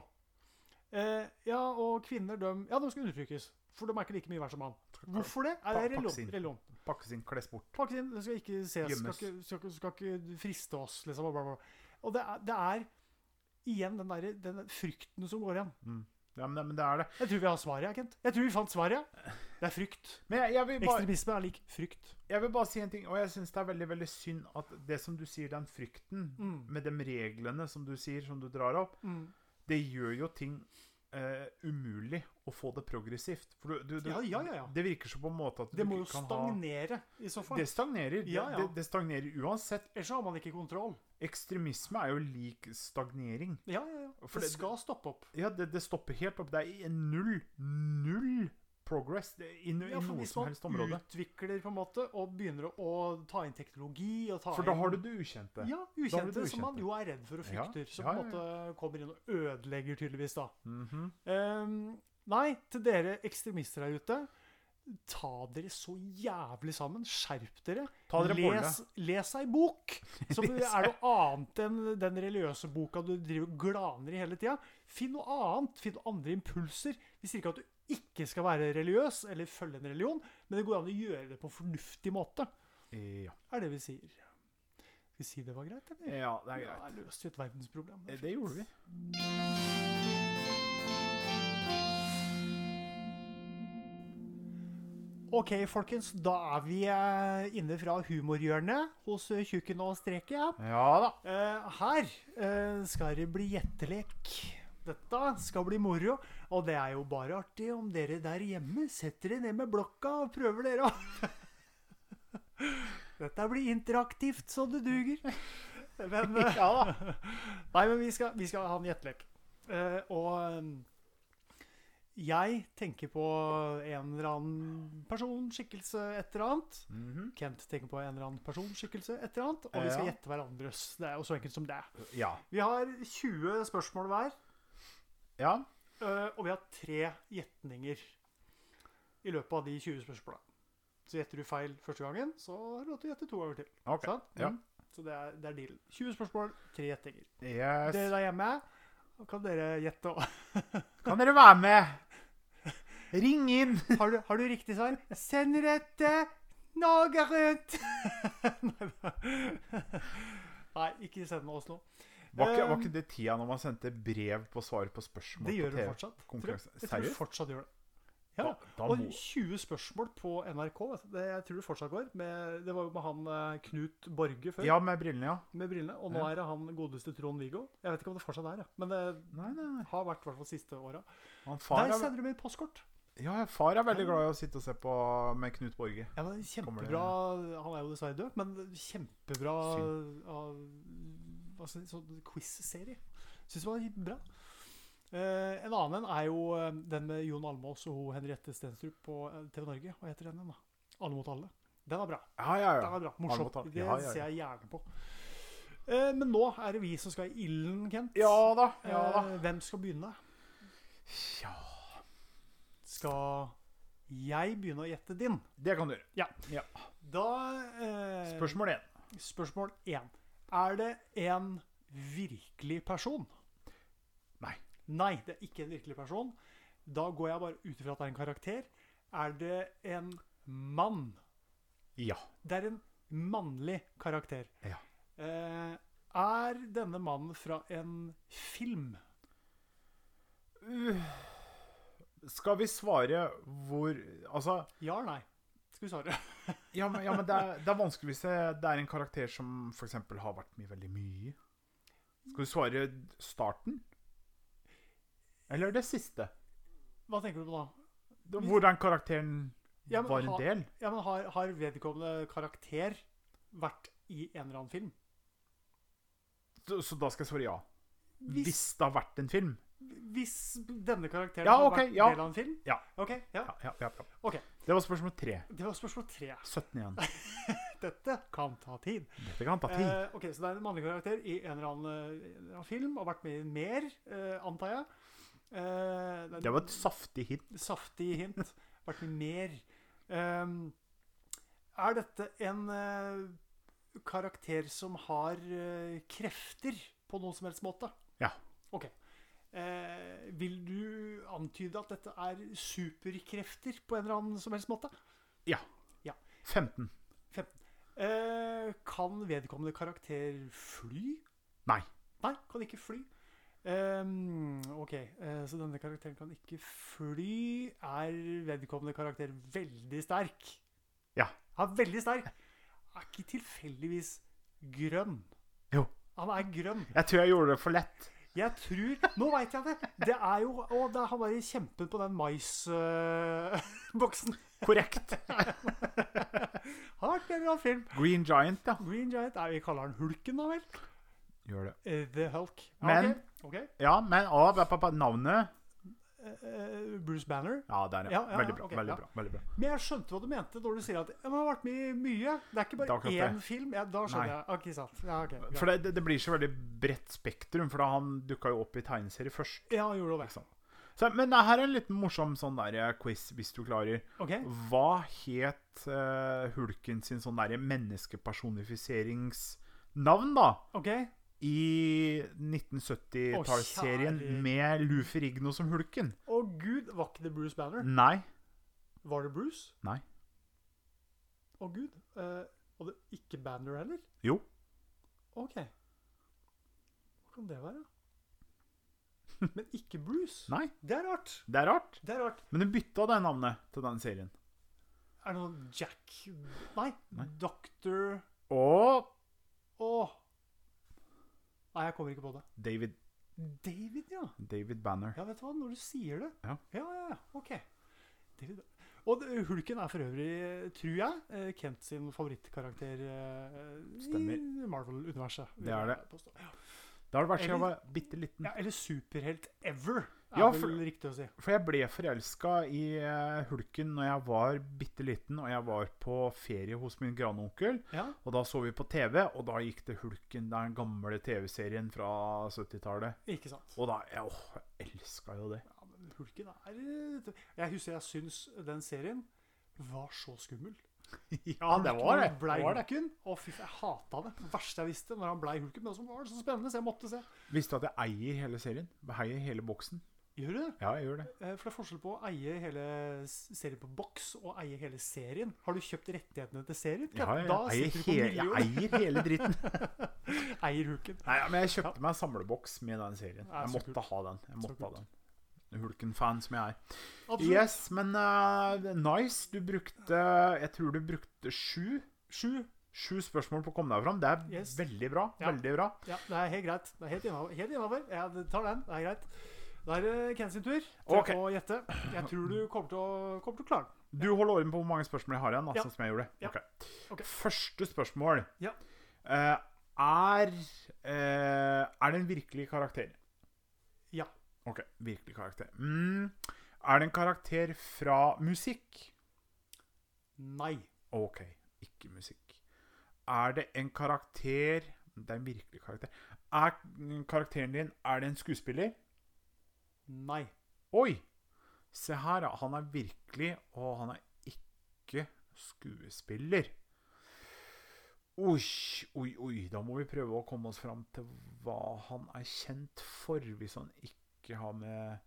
Speaker 1: Eh, ja, og kvinner, de, ja, de skal undertrykkes. For de er ikke like mye verdt som mann. Hvorfor det? Nei, det er
Speaker 2: Pakkes inn.
Speaker 1: religion. religion.
Speaker 2: Pakkes inn, kles bort.
Speaker 1: Pakkes inn, det skal ikke ses, skal
Speaker 2: Gjemmes.
Speaker 1: ikke, skal, ikke- skal ikke friste oss, liksom. Og, bla, bla, bla. og det, er, det er igjen den, der, den der frykten som går igjen.
Speaker 2: Ja, men, men det er det.
Speaker 1: Jeg tror vi har svaret, jeg, Kent. Jeg tror vi fant svaret. jeg. Det er frykt.
Speaker 2: Men jeg, jeg, vil, bare,
Speaker 1: Ekstremisme er lik frykt.
Speaker 2: jeg vil bare si en ting, og jeg syns det er veldig veldig synd at det som du sier, den frykten,
Speaker 1: Mm.
Speaker 2: med de reglene som du sier, som du drar opp,
Speaker 1: Mm.
Speaker 2: det gjør jo ting eh, umulig å få det progressivt. For du, du, du,
Speaker 1: Ja, ja, ja, ja.
Speaker 2: Det virker så på en måte at
Speaker 1: Det
Speaker 2: du
Speaker 1: må
Speaker 2: ikke
Speaker 1: jo
Speaker 2: kan
Speaker 1: stagnere, i så
Speaker 2: ha
Speaker 1: fall.
Speaker 2: Det stagnerer.
Speaker 1: Ja, ja.
Speaker 2: Det, det stagnerer uansett.
Speaker 1: Ellers så har man ikke kontroll.
Speaker 2: Ekstremisme er jo lik stagnering.
Speaker 1: Ja, ja, ja.
Speaker 2: For
Speaker 1: det
Speaker 2: det-
Speaker 1: skal stoppe opp.
Speaker 2: Ja, det, det stopper helt opp. Det er i- null, null progress det- inn i
Speaker 1: Ja, for
Speaker 2: noe
Speaker 1: hvis
Speaker 2: som
Speaker 1: man
Speaker 2: helst område.
Speaker 1: utvikler på en måte, og begynner å å ta inn teknologi og ta
Speaker 2: For da
Speaker 1: inn-
Speaker 2: har du det ukjente.
Speaker 1: ja,
Speaker 2: da har du
Speaker 1: ukjente,
Speaker 2: det
Speaker 1: som man
Speaker 2: ukjente.
Speaker 1: jo er redd for og
Speaker 2: Ja,
Speaker 1: frykter. Som
Speaker 2: ja,
Speaker 1: på
Speaker 2: ja,
Speaker 1: en måte kommer inn og ødelegger, tydeligvis. da.
Speaker 2: Mhm.
Speaker 1: Ehm, nei, til dere ekstremister der ute. Ta dere så jævlig sammen. Skjerp dere.
Speaker 2: Ta dere bolle.
Speaker 1: les, les ei bok! Som er noe annet enn den religiøse boka du driver og glaner i hele tida. Finn noe annet. Finn noen andre impulser. Vi sier ikke at du ikke skal være religiøs eller følge en religion, men det går an å gjøre det på en fornuftig måte,
Speaker 2: Ja.
Speaker 1: er det vi sier. Skal vi si det var greit, eller?
Speaker 2: ja, det er
Speaker 1: Ja,
Speaker 2: greit.
Speaker 1: Da løste vi et verdensproblem.
Speaker 2: Eh, Det gjorde vi.
Speaker 1: Ok, folkens. Da er vi eh, inne fra humorhjørnet hos eh, Tjukken og Streket. Ja.
Speaker 2: Ja da.
Speaker 1: Eh, her eh, skal det bli gjettelek. Dette skal bli moro, og det er jo bare artig om dere der hjemme setter dere ned med blokka og prøver dere å Dette blir interaktivt så det duger. Men, eh, Nei, men vi skal, vi skal ha en gjettelek. Eh, og eh, jeg tenker på en eller annen person, skikkelse, et eller annet.
Speaker 2: Mhm.
Speaker 1: Kent tenker på en eller annen person, skikkelse, et eller annet. Og vi skal
Speaker 2: Ja.
Speaker 1: gjette hverandres. Det er jo så enkelt som det. er.
Speaker 2: Ja.
Speaker 1: Vi har 20 spørsmål hver,
Speaker 2: Ja.
Speaker 1: øh, og vi har tre gjetninger i løpet av de 20 spørsmåla. Så gjetter du feil første gangen, så har du lov til å gjette to ganger til.
Speaker 2: Ok.
Speaker 1: Sant?
Speaker 2: Ja.
Speaker 1: Mm. Så det er, det er dealen. 20 spørsmål, tre gjettinger. Dere
Speaker 2: Yes.
Speaker 1: der hjemme, kan dere gjette òg.
Speaker 2: Kan dere være med? Ring inn!
Speaker 1: Har, du- har du riktig svar? Send dette Norge rundt! Nei, da. Nei, ikke send oss noe.
Speaker 2: Var ikke, var
Speaker 1: Um,
Speaker 2: ikke det tida når man sendte brev på svar på spørsmål
Speaker 1: Det gjør
Speaker 2: på
Speaker 1: du
Speaker 2: TV?
Speaker 1: fortsatt. tror jeg.
Speaker 2: Konkurranse.
Speaker 1: Jeg tror du
Speaker 2: Seriøst?
Speaker 1: fortsatt gjør det. Ja.
Speaker 2: Da, da
Speaker 1: Og
Speaker 2: må
Speaker 1: 20 spørsmål på NRK. Vet du. Det, jeg tror det fortsatt går. Med, det var jo med han eh, Knut Borge før,
Speaker 2: Ja, med brillene, ja.
Speaker 1: med brillene. Og nå
Speaker 2: Ja.
Speaker 1: er det han godeste Trond-Viggo. Jeg vet ikke om det fortsatt er, ja. men det
Speaker 2: Nei, nei, nei.
Speaker 1: har vært i hvert fall siste åra.
Speaker 2: Han far,
Speaker 1: Der
Speaker 2: er,
Speaker 1: sender du meg postkort.
Speaker 2: ja, ja, far er veldig glad i å sitte og se på med Knut Borge.
Speaker 1: Ja, men
Speaker 2: Kommer det-
Speaker 1: kjempebra Han er jo dessverre død, men kjempebra av, hva skal jeg si, sånn quiz-serie. Syns det var bra. Eh, en annen en er jo eh, den med Jon Almaas og hun Henriette Stenstrup på eh, TV Norge. Hva heter den igjen, da? Alle mot alle. Den er bra.
Speaker 2: Ja, ja,
Speaker 1: Den
Speaker 2: ja.
Speaker 1: er bra.
Speaker 2: Alle mot
Speaker 1: Morsom.
Speaker 2: alle.
Speaker 1: Det
Speaker 2: Ja, ja, ja.
Speaker 1: ser jeg gjerne på. Eh, men nå er det vi som skal i ilden, Kent.
Speaker 2: Ja da. Ja da.
Speaker 1: Eh, hvem skal begynne?
Speaker 2: Ja,
Speaker 1: Skal jeg begynne å gjette din?
Speaker 2: det kan du gjøre.
Speaker 1: Da eh,
Speaker 2: Spørsmål én.
Speaker 1: Spørsmål 1. Er det en virkelig person?
Speaker 2: Nei.
Speaker 1: Nei, det er ikke en virkelig person. Da går jeg bare ut ifra at det er en karakter. Er det en mann?
Speaker 2: Ja.
Speaker 1: Det er en mannlig karakter.
Speaker 2: Ja.
Speaker 1: Eh, er denne mannen fra en film? Eh.
Speaker 2: Uh, skal vi svare hvor Altså
Speaker 1: Ja eller nei? Skal vi svare?
Speaker 2: Ja, men, ja, men det, er, det er vanskelig hvis det det er en karakter som f.eks. har vært med i veldig mye. Skal du svare starten? Eller det siste?
Speaker 1: Hva tenker du på da?
Speaker 2: Hvordan karakteren
Speaker 1: Ja, men
Speaker 2: var en
Speaker 1: ha-
Speaker 2: del?
Speaker 1: Ja, men har, har vedkommende karakter vært i en eller annen film?
Speaker 2: Så, så da skal jeg svare ja. Hvis, det har vært en film.
Speaker 1: Hvis denne karakteren
Speaker 2: Ja,
Speaker 1: har
Speaker 2: ok,
Speaker 1: vært
Speaker 2: ja.
Speaker 1: del av en film?
Speaker 2: Ja.
Speaker 1: Ok, ja.
Speaker 2: Ja, ja, ja, ja.
Speaker 1: Ok.
Speaker 2: Det var spørsmål tre.
Speaker 1: Det var spørsmål tre.
Speaker 2: 17 igjen.
Speaker 1: Dette kan ta tid.
Speaker 2: Dette kan ta tid.
Speaker 1: Eh, ok, Så det er en mannlig karakter i en eller annen, eh, en eller annen film, og vært med i mer, eh, antar jeg. Eh, det er
Speaker 2: Det var et saftig hit.
Speaker 1: et saftig hint. Vært med i mer. Ehm, er dette en eh, karakter som har eh, krefter på noen som helst måte?
Speaker 2: Ja.
Speaker 1: Ok. Eh, vil du antyde at dette er superkrefter på en eller annen som helst måte?
Speaker 2: 15.
Speaker 1: 15. Eh, kan vedkommende karakter fly?
Speaker 2: Nei.
Speaker 1: Nei, kan ikke fly. Ehm, ok, eh, så denne karakteren kan ikke fly. Er vedkommende karakter veldig sterk?
Speaker 2: Ja.
Speaker 1: Han er veldig sterk. Er ikke tilfeldigvis grønn.
Speaker 2: Jo.
Speaker 1: Han er grønn.
Speaker 2: Jeg tror jeg gjorde det for lett.
Speaker 1: Jeg tror Nå veit jeg det! Det er jo Å, det er han bare kjempen på den eh, maisboksen.
Speaker 2: Korrekt.
Speaker 1: han har vært med i en eller annen film.
Speaker 2: Green Giant, ja.
Speaker 1: Green Giant er, Vi kaller han Hulken, da vel?
Speaker 2: Gjør det.
Speaker 1: Eh, The Hulk. Ja,
Speaker 2: Men-
Speaker 1: ok. Ok.
Speaker 2: Ja, men å, ba, ba, ba, navnet
Speaker 1: eh, Bruce Banner.
Speaker 2: Ja, der, ja.
Speaker 1: Ja, ja,
Speaker 2: veldig, bra,
Speaker 1: ja, ok,
Speaker 2: veldig
Speaker 1: ja.
Speaker 2: bra. Veldig bra.
Speaker 1: Men jeg skjønte hva du mente da du sier at han har vært med i mye. Det er ikke
Speaker 2: Det er
Speaker 1: bare
Speaker 2: akkurat
Speaker 1: én
Speaker 2: det.
Speaker 1: film. Ja, da skjønner
Speaker 2: Nei.
Speaker 1: jeg. Ok, sant. Ja, ok. greit.
Speaker 2: For det, det, det blir så veldig bredt spektrum, for da han dukka jo opp i tegneserie først.
Speaker 1: Ja, han gjorde det.
Speaker 2: Ikke sant? Så, men det her er en liten morsom sånn der eh, quiz, hvis du klarer.
Speaker 1: Ok.
Speaker 2: Hva het eh, Hulken sin sånn derre menneskepersonifiseringsnavn, da?
Speaker 1: ok.
Speaker 2: I
Speaker 1: Å,
Speaker 2: 1970-tallsserien
Speaker 1: kjære.
Speaker 2: med Lou Ferrigno som Hulken?
Speaker 1: Å gud, var ikke det Bruce Banner?
Speaker 2: Nei.
Speaker 1: Var det Bruce?
Speaker 2: Nei.
Speaker 1: Å gud. Eh, og det ikke Banner heller?
Speaker 2: Jo.
Speaker 1: Ok. Hva kan det være? Men ikke Bruce?
Speaker 2: Nei.
Speaker 1: Det er rart.
Speaker 2: Det er rart.
Speaker 1: Det er rart.
Speaker 2: Men hun bytta det navnet til den serien.
Speaker 1: Er det noen Jack Nei.
Speaker 2: Nei.
Speaker 1: Doctor
Speaker 2: Og
Speaker 1: Åh. Nei, jeg kommer ikke på det.
Speaker 2: David,
Speaker 1: David, ja.
Speaker 2: David Banner.
Speaker 1: Ja, vet du hva, når du sier det
Speaker 2: Ja.
Speaker 1: ja, ja, ja, ok. David. Og det- Hulken er for øvrig, tror jeg, eh, Kent sin favorittkarakter eh,
Speaker 2: Stemmer.
Speaker 1: i Marvel-universet. vil
Speaker 2: Det er
Speaker 1: jeg
Speaker 2: det.
Speaker 1: påstå.
Speaker 2: Det har det vært siden jeg
Speaker 1: Eller-
Speaker 2: var bitte liten.
Speaker 1: Ja, eller superhelt ever, er
Speaker 2: Ja, for-
Speaker 1: vel riktig å si.
Speaker 2: For jeg ble forelska i eh, Hulken når jeg var bitte liten, og jeg var på ferie hos min grandonkel.
Speaker 1: Ja,
Speaker 2: Og da så vi på TV, og da gikk det Hulken, den gamle TV-serien fra 70-tallet.
Speaker 1: ikke sant.
Speaker 2: Og da jeg, Åh, jeg elska jo det.
Speaker 1: Ja, men Hulken er eh, Jeg husker jeg syns den serien var så skummel.
Speaker 2: ja, det var det.
Speaker 1: Hulken
Speaker 2: det,
Speaker 1: Blei
Speaker 2: var det.
Speaker 1: Hulken. Å, fy faen, jeg hata det. Det verste jeg visste, når han blei Hulken. Men så var det så spennende, så jeg måtte se.
Speaker 2: Visste du at jeg eier hele serien? Eier hele boksen?
Speaker 1: Gjør du det?
Speaker 2: Ja, jeg gjør det.
Speaker 1: Eh, For det er forskjell på å eie hele s- serien på boks og eie hele serien. Har du kjøpt rettighetene til serien?
Speaker 2: Ja, jeg,
Speaker 1: da
Speaker 2: eier,
Speaker 1: sitter du på
Speaker 2: hele, jeg
Speaker 1: million.
Speaker 2: eier hele dritten.
Speaker 1: Eier hulken.
Speaker 2: Nei, ja, men jeg kjøpte meg en samleboks med den serien.
Speaker 1: Ja,
Speaker 2: Jeg
Speaker 1: så
Speaker 2: måtte ha den. Jeg måtte ha
Speaker 1: kult.
Speaker 2: den. Hulken-fan som jeg er.
Speaker 1: Absolutt.
Speaker 2: Yes, men eh, nice. Du brukte Jeg tror du brukte sju.
Speaker 1: Sju.
Speaker 2: Sju spørsmål på å komme deg fram. Det er
Speaker 1: Yes.
Speaker 2: veldig bra.
Speaker 1: Ja.
Speaker 2: Veldig bra.
Speaker 1: Ja, det er helt greit. Det er helt innafor. Helt innafor. Jeg tar den. Det er greit. Da er det Ken sin tur til
Speaker 2: Ok.
Speaker 1: å gjette. Jeg tror du kommer til å, kommer til å klare den.
Speaker 2: Du holder orden på hvor mange spørsmål jeg har igjen. da,
Speaker 1: Ja.
Speaker 2: sånn som jeg gjorde.
Speaker 1: Ja.
Speaker 2: Ok.
Speaker 1: Ok.
Speaker 2: Første spørsmål.
Speaker 1: Ja.
Speaker 2: Eh, er eh, Er det en virkelig karakter?
Speaker 1: Ja.
Speaker 2: Ok, virkelig karakter. Mm. Er det en karakter fra musikk?
Speaker 1: Nei.
Speaker 2: Ok, ikke musikk. Er det en karakter Det er en virkelig karakter. Er karakteren din Er det en skuespiller?
Speaker 1: Nei.
Speaker 2: Oi! Se her, ja. Han er virkelig, og han er ikke skuespiller. Oi, oi, oi. Da må vi prøve å komme oss fram til hva han er kjent for, hvis han ikke har med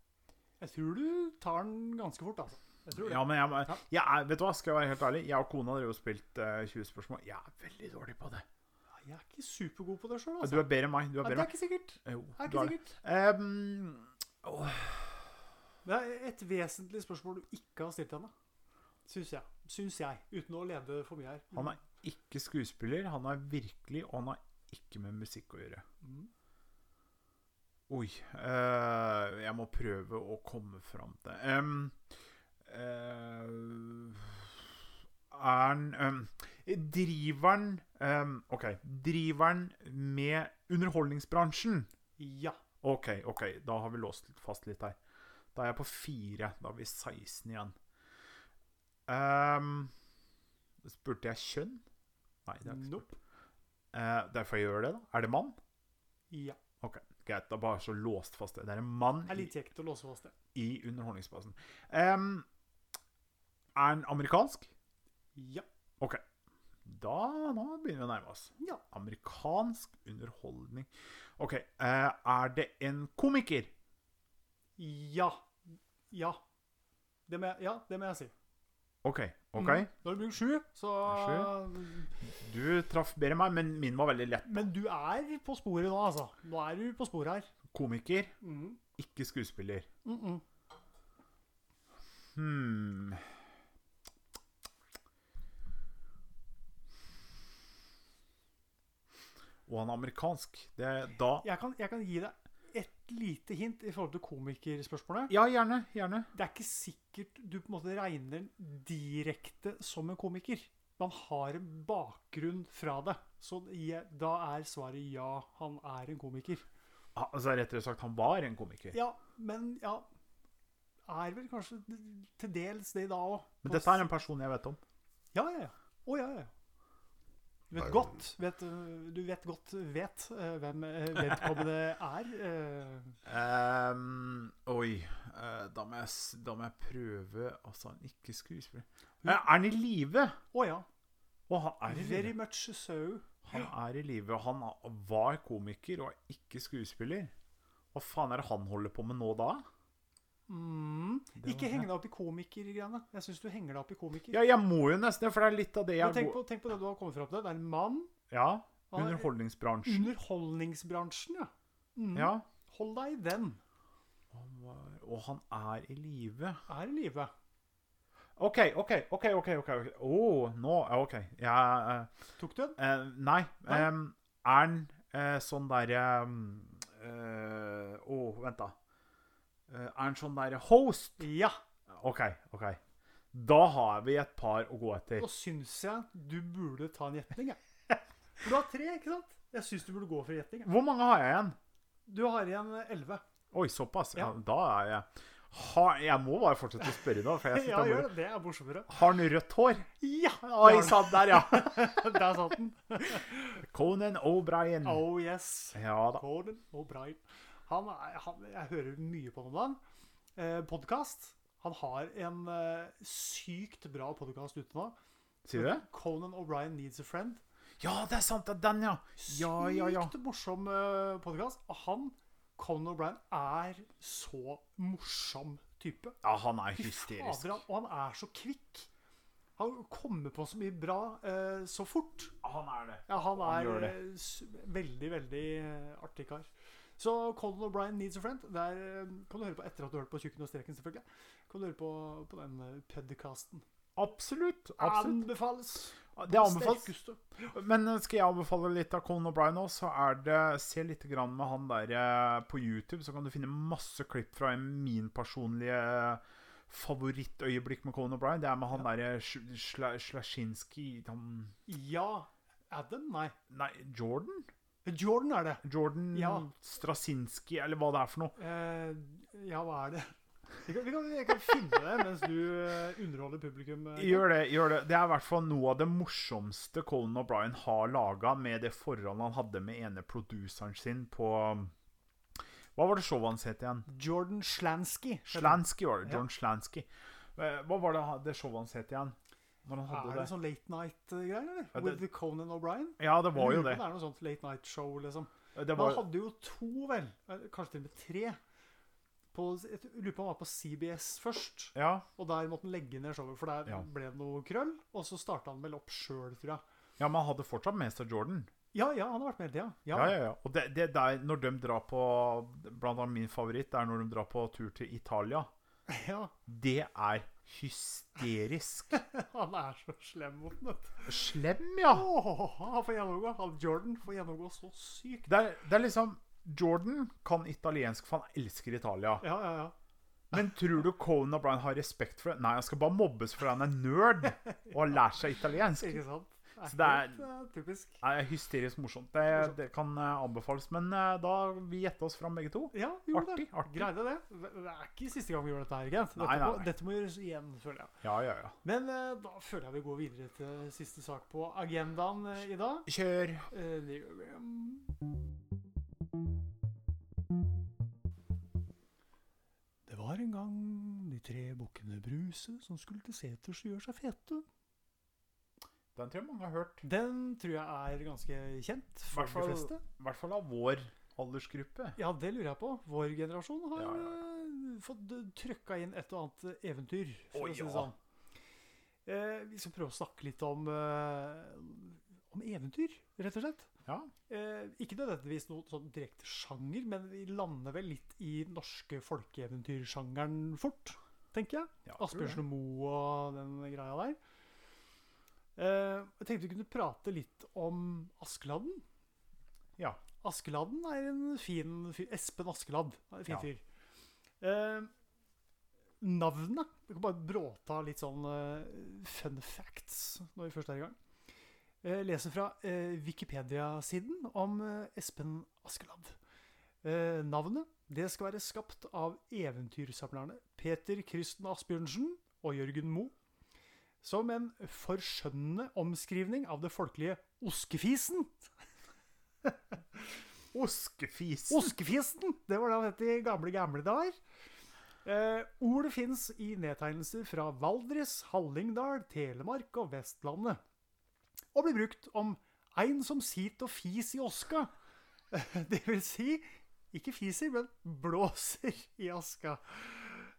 Speaker 1: Jeg tror du tar den ganske fort, altså. Jeg tror det.
Speaker 2: Ja, men jeg,
Speaker 1: Ja.
Speaker 2: jeg er, vet du hva, skal jeg være helt ærlig? Jeg og kona har jo spilt eh, 20 spørsmål. Jeg er veldig dårlig på det.
Speaker 1: Jeg er ikke supergod på det sjøl,
Speaker 2: Du
Speaker 1: altså.
Speaker 2: er bedre enn meg. Du
Speaker 1: Ja,
Speaker 2: er
Speaker 1: det
Speaker 2: bedre
Speaker 1: er
Speaker 2: enn meg.
Speaker 1: ikke sikkert.
Speaker 2: Jo,
Speaker 1: Det er
Speaker 2: du
Speaker 1: ikke
Speaker 2: er det.
Speaker 1: sikkert.
Speaker 2: Ehm, åh,
Speaker 1: Det er et vesentlig spørsmål du ikke har stilt henne. Syns jeg. Syns jeg. Uten å lede for mye her.
Speaker 2: han er ikke skuespiller, han er virkelig, og han har ikke med musikk å gjøre.
Speaker 1: Mhm.
Speaker 2: Oi. eh, jeg må prøve å komme fram til Ehm, eh, Er han ehm, Driveren ehm, OK. Driveren med underholdningsbransjen.
Speaker 1: Ja.
Speaker 2: OK, ok, da har vi låst litt fast litt her. Da er jeg på fire. Da er vi 16 igjen. Ehm, spurte jeg kjønn? Nei, det er ikke
Speaker 1: Nope.
Speaker 2: uh, Derfor jeg gjør det, da. Er det mann?
Speaker 1: Ja.
Speaker 2: Greit, da bare så låst fast det. Det er en mann
Speaker 1: Det er
Speaker 2: i,
Speaker 1: litt kjekt å låse fast det.
Speaker 2: i underholdningsbasen. Ehm, er han amerikansk?
Speaker 1: Ja.
Speaker 2: Da nå begynner vi å nærme oss.
Speaker 1: Ja.
Speaker 2: Amerikansk underholdning OK. eh, er det en komiker?
Speaker 1: Ja. Ja. Det må jeg, ja, det må jeg si.
Speaker 2: OK. ok.
Speaker 1: Mm. Da har du brukt sju, så
Speaker 2: Du traff bedre enn meg, men min var veldig lett.
Speaker 1: Men du er på sporet nå, altså. Nå er du på sporet her.
Speaker 2: Komiker,
Speaker 1: Mm.
Speaker 2: ikke skuespiller.
Speaker 1: Mm -mm.
Speaker 2: Hmm. Og han er amerikansk. Det er da
Speaker 1: Jeg, kan, jeg kan gi deg et lite hint i forhold til komikerspørsmålet.
Speaker 2: Ja, gjerne. Gjerne.
Speaker 1: Det er ikke sikkert du på en måte regner den direkte som en komiker. Man har en bakgrunn fra det. Så jeg, da er svaret ja, han er en komiker.
Speaker 2: Ah, Altså, rettere sagt, han var en komiker.
Speaker 1: Ja, men ja er vel kanskje til dels det da òg.
Speaker 2: Men dette er en person jeg vet om.
Speaker 1: Ja, ja, ja. Å, ja, ja. Du vet godt, vet, øh, du vet, godt vet øh, hvem øh, vedkommende er. øh.
Speaker 2: Ehm, oi. Eh, da, må jeg, s- da må jeg prøve Altså, han er ikke skuespiller Eh, Er han i live?
Speaker 1: Å ja.
Speaker 2: Å, han er i
Speaker 1: Very
Speaker 2: live.
Speaker 1: much so.
Speaker 2: Han er i live, og han var komiker og er ikke skuespiller. Hva faen er det han holder på med nå da?
Speaker 1: Mm.
Speaker 2: var
Speaker 1: Ikke
Speaker 2: det.
Speaker 1: heng deg opp i komikergreiene. Jeg syns du henger deg opp i komiker.
Speaker 2: Ja, jeg må jo nesten det, for det er litt av det jeg
Speaker 1: Men tenk,
Speaker 2: går-
Speaker 1: på, tenk på det du har kommet fram til. Det er en mann.
Speaker 2: Ja,
Speaker 1: Han er-
Speaker 2: underholdningsbransjen.
Speaker 1: Underholdningsbransjen, ja. Mm.
Speaker 2: Mm. Ja.
Speaker 1: Hold deg i den.
Speaker 2: Han var, og han er i live.
Speaker 1: Er i live.
Speaker 2: OK, OK, OK. ok, ok. Å, nå ja, OK. Jeg eh,
Speaker 1: Tok du den?
Speaker 2: Eh, nei.
Speaker 1: Nei?
Speaker 2: em, er han eh, sånn derre Å, vent, da. Eh, er han sånn derre host?
Speaker 1: Ja.
Speaker 2: OK, OK. Da har vi et par å gå etter.
Speaker 1: Nå syns jeg du burde ta en gjetning, jeg. For du har tre, ikke sant? Jeg syns du burde gå for gjetning. jeg.
Speaker 2: Hvor mange har jeg igjen?
Speaker 1: Du har igjen elleve.
Speaker 2: Oi, såpass? Ja,
Speaker 1: Ja.
Speaker 2: da er jeg har, Jeg må bare fortsette å spørre, da. For jeg
Speaker 1: Ja,
Speaker 2: sitter
Speaker 1: gjør
Speaker 2: bare
Speaker 1: det. Det er morsommere.
Speaker 2: Har han rødt hår?
Speaker 1: Ja!
Speaker 2: Oi sann, der, ja.
Speaker 1: Der satt den.
Speaker 2: Mm. Conan O'Brien.
Speaker 1: Oh yes.
Speaker 2: Ja da.
Speaker 1: Conan O'Brien. Han, er- han, jeg hører mye på ham om dagen. Eh, podkast. Han har en eh, sykt bra podkast ute nå.
Speaker 2: Sier du det?
Speaker 1: Conan O'Brien Needs a Friend.
Speaker 2: Ja, det er sant. Det er den, ja. Ja, ja, ja.
Speaker 1: Sykt morsom eh, podkast. Han, Conan O'Brien, er så morsom type.
Speaker 2: Ja, han er
Speaker 1: Fy
Speaker 2: hysterisk.
Speaker 1: fader, han- og han er så kvikk. Han kommer på så mye bra eh, så fort.
Speaker 2: Han er det.
Speaker 1: Ja, han
Speaker 2: Han
Speaker 1: er
Speaker 2: gjør det.
Speaker 1: eh, s- veldig, veldig eh, artig kar. Så Colin O'Brien Needs a Friend der eh, kan du høre på etter at du har hørt på Tjukken og streken, selvfølgelig. Kan du høre på, på den eh, podcasten.
Speaker 2: Absolutt. absolutt.
Speaker 1: Anbefales!
Speaker 2: Det anbefales.
Speaker 1: Sterkeste.
Speaker 2: Men eh, skal jeg anbefale litt av Conan O'Brien òg, så er det Se litt grann med han der eh, på YouTube, så kan du finne masse klipp fra en min personlige eh, favorittøyeblikk med Conan O'Brien. Det er med han eh, derre Slasjinski han-
Speaker 1: Ja. Adam? Nei.
Speaker 2: Nei, Jordan?
Speaker 1: Jordan er det.
Speaker 2: Jordan
Speaker 1: Ja.
Speaker 2: Strasinski, eller hva det er for noe.
Speaker 1: Eh, ja, hva er det? Vi kan, vi kan, jeg kan finne det mens du eh, underholder publikum. eh.
Speaker 2: Gjør det. gjør Det Det er i hvert fall noe av det morsomste Conan O'Brien har laga, med det forholdet han hadde med ene produceren sin på Hva var det showet hans het igjen?
Speaker 1: Jordan Slansky. heter han.
Speaker 2: Slansky var det.
Speaker 1: Ja.
Speaker 2: John Slansky. Eh, Hva var det, han- det showet hans het igjen? Når han hadde
Speaker 1: Er
Speaker 2: det?
Speaker 1: det sånn late night-greier, eller?
Speaker 2: Ja, det-
Speaker 1: With Conan O'Brien?
Speaker 2: Ja, det var jo
Speaker 1: Jeg lurer
Speaker 2: det.
Speaker 1: på om Det er noe sånt late night-show, liksom.
Speaker 2: det
Speaker 1: Men han
Speaker 2: var,
Speaker 1: hadde jo to, vel? Eh, Kanskje til og med tre. På, jeg lurer på om han var på CBS først,
Speaker 2: ja,
Speaker 1: og der måtte han legge ned showet, for der
Speaker 2: Ja.
Speaker 1: ble det noe krøll. Og så starta han vel opp sjøl, tror jeg.
Speaker 2: ja, men han hadde fortsatt med seg Jordan.
Speaker 1: Ja, ja, han har vært med hele tida. Ja.
Speaker 2: Ja, ja, ja. Og det, det der, når de drar på Blant annet min favoritt er når de drar på tur til Italia.
Speaker 1: Ja,
Speaker 2: Det er hysterisk.
Speaker 1: Han er så slem mot den. vet du.
Speaker 2: Slem, ja!
Speaker 1: Åh, han får gjennomgå. Han Jordan får gjennomgå så sykt.
Speaker 2: Det er, det er liksom Jordan kan italiensk, for han elsker Italia.
Speaker 1: Ja, ja, ja.
Speaker 2: Men tror du Conan O'Brien har respekt for det? Nei, han skal bare mobbes fordi han er nerd og har lært seg italiensk.
Speaker 1: Ikke sant?
Speaker 2: Så det er-
Speaker 1: helt, eh, typisk.
Speaker 2: Nei, hysterisk morsomt. Det, det kan eh, anbefales. Men eh, da vi gjette oss fram begge to.
Speaker 1: Ja, vi gjorde
Speaker 2: Artig,
Speaker 1: det.
Speaker 2: artig.
Speaker 1: Greide det. Det er ikke siste gang vi gjør dette her, Gent. Dette,
Speaker 2: Nei, nei,
Speaker 1: må-
Speaker 2: nei.
Speaker 1: dette må gjøres igjen, føler jeg.
Speaker 2: Ja, ja, ja.
Speaker 1: Men eh, da føler jeg vi går videre til siste sak på agendaen eh, i dag.
Speaker 2: Kjør.
Speaker 1: Eh, det gjør vi. Mm. Det var en gang de tre bukkene Bruse som skulle til seters og gjøre seg fete.
Speaker 2: Den tror jeg mange har hørt.
Speaker 1: Den tror jeg er ganske kjent for de
Speaker 2: Hvertfall-
Speaker 1: fleste.
Speaker 2: I hvert fall av vår aldersgruppe.
Speaker 1: Ja, det lurer jeg på. Vår generasjon har
Speaker 2: Ja, ja,
Speaker 1: eh, fått eh, trøkka inn et og annet eh, eventyr, for
Speaker 2: Å,
Speaker 1: å si det
Speaker 2: ja.
Speaker 1: sånn. Eh, vi skal prøve å snakke litt om, eh, om eventyr, rett og slett.
Speaker 2: Ja.
Speaker 1: Eh, ikke nødvendigvis noe sånn direkte sjanger, men vi lander vel litt i den norske folkeeventyrsjangeren fort, tenker jeg.
Speaker 2: ja tror det.
Speaker 1: Asbjørnsen og Moe og den greia der. Eh, jeg tenkte vi kunne prate litt om Askeladden.
Speaker 2: Ja.
Speaker 1: Askeladden er en fin fyr. Espen Askeladd er en fin
Speaker 2: Ja.
Speaker 1: fyr. Eh, navnet Vi kan bare bråta litt sånn eh, fun facts når vi først er i gang. Eh, leser fra eh, Wikipedia-siden om eh, Espen Askeladd. Eh, navnet Det skal være skapt av eventyrsamlerne Peter Krysten Asbjørnsen og Jørgen Moe. Som en forskjønnende omskrivning av det folkelige oskefisen.
Speaker 2: Oskefis.
Speaker 1: Oskefisen! Det var det han het i gamle, gamle dager. Eh, ordet fins i nedtegnelser fra Valdres, Hallingdal, Telemark og Vestlandet. Og blir brukt om ein som sit og fis i oska. Eh, Det vil si ikke fiser, men blåser i aska.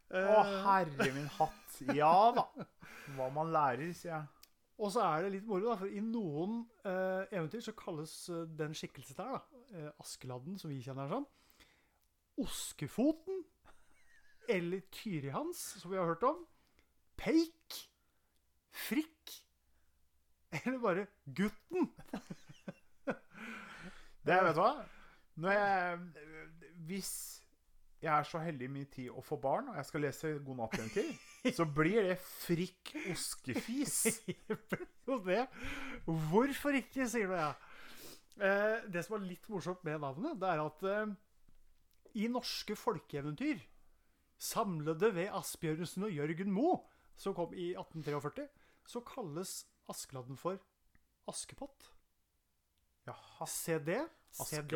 Speaker 1: Eh,
Speaker 2: Å, herre min hatt. Ja da. Hva man lærer, sier jeg.
Speaker 1: og så er det litt moro, da, for i noen eh, eventyr så kalles eh, den skikkelsen der, da, eh, Askeladden, som vi kjenner den som, Oskefoten, eller Tyrihans, som vi har hørt om, Peik, Frikk, eller bare Gutten.
Speaker 2: Det vet du hva? Når jeg, hvis jeg er så heldig i min tid å få barn, og jeg skal lese God natt en til, så blir det frikk oskefis.
Speaker 1: Jo, det. Hvorfor ikke, sier du ja. Eh, det som er litt morsomt med navnet, det er at eh, i norske folkeeventyr, samlede ved Asbjørnsen og Jørgen Moe, som kom i 1843, så kalles Askeladden for Askepott.
Speaker 2: Jaha.
Speaker 1: Se det. Se det.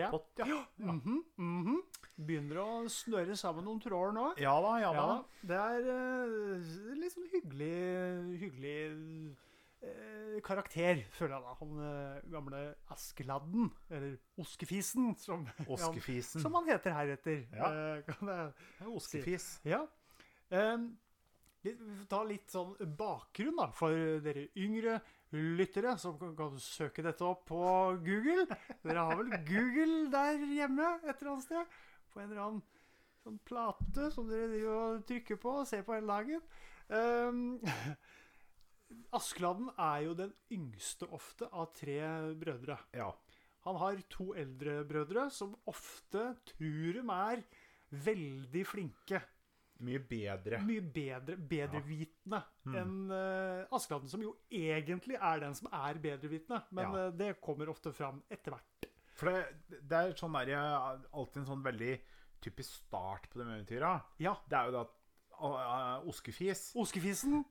Speaker 2: Askepott, ja. ja.
Speaker 1: Mhm, mhm. Begynner å snøre sammen noen tråder nå.
Speaker 2: Ja da, ja da.
Speaker 1: Ja, det er eh, litt sånn hyggelig, hyggelig eh, karakter, føler jeg da. Han eh, gamle Askeladden, eller Oskefisen, som,
Speaker 2: Oskefisen.
Speaker 1: som han heter heretter.
Speaker 2: Ja.
Speaker 1: Eh, kan jeg,
Speaker 2: Oskefis.
Speaker 1: ja. Em, litt- vi får ta litt sånn bakgrunn da, for dere yngre lyttere som kan, kan søke dette opp på Google. Dere har vel Google der hjemme et eller annet sted? På en eller annen sånn plate som dere driver og trykker på og ser på hele dagen. Um, Askeladden er jo den yngste ofte av tre brødre.
Speaker 2: Ja.
Speaker 1: Han har to eldre brødre som ofte, tror de er, veldig flinke
Speaker 2: Mye bedre.
Speaker 1: mye bedre, bedrevitende
Speaker 2: Mm.
Speaker 1: enn eh, Askeladden, som jo egentlig er den som er bedrevitende. Men
Speaker 2: Ja.
Speaker 1: eh, det kommer ofte fram etter hvert.
Speaker 2: For det, det er sånn der, jeg- alltid en sånn veldig typisk start på de eventyra.
Speaker 1: Ja.
Speaker 2: Det er jo det at ah, ah, Oskefis
Speaker 1: Oskefisen.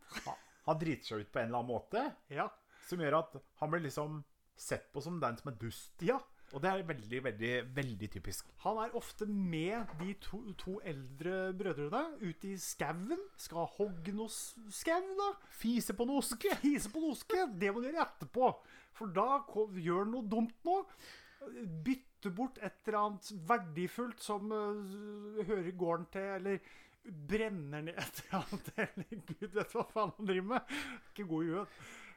Speaker 2: Han driter seg ut på en eller annen måte,
Speaker 1: Ja.
Speaker 2: som gjør at han blir liksom sett på som den som er dust.
Speaker 1: ja.
Speaker 2: Og det er veldig, veldig, veldig typisk.
Speaker 1: Han er ofte med de to, to eldre brødrene ute i skauen. Skal hogge noe s- skau, da.
Speaker 2: Fise på en oske!
Speaker 1: Hise på en oske. Det må du gjøre etterpå. For da ko- gjør han noe dumt nå. Bytte bort et eller annet verdifullt som eh, hører gården til, eller brenner ned et eller annet. Eller gud vet hva faen han driver med. Ikke god i huet.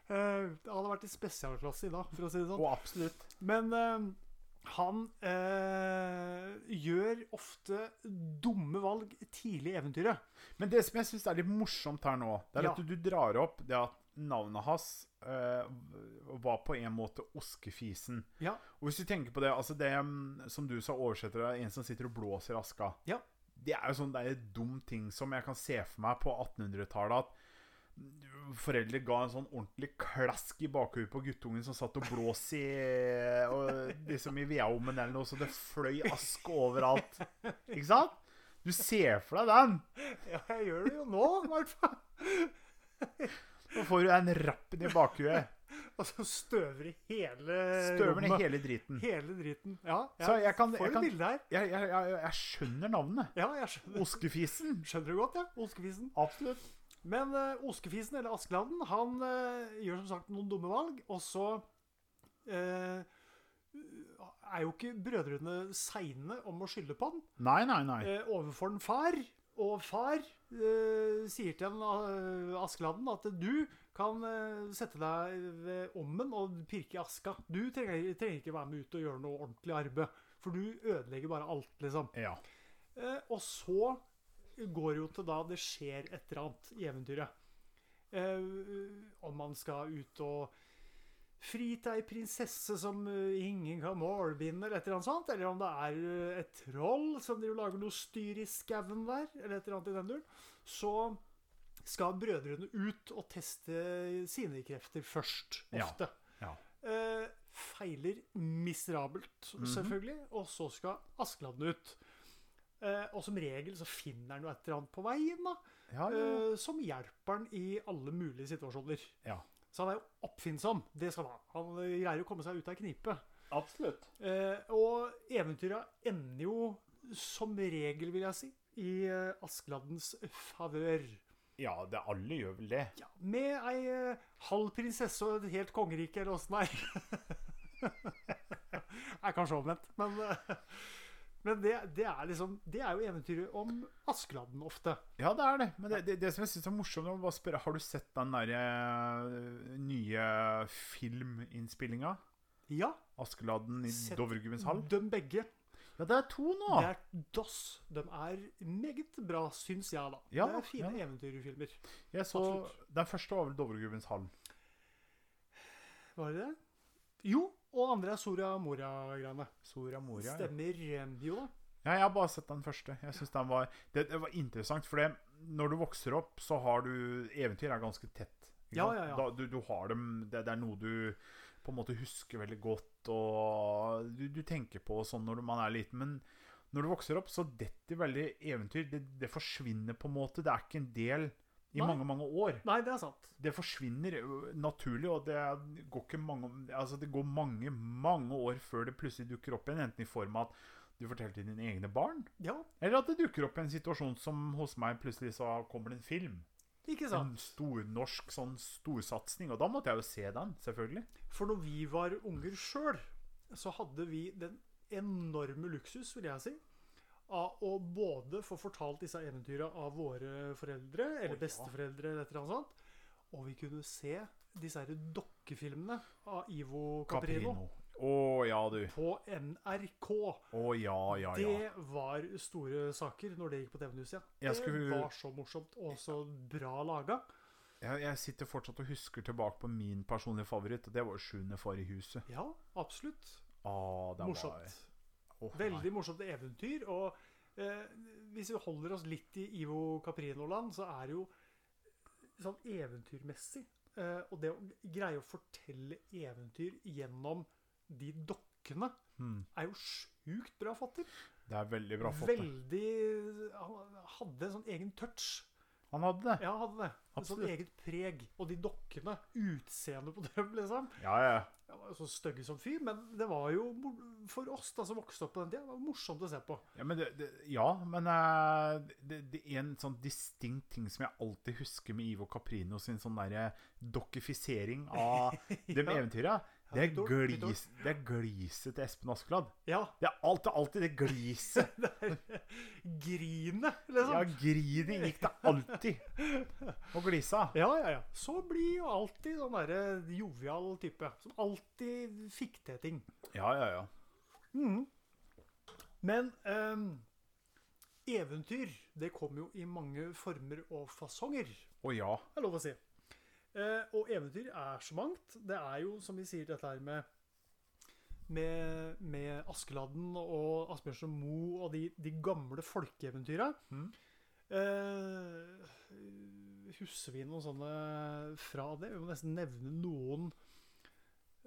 Speaker 1: Eh, han hadde vært i spesialklasse i dag, for å si det sånn.
Speaker 2: Og absolutt.
Speaker 1: Men eh, han eh, gjør ofte dumme valg tidlig i eventyret.
Speaker 2: Men det som jeg syns er litt morsomt her nå, det er
Speaker 1: Ja.
Speaker 2: at du, du drar opp det at navnet hans eh, var på en måte Oskefisen.
Speaker 1: Ja.
Speaker 2: Og hvis du tenker på det, altså det mm, som du sa, oversetter det, en som sitter og blåser i aska.
Speaker 1: Ja.
Speaker 2: Det er jo sånn det er en dum ting som jeg kan se for meg på 1800-tallet, at mm, foreldre ga en sånn ordentlig klask i bakhodet på guttungen som satt og blås i og liksom i vedovnen eller noe, så det fløy aske overalt. Ikke sant? Du ser for deg den.
Speaker 1: ja, jeg gjør det jo nå, i hvert fall.
Speaker 2: Nå får du den rappen i bakhuet.
Speaker 1: Og så Altså, støver i hele
Speaker 2: Støver ned
Speaker 1: rommet.
Speaker 2: hele driten.
Speaker 1: Hele driten. Ja, ja.
Speaker 2: Så jeg kan,
Speaker 1: får
Speaker 2: jeg,
Speaker 1: et
Speaker 2: kan jeg,
Speaker 1: bilde her.
Speaker 2: jeg, jeg, jeg skjønner navnet.
Speaker 1: Ja, jeg skjønner,
Speaker 2: Oskefisen.
Speaker 1: skjønner det godt, ja. Oskefisen.
Speaker 2: Absolutt.
Speaker 1: Men eh, Oskefisen, eller Askeladden, han eh, gjør som sagt noen dumme valg, og så eh, er jo ikke brødrene seine om å skylde på han.
Speaker 2: Nei, nei, nei.
Speaker 1: eh, overfor en far, og far eh, sier til en, eh, Askeladden at du kan eh, sette deg ved ommen og pirke i aska. Du trenger, trenger ikke være med ut og gjøre noe ordentlig arbeid, for du ødelegger bare alt, liksom.
Speaker 2: Ja.
Speaker 1: Eh, og så går jo til da det skjer et eller annet i eventyret. Eh, om man skal ut og fri til ei prinsesse som eh, ingen kan målbinde, eller et eller annet sånt. Eller om det er eh, et troll som driver og lager noe styr i skauen der, eller et eller annet i den duren. Så skal brødrene ut og teste sine krefter først,
Speaker 2: Ja.
Speaker 1: ofte.
Speaker 2: ja.
Speaker 1: Eh,
Speaker 2: Mhm.
Speaker 1: feiler miserabelt, selvfølgelig. Og så skal Askeladden ut. Eh, og som regel så finner han jo et eller annet på veien, da.
Speaker 2: Ja, ja, ja.
Speaker 1: eh, som hjelper han i alle mulige situasjoner.
Speaker 2: Ja.
Speaker 1: Så han er jo oppfinnsom. Det skal han ha. Han eh, greier å komme seg ut av knipe.
Speaker 2: Absolutt.
Speaker 1: Eh, og eventyra ender jo som regel, vil jeg si, i eh, Askeladdens favør.
Speaker 2: Ja, det alle gjør vel det.
Speaker 1: Ja, med ei eh, halv prinsesse og et helt kongerike, eller åssen det er. Det er kanskje omvendt, men eh, Men det, det er liksom Det er jo eventyret om Askeladden ofte.
Speaker 2: Ja, det er det. Men det, det, det som jeg syns er morsomt, jeg må bare spørre, har du sett den der eh, nye filminnspillinga?
Speaker 1: Ja,
Speaker 2: Askeladden i
Speaker 1: Sett-
Speaker 2: Dovregubbens hall? Ah.
Speaker 1: de begge.
Speaker 2: Ja, det er to nå!
Speaker 1: Det er DOS. De er meget bra, syns jeg, da.
Speaker 2: Ja,
Speaker 1: det er fine
Speaker 2: ja.
Speaker 1: eventyrfilmer.
Speaker 2: Jeg så,
Speaker 1: absolutt.
Speaker 2: den første var vel Dovregubbens hall.
Speaker 1: Var det det? Jo, og andre er Soria Moria-greiene.
Speaker 2: Soria Moria. ja.
Speaker 1: Stemmer. eh, Jo da.
Speaker 2: Ja, jeg har bare sett den første. Jeg synes den var, det, det var interessant, for det, når du vokser opp, så har du Eventyr er ganske tett. ikke
Speaker 1: Ja,
Speaker 2: sant?
Speaker 1: ja, ja.
Speaker 2: Da, du, du har dem det, det er noe du på en måte husker veldig godt, og du, du tenker på sånn når man er liten. Men når du vokser opp, så detter veldig eventyr. Det, det forsvinner på en måte. Det er ikke en del i
Speaker 1: Nei.
Speaker 2: mange, mange år.
Speaker 1: Nei, det er sant.
Speaker 2: Det forsvinner ø, naturlig, og det går, ikke mange, altså det går mange, mange år før det plutselig dukker opp igjen. Enten i form av at du forteller til dine egne barn,
Speaker 1: Ja,
Speaker 2: eller at det dukker opp en situasjon som hos meg plutselig så kommer det en film.
Speaker 1: ikke sant.
Speaker 2: En stor norsk sånn storsatsing. Og da måtte jeg jo se den, selvfølgelig.
Speaker 1: For når vi var unger sjøl, så hadde vi den enorme luksus, vil jeg si, av å både få fortalt disse eventyra av våre foreldre,
Speaker 2: Å,
Speaker 1: eller
Speaker 2: ja.
Speaker 1: besteforeldre, eller et eller annet sånt, og vi kunne se disse her dokkefilmene av Ivo Caprino,
Speaker 2: Å ja, du.
Speaker 1: på NRK.
Speaker 2: Å ja, ja, ja.
Speaker 1: Det var store saker når det gikk på TV-nyhetet. Ja.
Speaker 2: Jeg
Speaker 1: Det
Speaker 2: skulle-
Speaker 1: var så morsomt og så bra laga.
Speaker 2: Jeg, jeg sitter fortsatt og husker tilbake på min personlige favoritt, og det var jo 'Sjuende far i huset'.
Speaker 1: Ja, absolutt.
Speaker 2: Å, det
Speaker 1: Morsomt.
Speaker 2: Var, Å, nei.
Speaker 1: Veldig morsomt eventyr. Og eh, hvis vi holder oss litt i Ivo Caprino-land, så er det jo sånn eventyrmessig. Eh, og det å greie å fortelle eventyr gjennom de dokkene
Speaker 2: Mm,
Speaker 1: er jo sjukt bra fått til.
Speaker 2: det er veldig bra fått. det.
Speaker 1: Veldig Han hadde en sånn egen touch.
Speaker 2: Han hadde det.
Speaker 1: Ja, han hadde det. Et sånn
Speaker 2: Absolutt.
Speaker 1: eget preg. Og de dokkene, utseendet på dem, liksom.
Speaker 2: Ja, ja.
Speaker 1: Jeg var jo så stygge som fyr, men det var jo mor- for oss da som vokste opp på den tida, det var morsomt å se på.
Speaker 2: Ja, men, det, det, ja, men eh, det, det er en sånn distinkt ting som jeg alltid husker med Ivo Caprino sin sånn derre dokkifisering av de
Speaker 1: Ja.
Speaker 2: eventyra.
Speaker 1: Ja,
Speaker 2: Det er,
Speaker 1: litt ord, litt ord.
Speaker 2: glis, det er gliset til Espen Askeladd.
Speaker 1: Ja,
Speaker 2: Det er alltid, alltid det gliset.
Speaker 1: Grine,
Speaker 2: Ja,
Speaker 1: liksom.
Speaker 2: grinet gikk det alltid. Og glisa.
Speaker 1: Ja, ja, ja. Så blir jo alltid sånn derre jovial type. Som alltid fikk til ting. Mhm.
Speaker 2: Ja, ja, ja.
Speaker 1: Men ehm, eventyr, det kommer jo i mange former og fasonger. Det
Speaker 2: Å ja.
Speaker 1: er lov å si. Eh, og eventyr er så mangt. Det er jo, som vi sier, dette her med med, med Askeladden og Asbjørnsen og Moe og de, de gamle folkeeventyra.
Speaker 2: Mhm.
Speaker 1: Eh, husker vi noen sånne fra det? Vi må nesten nevne noen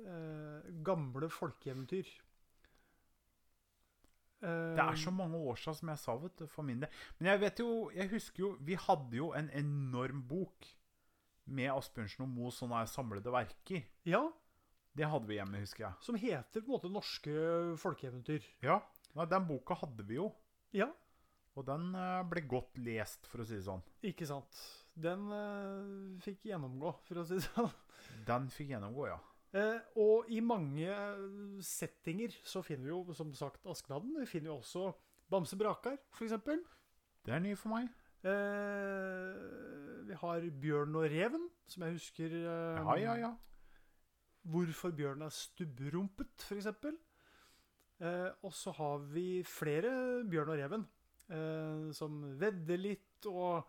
Speaker 1: eh, gamle folkeeventyr.
Speaker 2: Det er så mange år siden som jeg sa, vet du, for min del. Men jeg vet jo, jeg husker jo, vi hadde jo en enorm bok med Asbjørnsen og Moe sånne her samlede verker.
Speaker 1: Eh, Ja,
Speaker 2: Det hadde vi hjemme, husker jeg.
Speaker 1: som heter på en måte norske folkeeventyr.
Speaker 2: Ja, nei, den boka hadde vi jo.
Speaker 1: Ja,
Speaker 2: Og den eh, ble godt lest, for å si det sånn.
Speaker 1: ikke sant. Den eh, fikk gjennomgå, for å si det sånn.
Speaker 2: Den fikk gjennomgå, ja.
Speaker 1: Eh, og i mange eh, settinger så finner vi jo som sagt Askeladden. Vi finner jo også Bamse Brakar, f.eks.
Speaker 2: Det er ny for meg.
Speaker 1: Eh, vi har Bjørn og reven, som jeg husker eh,
Speaker 2: Ja, ja, ja.
Speaker 1: Hvorfor bjørn er stubberumpet, f.eks. Eh, og så har vi flere Bjørn og reven, eh, som vedder litt og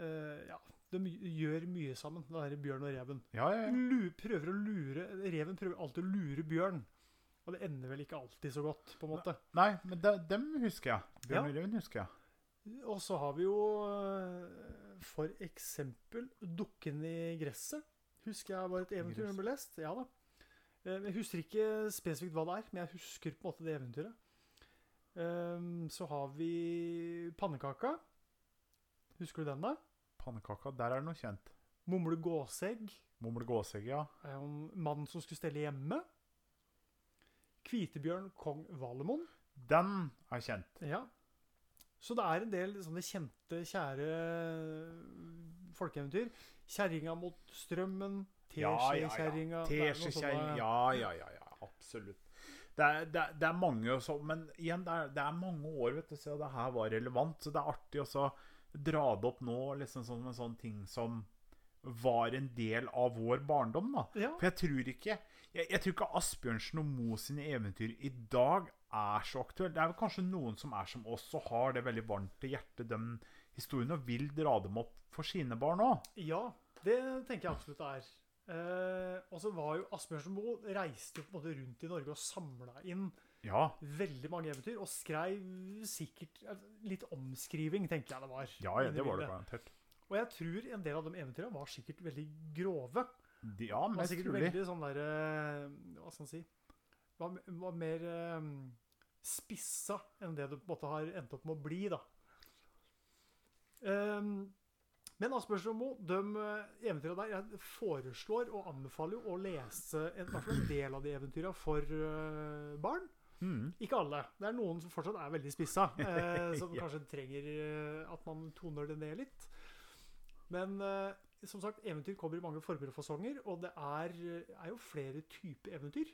Speaker 1: eh, Ja, de gjør mye sammen, det her Bjørn og reven
Speaker 2: Ja, ja, ja.
Speaker 1: lu- prøver å lure Reven prøver alltid å lure bjørn. Og det ender vel ikke alltid så godt, på en måte.
Speaker 2: Nei, men de, dem husker jeg.
Speaker 1: Ja.
Speaker 2: Bjørn og Reven husker jeg.
Speaker 1: Og så har vi jo eh, for eksempel Dukken i gresset. Husker jeg var et eventyr hun ble lest. Ja da. Eh, Jeg husker ikke spesifikt hva det er, men jeg husker på en måte det eventyret. Ehm, så har vi pannekaka. Husker du den, da?
Speaker 2: Pannekaka, der er det noe kjent.
Speaker 1: Mumle gåsegg.
Speaker 2: Mumle gåsegg, ja.
Speaker 1: Um, mannen som skulle stelle hjemme. Kvitebjørn kong Valemon.
Speaker 2: Den er kjent.
Speaker 1: Ja. Så det er en del sånne kjente, kjære øh, folkeeventyr. Kjerringa mot strømmen. Teskjekjerringa. det er sånn noen
Speaker 2: Teskjekjerring.
Speaker 1: sånne-
Speaker 2: Ja, ja, ja, ja. Absolutt. Det er, det, er, det er mange også, Men igjen, det er, det er mange år vet du, siden det her var relevant. Så det er artig også å dra det opp nå liksom som en sånn ting som var en del av vår barndom. da.
Speaker 1: Ja.
Speaker 2: For jeg tror ikke jeg, jeg tror ikke Asbjørnsen og Mo sine eventyr i dag er så aktuelle. Det er vel kanskje noen som er som oss og har det veldig varmt i hjertet, de historiene, og vil dra dem opp for sine barn òg.
Speaker 1: Ja, det tenker jeg absolutt det er. Eh, og så var jo Asbjørnsen Moe reiste jo på en måte rundt i Norge og samla inn
Speaker 2: Ja.
Speaker 1: veldig mange eventyr, og skrev sikkert altså, litt omskriving, tenker jeg det var.
Speaker 2: Ja, ja, det var det garantert.
Speaker 1: Og jeg tror en del av de eventyrene var sikkert veldig grove.
Speaker 2: De- Ja,
Speaker 1: Det var
Speaker 2: mest
Speaker 1: sikkert
Speaker 2: trolig.
Speaker 1: veldig sånn der eh, Hva skal man si Var, var mer eh, spissa enn det det på en måte har endt opp med å bli, da. Ehm, men Asbjørnsen og Moe, de eh, eventyrene der, jeg foreslår og anbefaler jo å lese en, i hvert fall en del av de eventyrene for eh, barn.
Speaker 2: Mm.
Speaker 1: Ikke alle. Det er noen som fortsatt er veldig spissa, eh, som
Speaker 2: Ja.
Speaker 1: kanskje trenger eh, at man toner det ned litt. Men eh, som sagt, eventyr kommer i mange former og fasonger, og det er, er jo flere typer eventyr.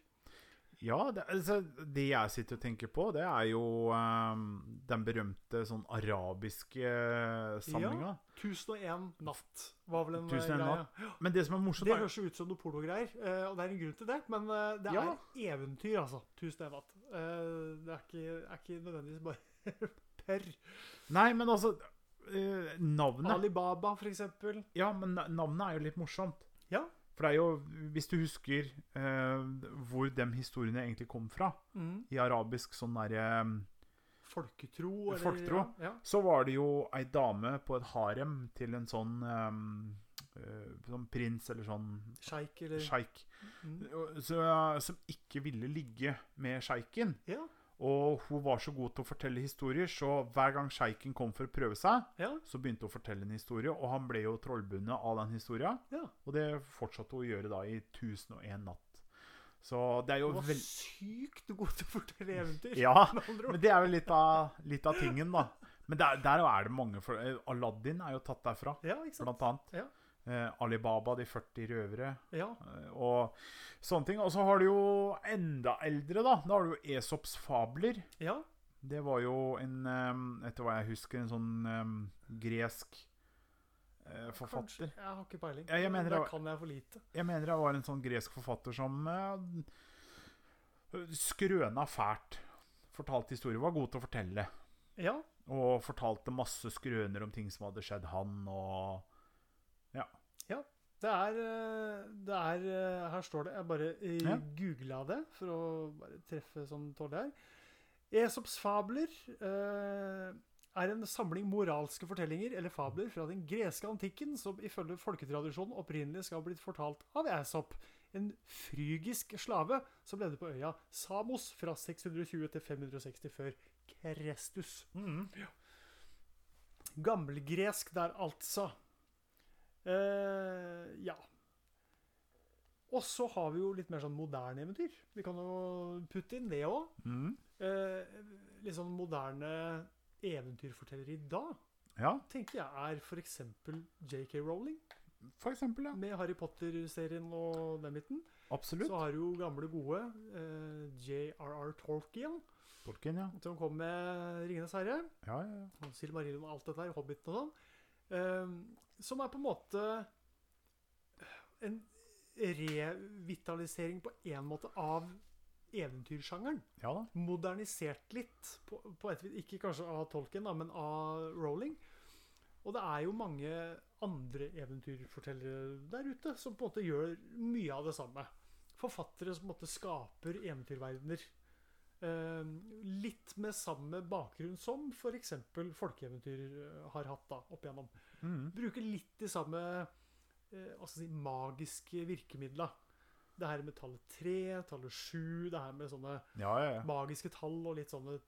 Speaker 2: Ja, det, altså, det jeg sitter og tenker på, det er jo ehm, den berømte sånn arabiske eh, samlinga.
Speaker 1: 1001 natt var vel en eh,
Speaker 2: 1001
Speaker 1: greie.
Speaker 2: natt. Men det som er morsomt,
Speaker 1: Det
Speaker 2: er
Speaker 1: høres jo ut som noe pornogreier, eh, og det er en grunn til det, men eh, det er
Speaker 2: Ja.
Speaker 1: eventyr, altså. 1001 natt. Eh, Det er ikke, er ikke nødvendigvis bare perr.
Speaker 2: Nei, men altså eh, Navnet
Speaker 1: Alibaba, for eksempel.
Speaker 2: Ja, men na- navnet er jo litt morsomt.
Speaker 1: Ja.
Speaker 2: For det er jo Hvis du husker eh, hvor de historiene egentlig kom fra,
Speaker 1: Mm.
Speaker 2: i arabisk sånn derre
Speaker 1: Folketro. Eller,
Speaker 2: Folketro.
Speaker 1: Ja, ja.
Speaker 2: Så var det jo ei dame på et harem til en sånn eh, eh, sånn prins eller sånn
Speaker 1: Sjeik eller
Speaker 2: sjeik
Speaker 1: mm.
Speaker 2: så, som ikke ville ligge med sjeiken.
Speaker 1: Ja.
Speaker 2: Og hun var så god til å fortelle historier, så hver gang sjeiken kom for å prøve seg,
Speaker 1: Ja.
Speaker 2: så begynte hun å fortelle en historie, og han ble jo trollbundet av den historia.
Speaker 1: Ja.
Speaker 2: Og det fortsatte hun å gjøre da i 1001 natt. Så det er jo
Speaker 1: Du var
Speaker 2: vel...
Speaker 1: sykt god til å fortelle eventyr.
Speaker 2: Ja,
Speaker 1: med andre ord.
Speaker 2: men det er jo litt av, litt av tingen, da. Men der, der er det mange for... eh, Aladdin er jo tatt derfra,
Speaker 1: Ja, ikke sant?
Speaker 2: blant annet.
Speaker 1: Ja.
Speaker 2: Eh, Alibaba, de 40 røvere
Speaker 1: Ja,
Speaker 2: eh, og sånne ting. Og så har du jo enda eldre, da. Da har du jo Esops fabler.
Speaker 1: ja.
Speaker 2: Det var jo en eh, Etter hva jeg husker, en sånn eh, gresk eh,
Speaker 1: Kanskje.
Speaker 2: forfatter.
Speaker 1: Jeg har ikke peiling.
Speaker 2: Ja, jeg mener det
Speaker 1: Der
Speaker 2: var-
Speaker 1: kan jeg for lite.
Speaker 2: Jeg mener det var en sånn gresk forfatter som eh, skrøna fælt. Fortalte historier. Var god til å fortelle.
Speaker 1: Ja,
Speaker 2: Og fortalte masse skrøner om ting som hadde skjedd han, og
Speaker 1: det er, eh, det er eh, Her står det. Jeg bare ja.
Speaker 2: Ja.
Speaker 1: googla det for å bare treffe som tåler her. Esops fabler eh, er en samling moralske fortellinger eller fabler fra den greske antikken som ifølge folketradisjonen opprinnelig skal ha blitt fortalt av Esop, en frygisk slave som levde på øya Samos fra 620 til 560 før Krestus. Mm. Gammelgresk der, altså. Eh, ja. Og så har vi jo litt mer sånn moderne eventyr. Vi kan jo putte inn det òg.
Speaker 2: Mhm.
Speaker 1: Eh, litt sånn moderne eventyrfortellere i dag
Speaker 2: Ja,
Speaker 1: tenker jeg er f.eks. JK Rowling
Speaker 2: for eksempel. Ja.
Speaker 1: med Harry Potter-serien og den biten.
Speaker 2: Absolutt.
Speaker 1: Så har du jo gamle, gode eh, JRR Tolkien,
Speaker 2: Tolkien, ja.
Speaker 1: som kom med 'Ringenes herre'.
Speaker 2: Ja, ja, ja.
Speaker 1: og Sånn Silmarillion og alt dette her, Hobbiten og sånn, eh, som er på en måte en revitalisering på en måte av eventyrsjangeren.
Speaker 2: ja da.
Speaker 1: Modernisert litt, på, på et vis. Ikke kanskje av Tolkien, da, men av Rowling. Og det er jo mange andre eventyrfortellere der ute som på en måte gjør mye av det samme. Forfattere som på en måte skaper eventyrverdener. Eh, litt med samme bakgrunn som f.eks. folkeeventyr eh, har hatt da, opp igjennom.
Speaker 2: Mhm.
Speaker 1: Bruker litt de samme eh, hva skal jeg si, magiske virkemidla. Det her med tallet tre, tallet sju, det her med sånne
Speaker 2: Ja, ja, ja.
Speaker 1: magiske tall og litt sånne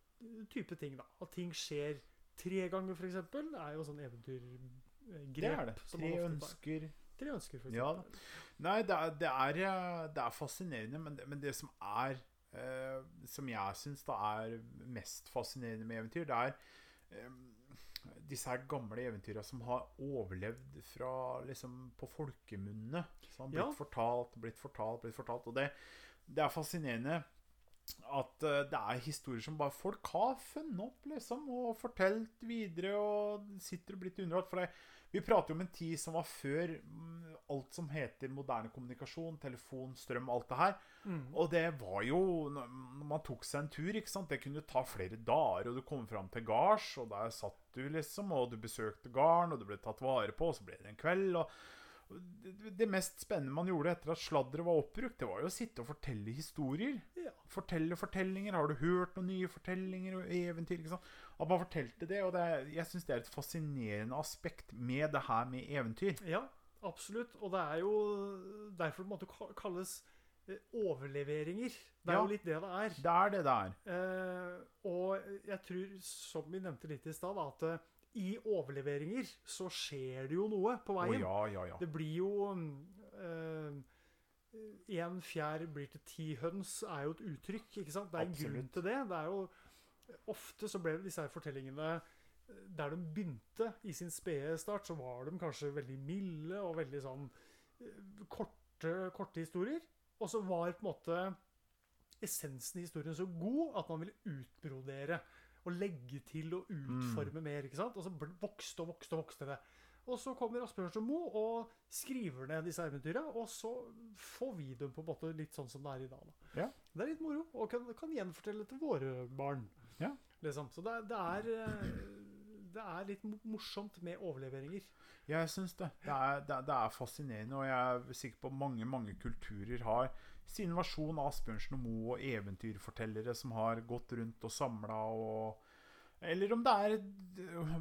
Speaker 1: type ting, da. At ting skjer tre ganger, f.eks., er jo sånn eventyrgrep.
Speaker 2: Det er det.
Speaker 1: som
Speaker 2: Tre
Speaker 1: man ofte tar.
Speaker 2: ønsker
Speaker 1: Tre ønsker, for
Speaker 2: Ja,
Speaker 1: eksempel.
Speaker 2: Nei, det er, det er, eh, det er fascinerende, men det, men det som er eh, Som jeg syns da er mest fascinerende med eventyr, det er eh, disse her gamle eventyra som har overlevd fra liksom på folkemunne. Som har blitt
Speaker 1: Ja.
Speaker 2: fortalt, blitt fortalt, blitt fortalt. Og det, det er fascinerende at eh, det er historier som bare folk har funnet opp, liksom, og fortalt videre, og sitter og blitt underholdt. For det, vi prater jo om en tid som var før mm, alt som heter moderne kommunikasjon, telefon, strøm, alt det her.
Speaker 1: Mm.
Speaker 2: Og det var jo Når når man tok seg en tur, ikke sant? det kunne ta flere dager, og du kom fram til gards, og der satt du, liksom, og du besøkte garden, og du ble tatt vare på, og så ble det en kveld. og og det- det mest spennende man gjorde etter at sladderet var oppbrukt, det var jo å sitte og fortelle historier
Speaker 1: Ja.
Speaker 2: fortelle fortellinger. Har du hørt noen nye fortellinger og eventyr? ikke sant? At man fortalte det. Og det, er- jeg syns det er et fascinerende aspekt med det her med eventyr.
Speaker 1: ja, absolutt. Og det er jo derfor det på en måte ka- kalles eh, overleveringer. Det er
Speaker 2: Ja.
Speaker 1: jo litt det det er.
Speaker 2: Det er det det er.
Speaker 1: Eh, og jeg tror, som vi nevnte litt i stad, da, at eh, i overleveringer så skjer det jo noe på
Speaker 2: Å
Speaker 1: veien.
Speaker 2: ja, ja, ja.
Speaker 1: Det blir jo mm, eh, En fjær blir til ti høns, er jo et uttrykk. ikke sant? Det er en grunn
Speaker 2: Absolutt.
Speaker 1: til det. det er jo, ofte så ble disse her fortellingene eh, Der de begynte i sin spede start, så var de kanskje veldig milde og veldig sånn eh, korte, korte historier. Og så var på en måte essensen i historien så god at man ville utbrodere. Og legge til og utforme mer. ikke sant? Og så bl- vokste og vokste og vokste det. Og så kommer Asbjørnsen Moe og skriver ned disse eventyra, og så får vi dem på en måte litt sånn som det er i dag. Da.
Speaker 2: Ja.
Speaker 1: Det er litt moro, og kan, kan gjenfortelle til våre barn.
Speaker 2: Ja.
Speaker 1: Liksom. Så det, er- det, er, eh, det er litt mo- morsomt med overleveringer.
Speaker 2: Jeg syns det. Det er, det, er- det er fascinerende, og jeg er sikker på mange, mange kulturer har sin versjon av Asbjørnsen og Moe og eventyrfortellere som har gått rundt og samla og eller om det er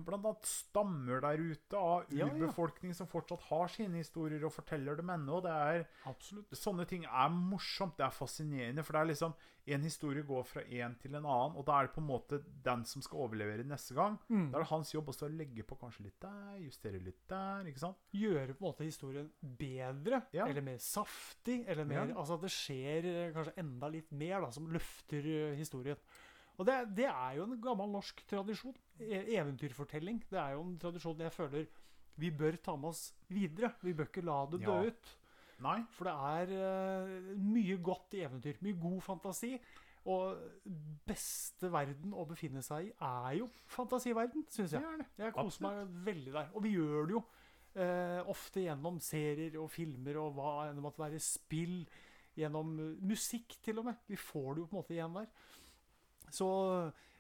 Speaker 2: blant annet stammer der ute av
Speaker 1: Ja, ja.
Speaker 2: urbefolkning som fortsatt har sine historier og forteller dem ennå. Det er,
Speaker 1: Absolutt.
Speaker 2: sånne ting er morsomt, det er fascinerende, for det er liksom en historie går fra en til en annen, og da er det på en måte den som skal overlevere neste gang.
Speaker 1: Mm.
Speaker 2: Da er det hans jobb også å legge på kanskje litt der, justere litt der, ikke sant?
Speaker 1: Gjøre på en måte historien bedre,
Speaker 2: Ja.
Speaker 1: eller mer saftig, eller mer
Speaker 2: Ja.
Speaker 1: Altså at det skjer eh, kanskje enda litt mer, da, som løfter eh, historien. Og det, det er jo en gammel norsk tradisjon. E eventyrfortelling. Det er jo en tradisjon jeg føler vi bør ta med oss videre. Vi bør ikke la det dø
Speaker 2: Ja.
Speaker 1: ut.
Speaker 2: Nei,
Speaker 1: For det er eh, mye godt i eventyr. Mye god fantasi. Og beste verden å befinne seg i er jo fantasiverden, syns
Speaker 2: det
Speaker 1: jeg.
Speaker 2: er det.
Speaker 1: Jeg koser meg veldig der. Og vi gjør det jo eh, ofte gjennom serier og filmer og hva enn det måtte være. Spill. Gjennom eh, musikk, til og med. Vi får det jo på en måte igjen der. Så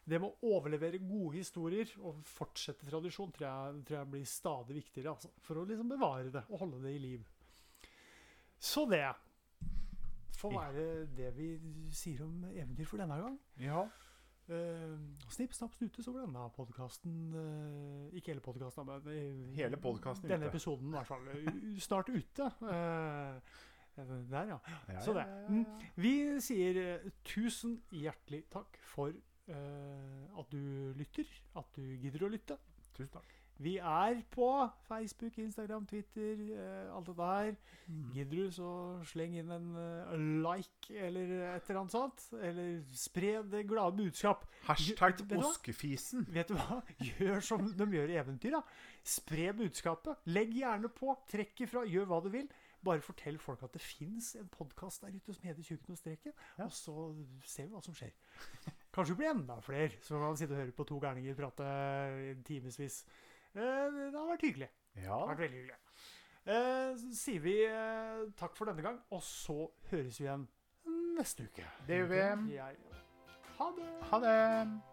Speaker 1: det med å overlevere gode historier og fortsette tradisjon tror jeg, tror jeg blir stadig viktigere. Altså, for å liksom bevare det og holde det i liv. Så det får være det vi sier om eventyr for denne gang.
Speaker 2: Ja,
Speaker 1: Eh, snipp, snapp, snute, så ble denne podkasten Ikke hele podkasten, men eh,
Speaker 2: Hele podcasten
Speaker 1: Denne
Speaker 2: ute.
Speaker 1: episoden i hvert fall eh, snart ute. Eh, der, ja.
Speaker 2: ja,
Speaker 1: Så
Speaker 2: ja,
Speaker 1: det.
Speaker 2: ja,
Speaker 1: Mm.
Speaker 2: ja, ja.
Speaker 1: Vi sier eh, tusen hjertelig takk for eh, at du lytter, at du gidder å lytte.
Speaker 2: Tusen takk.
Speaker 1: Vi er på Facebook, Instagram, Twitter, eh, alt det der.
Speaker 2: Mm.
Speaker 1: Gidder du, så sleng inn en eh, like eller et eller annet sånt. Eller spre det glade budskap.
Speaker 2: Hashtag
Speaker 1: Vet du hva?
Speaker 2: oskefisen.
Speaker 1: Vet du hva? Gjør som de gjør i eventyr, da. Spre budskapet. Legg gjerne på. Trekk ifra. Gjør hva du vil. Bare fortell folk at det fins en podkast der ute som heter Tjukken og streken,
Speaker 2: Ja.
Speaker 1: og så ser vi hva som skjer. Kanskje det blir enda flere som kan sitte og høre på to gærninger prate i timevis. Eh, Det hadde vært hyggelig.
Speaker 2: Ja,
Speaker 1: Det har vært veldig hyggelig. Eh, Så sier vi eh, takk for denne gang, og så høres vi igjen neste uke.
Speaker 2: det gjør vi.
Speaker 1: Jeg. Ha det!
Speaker 2: Ha det!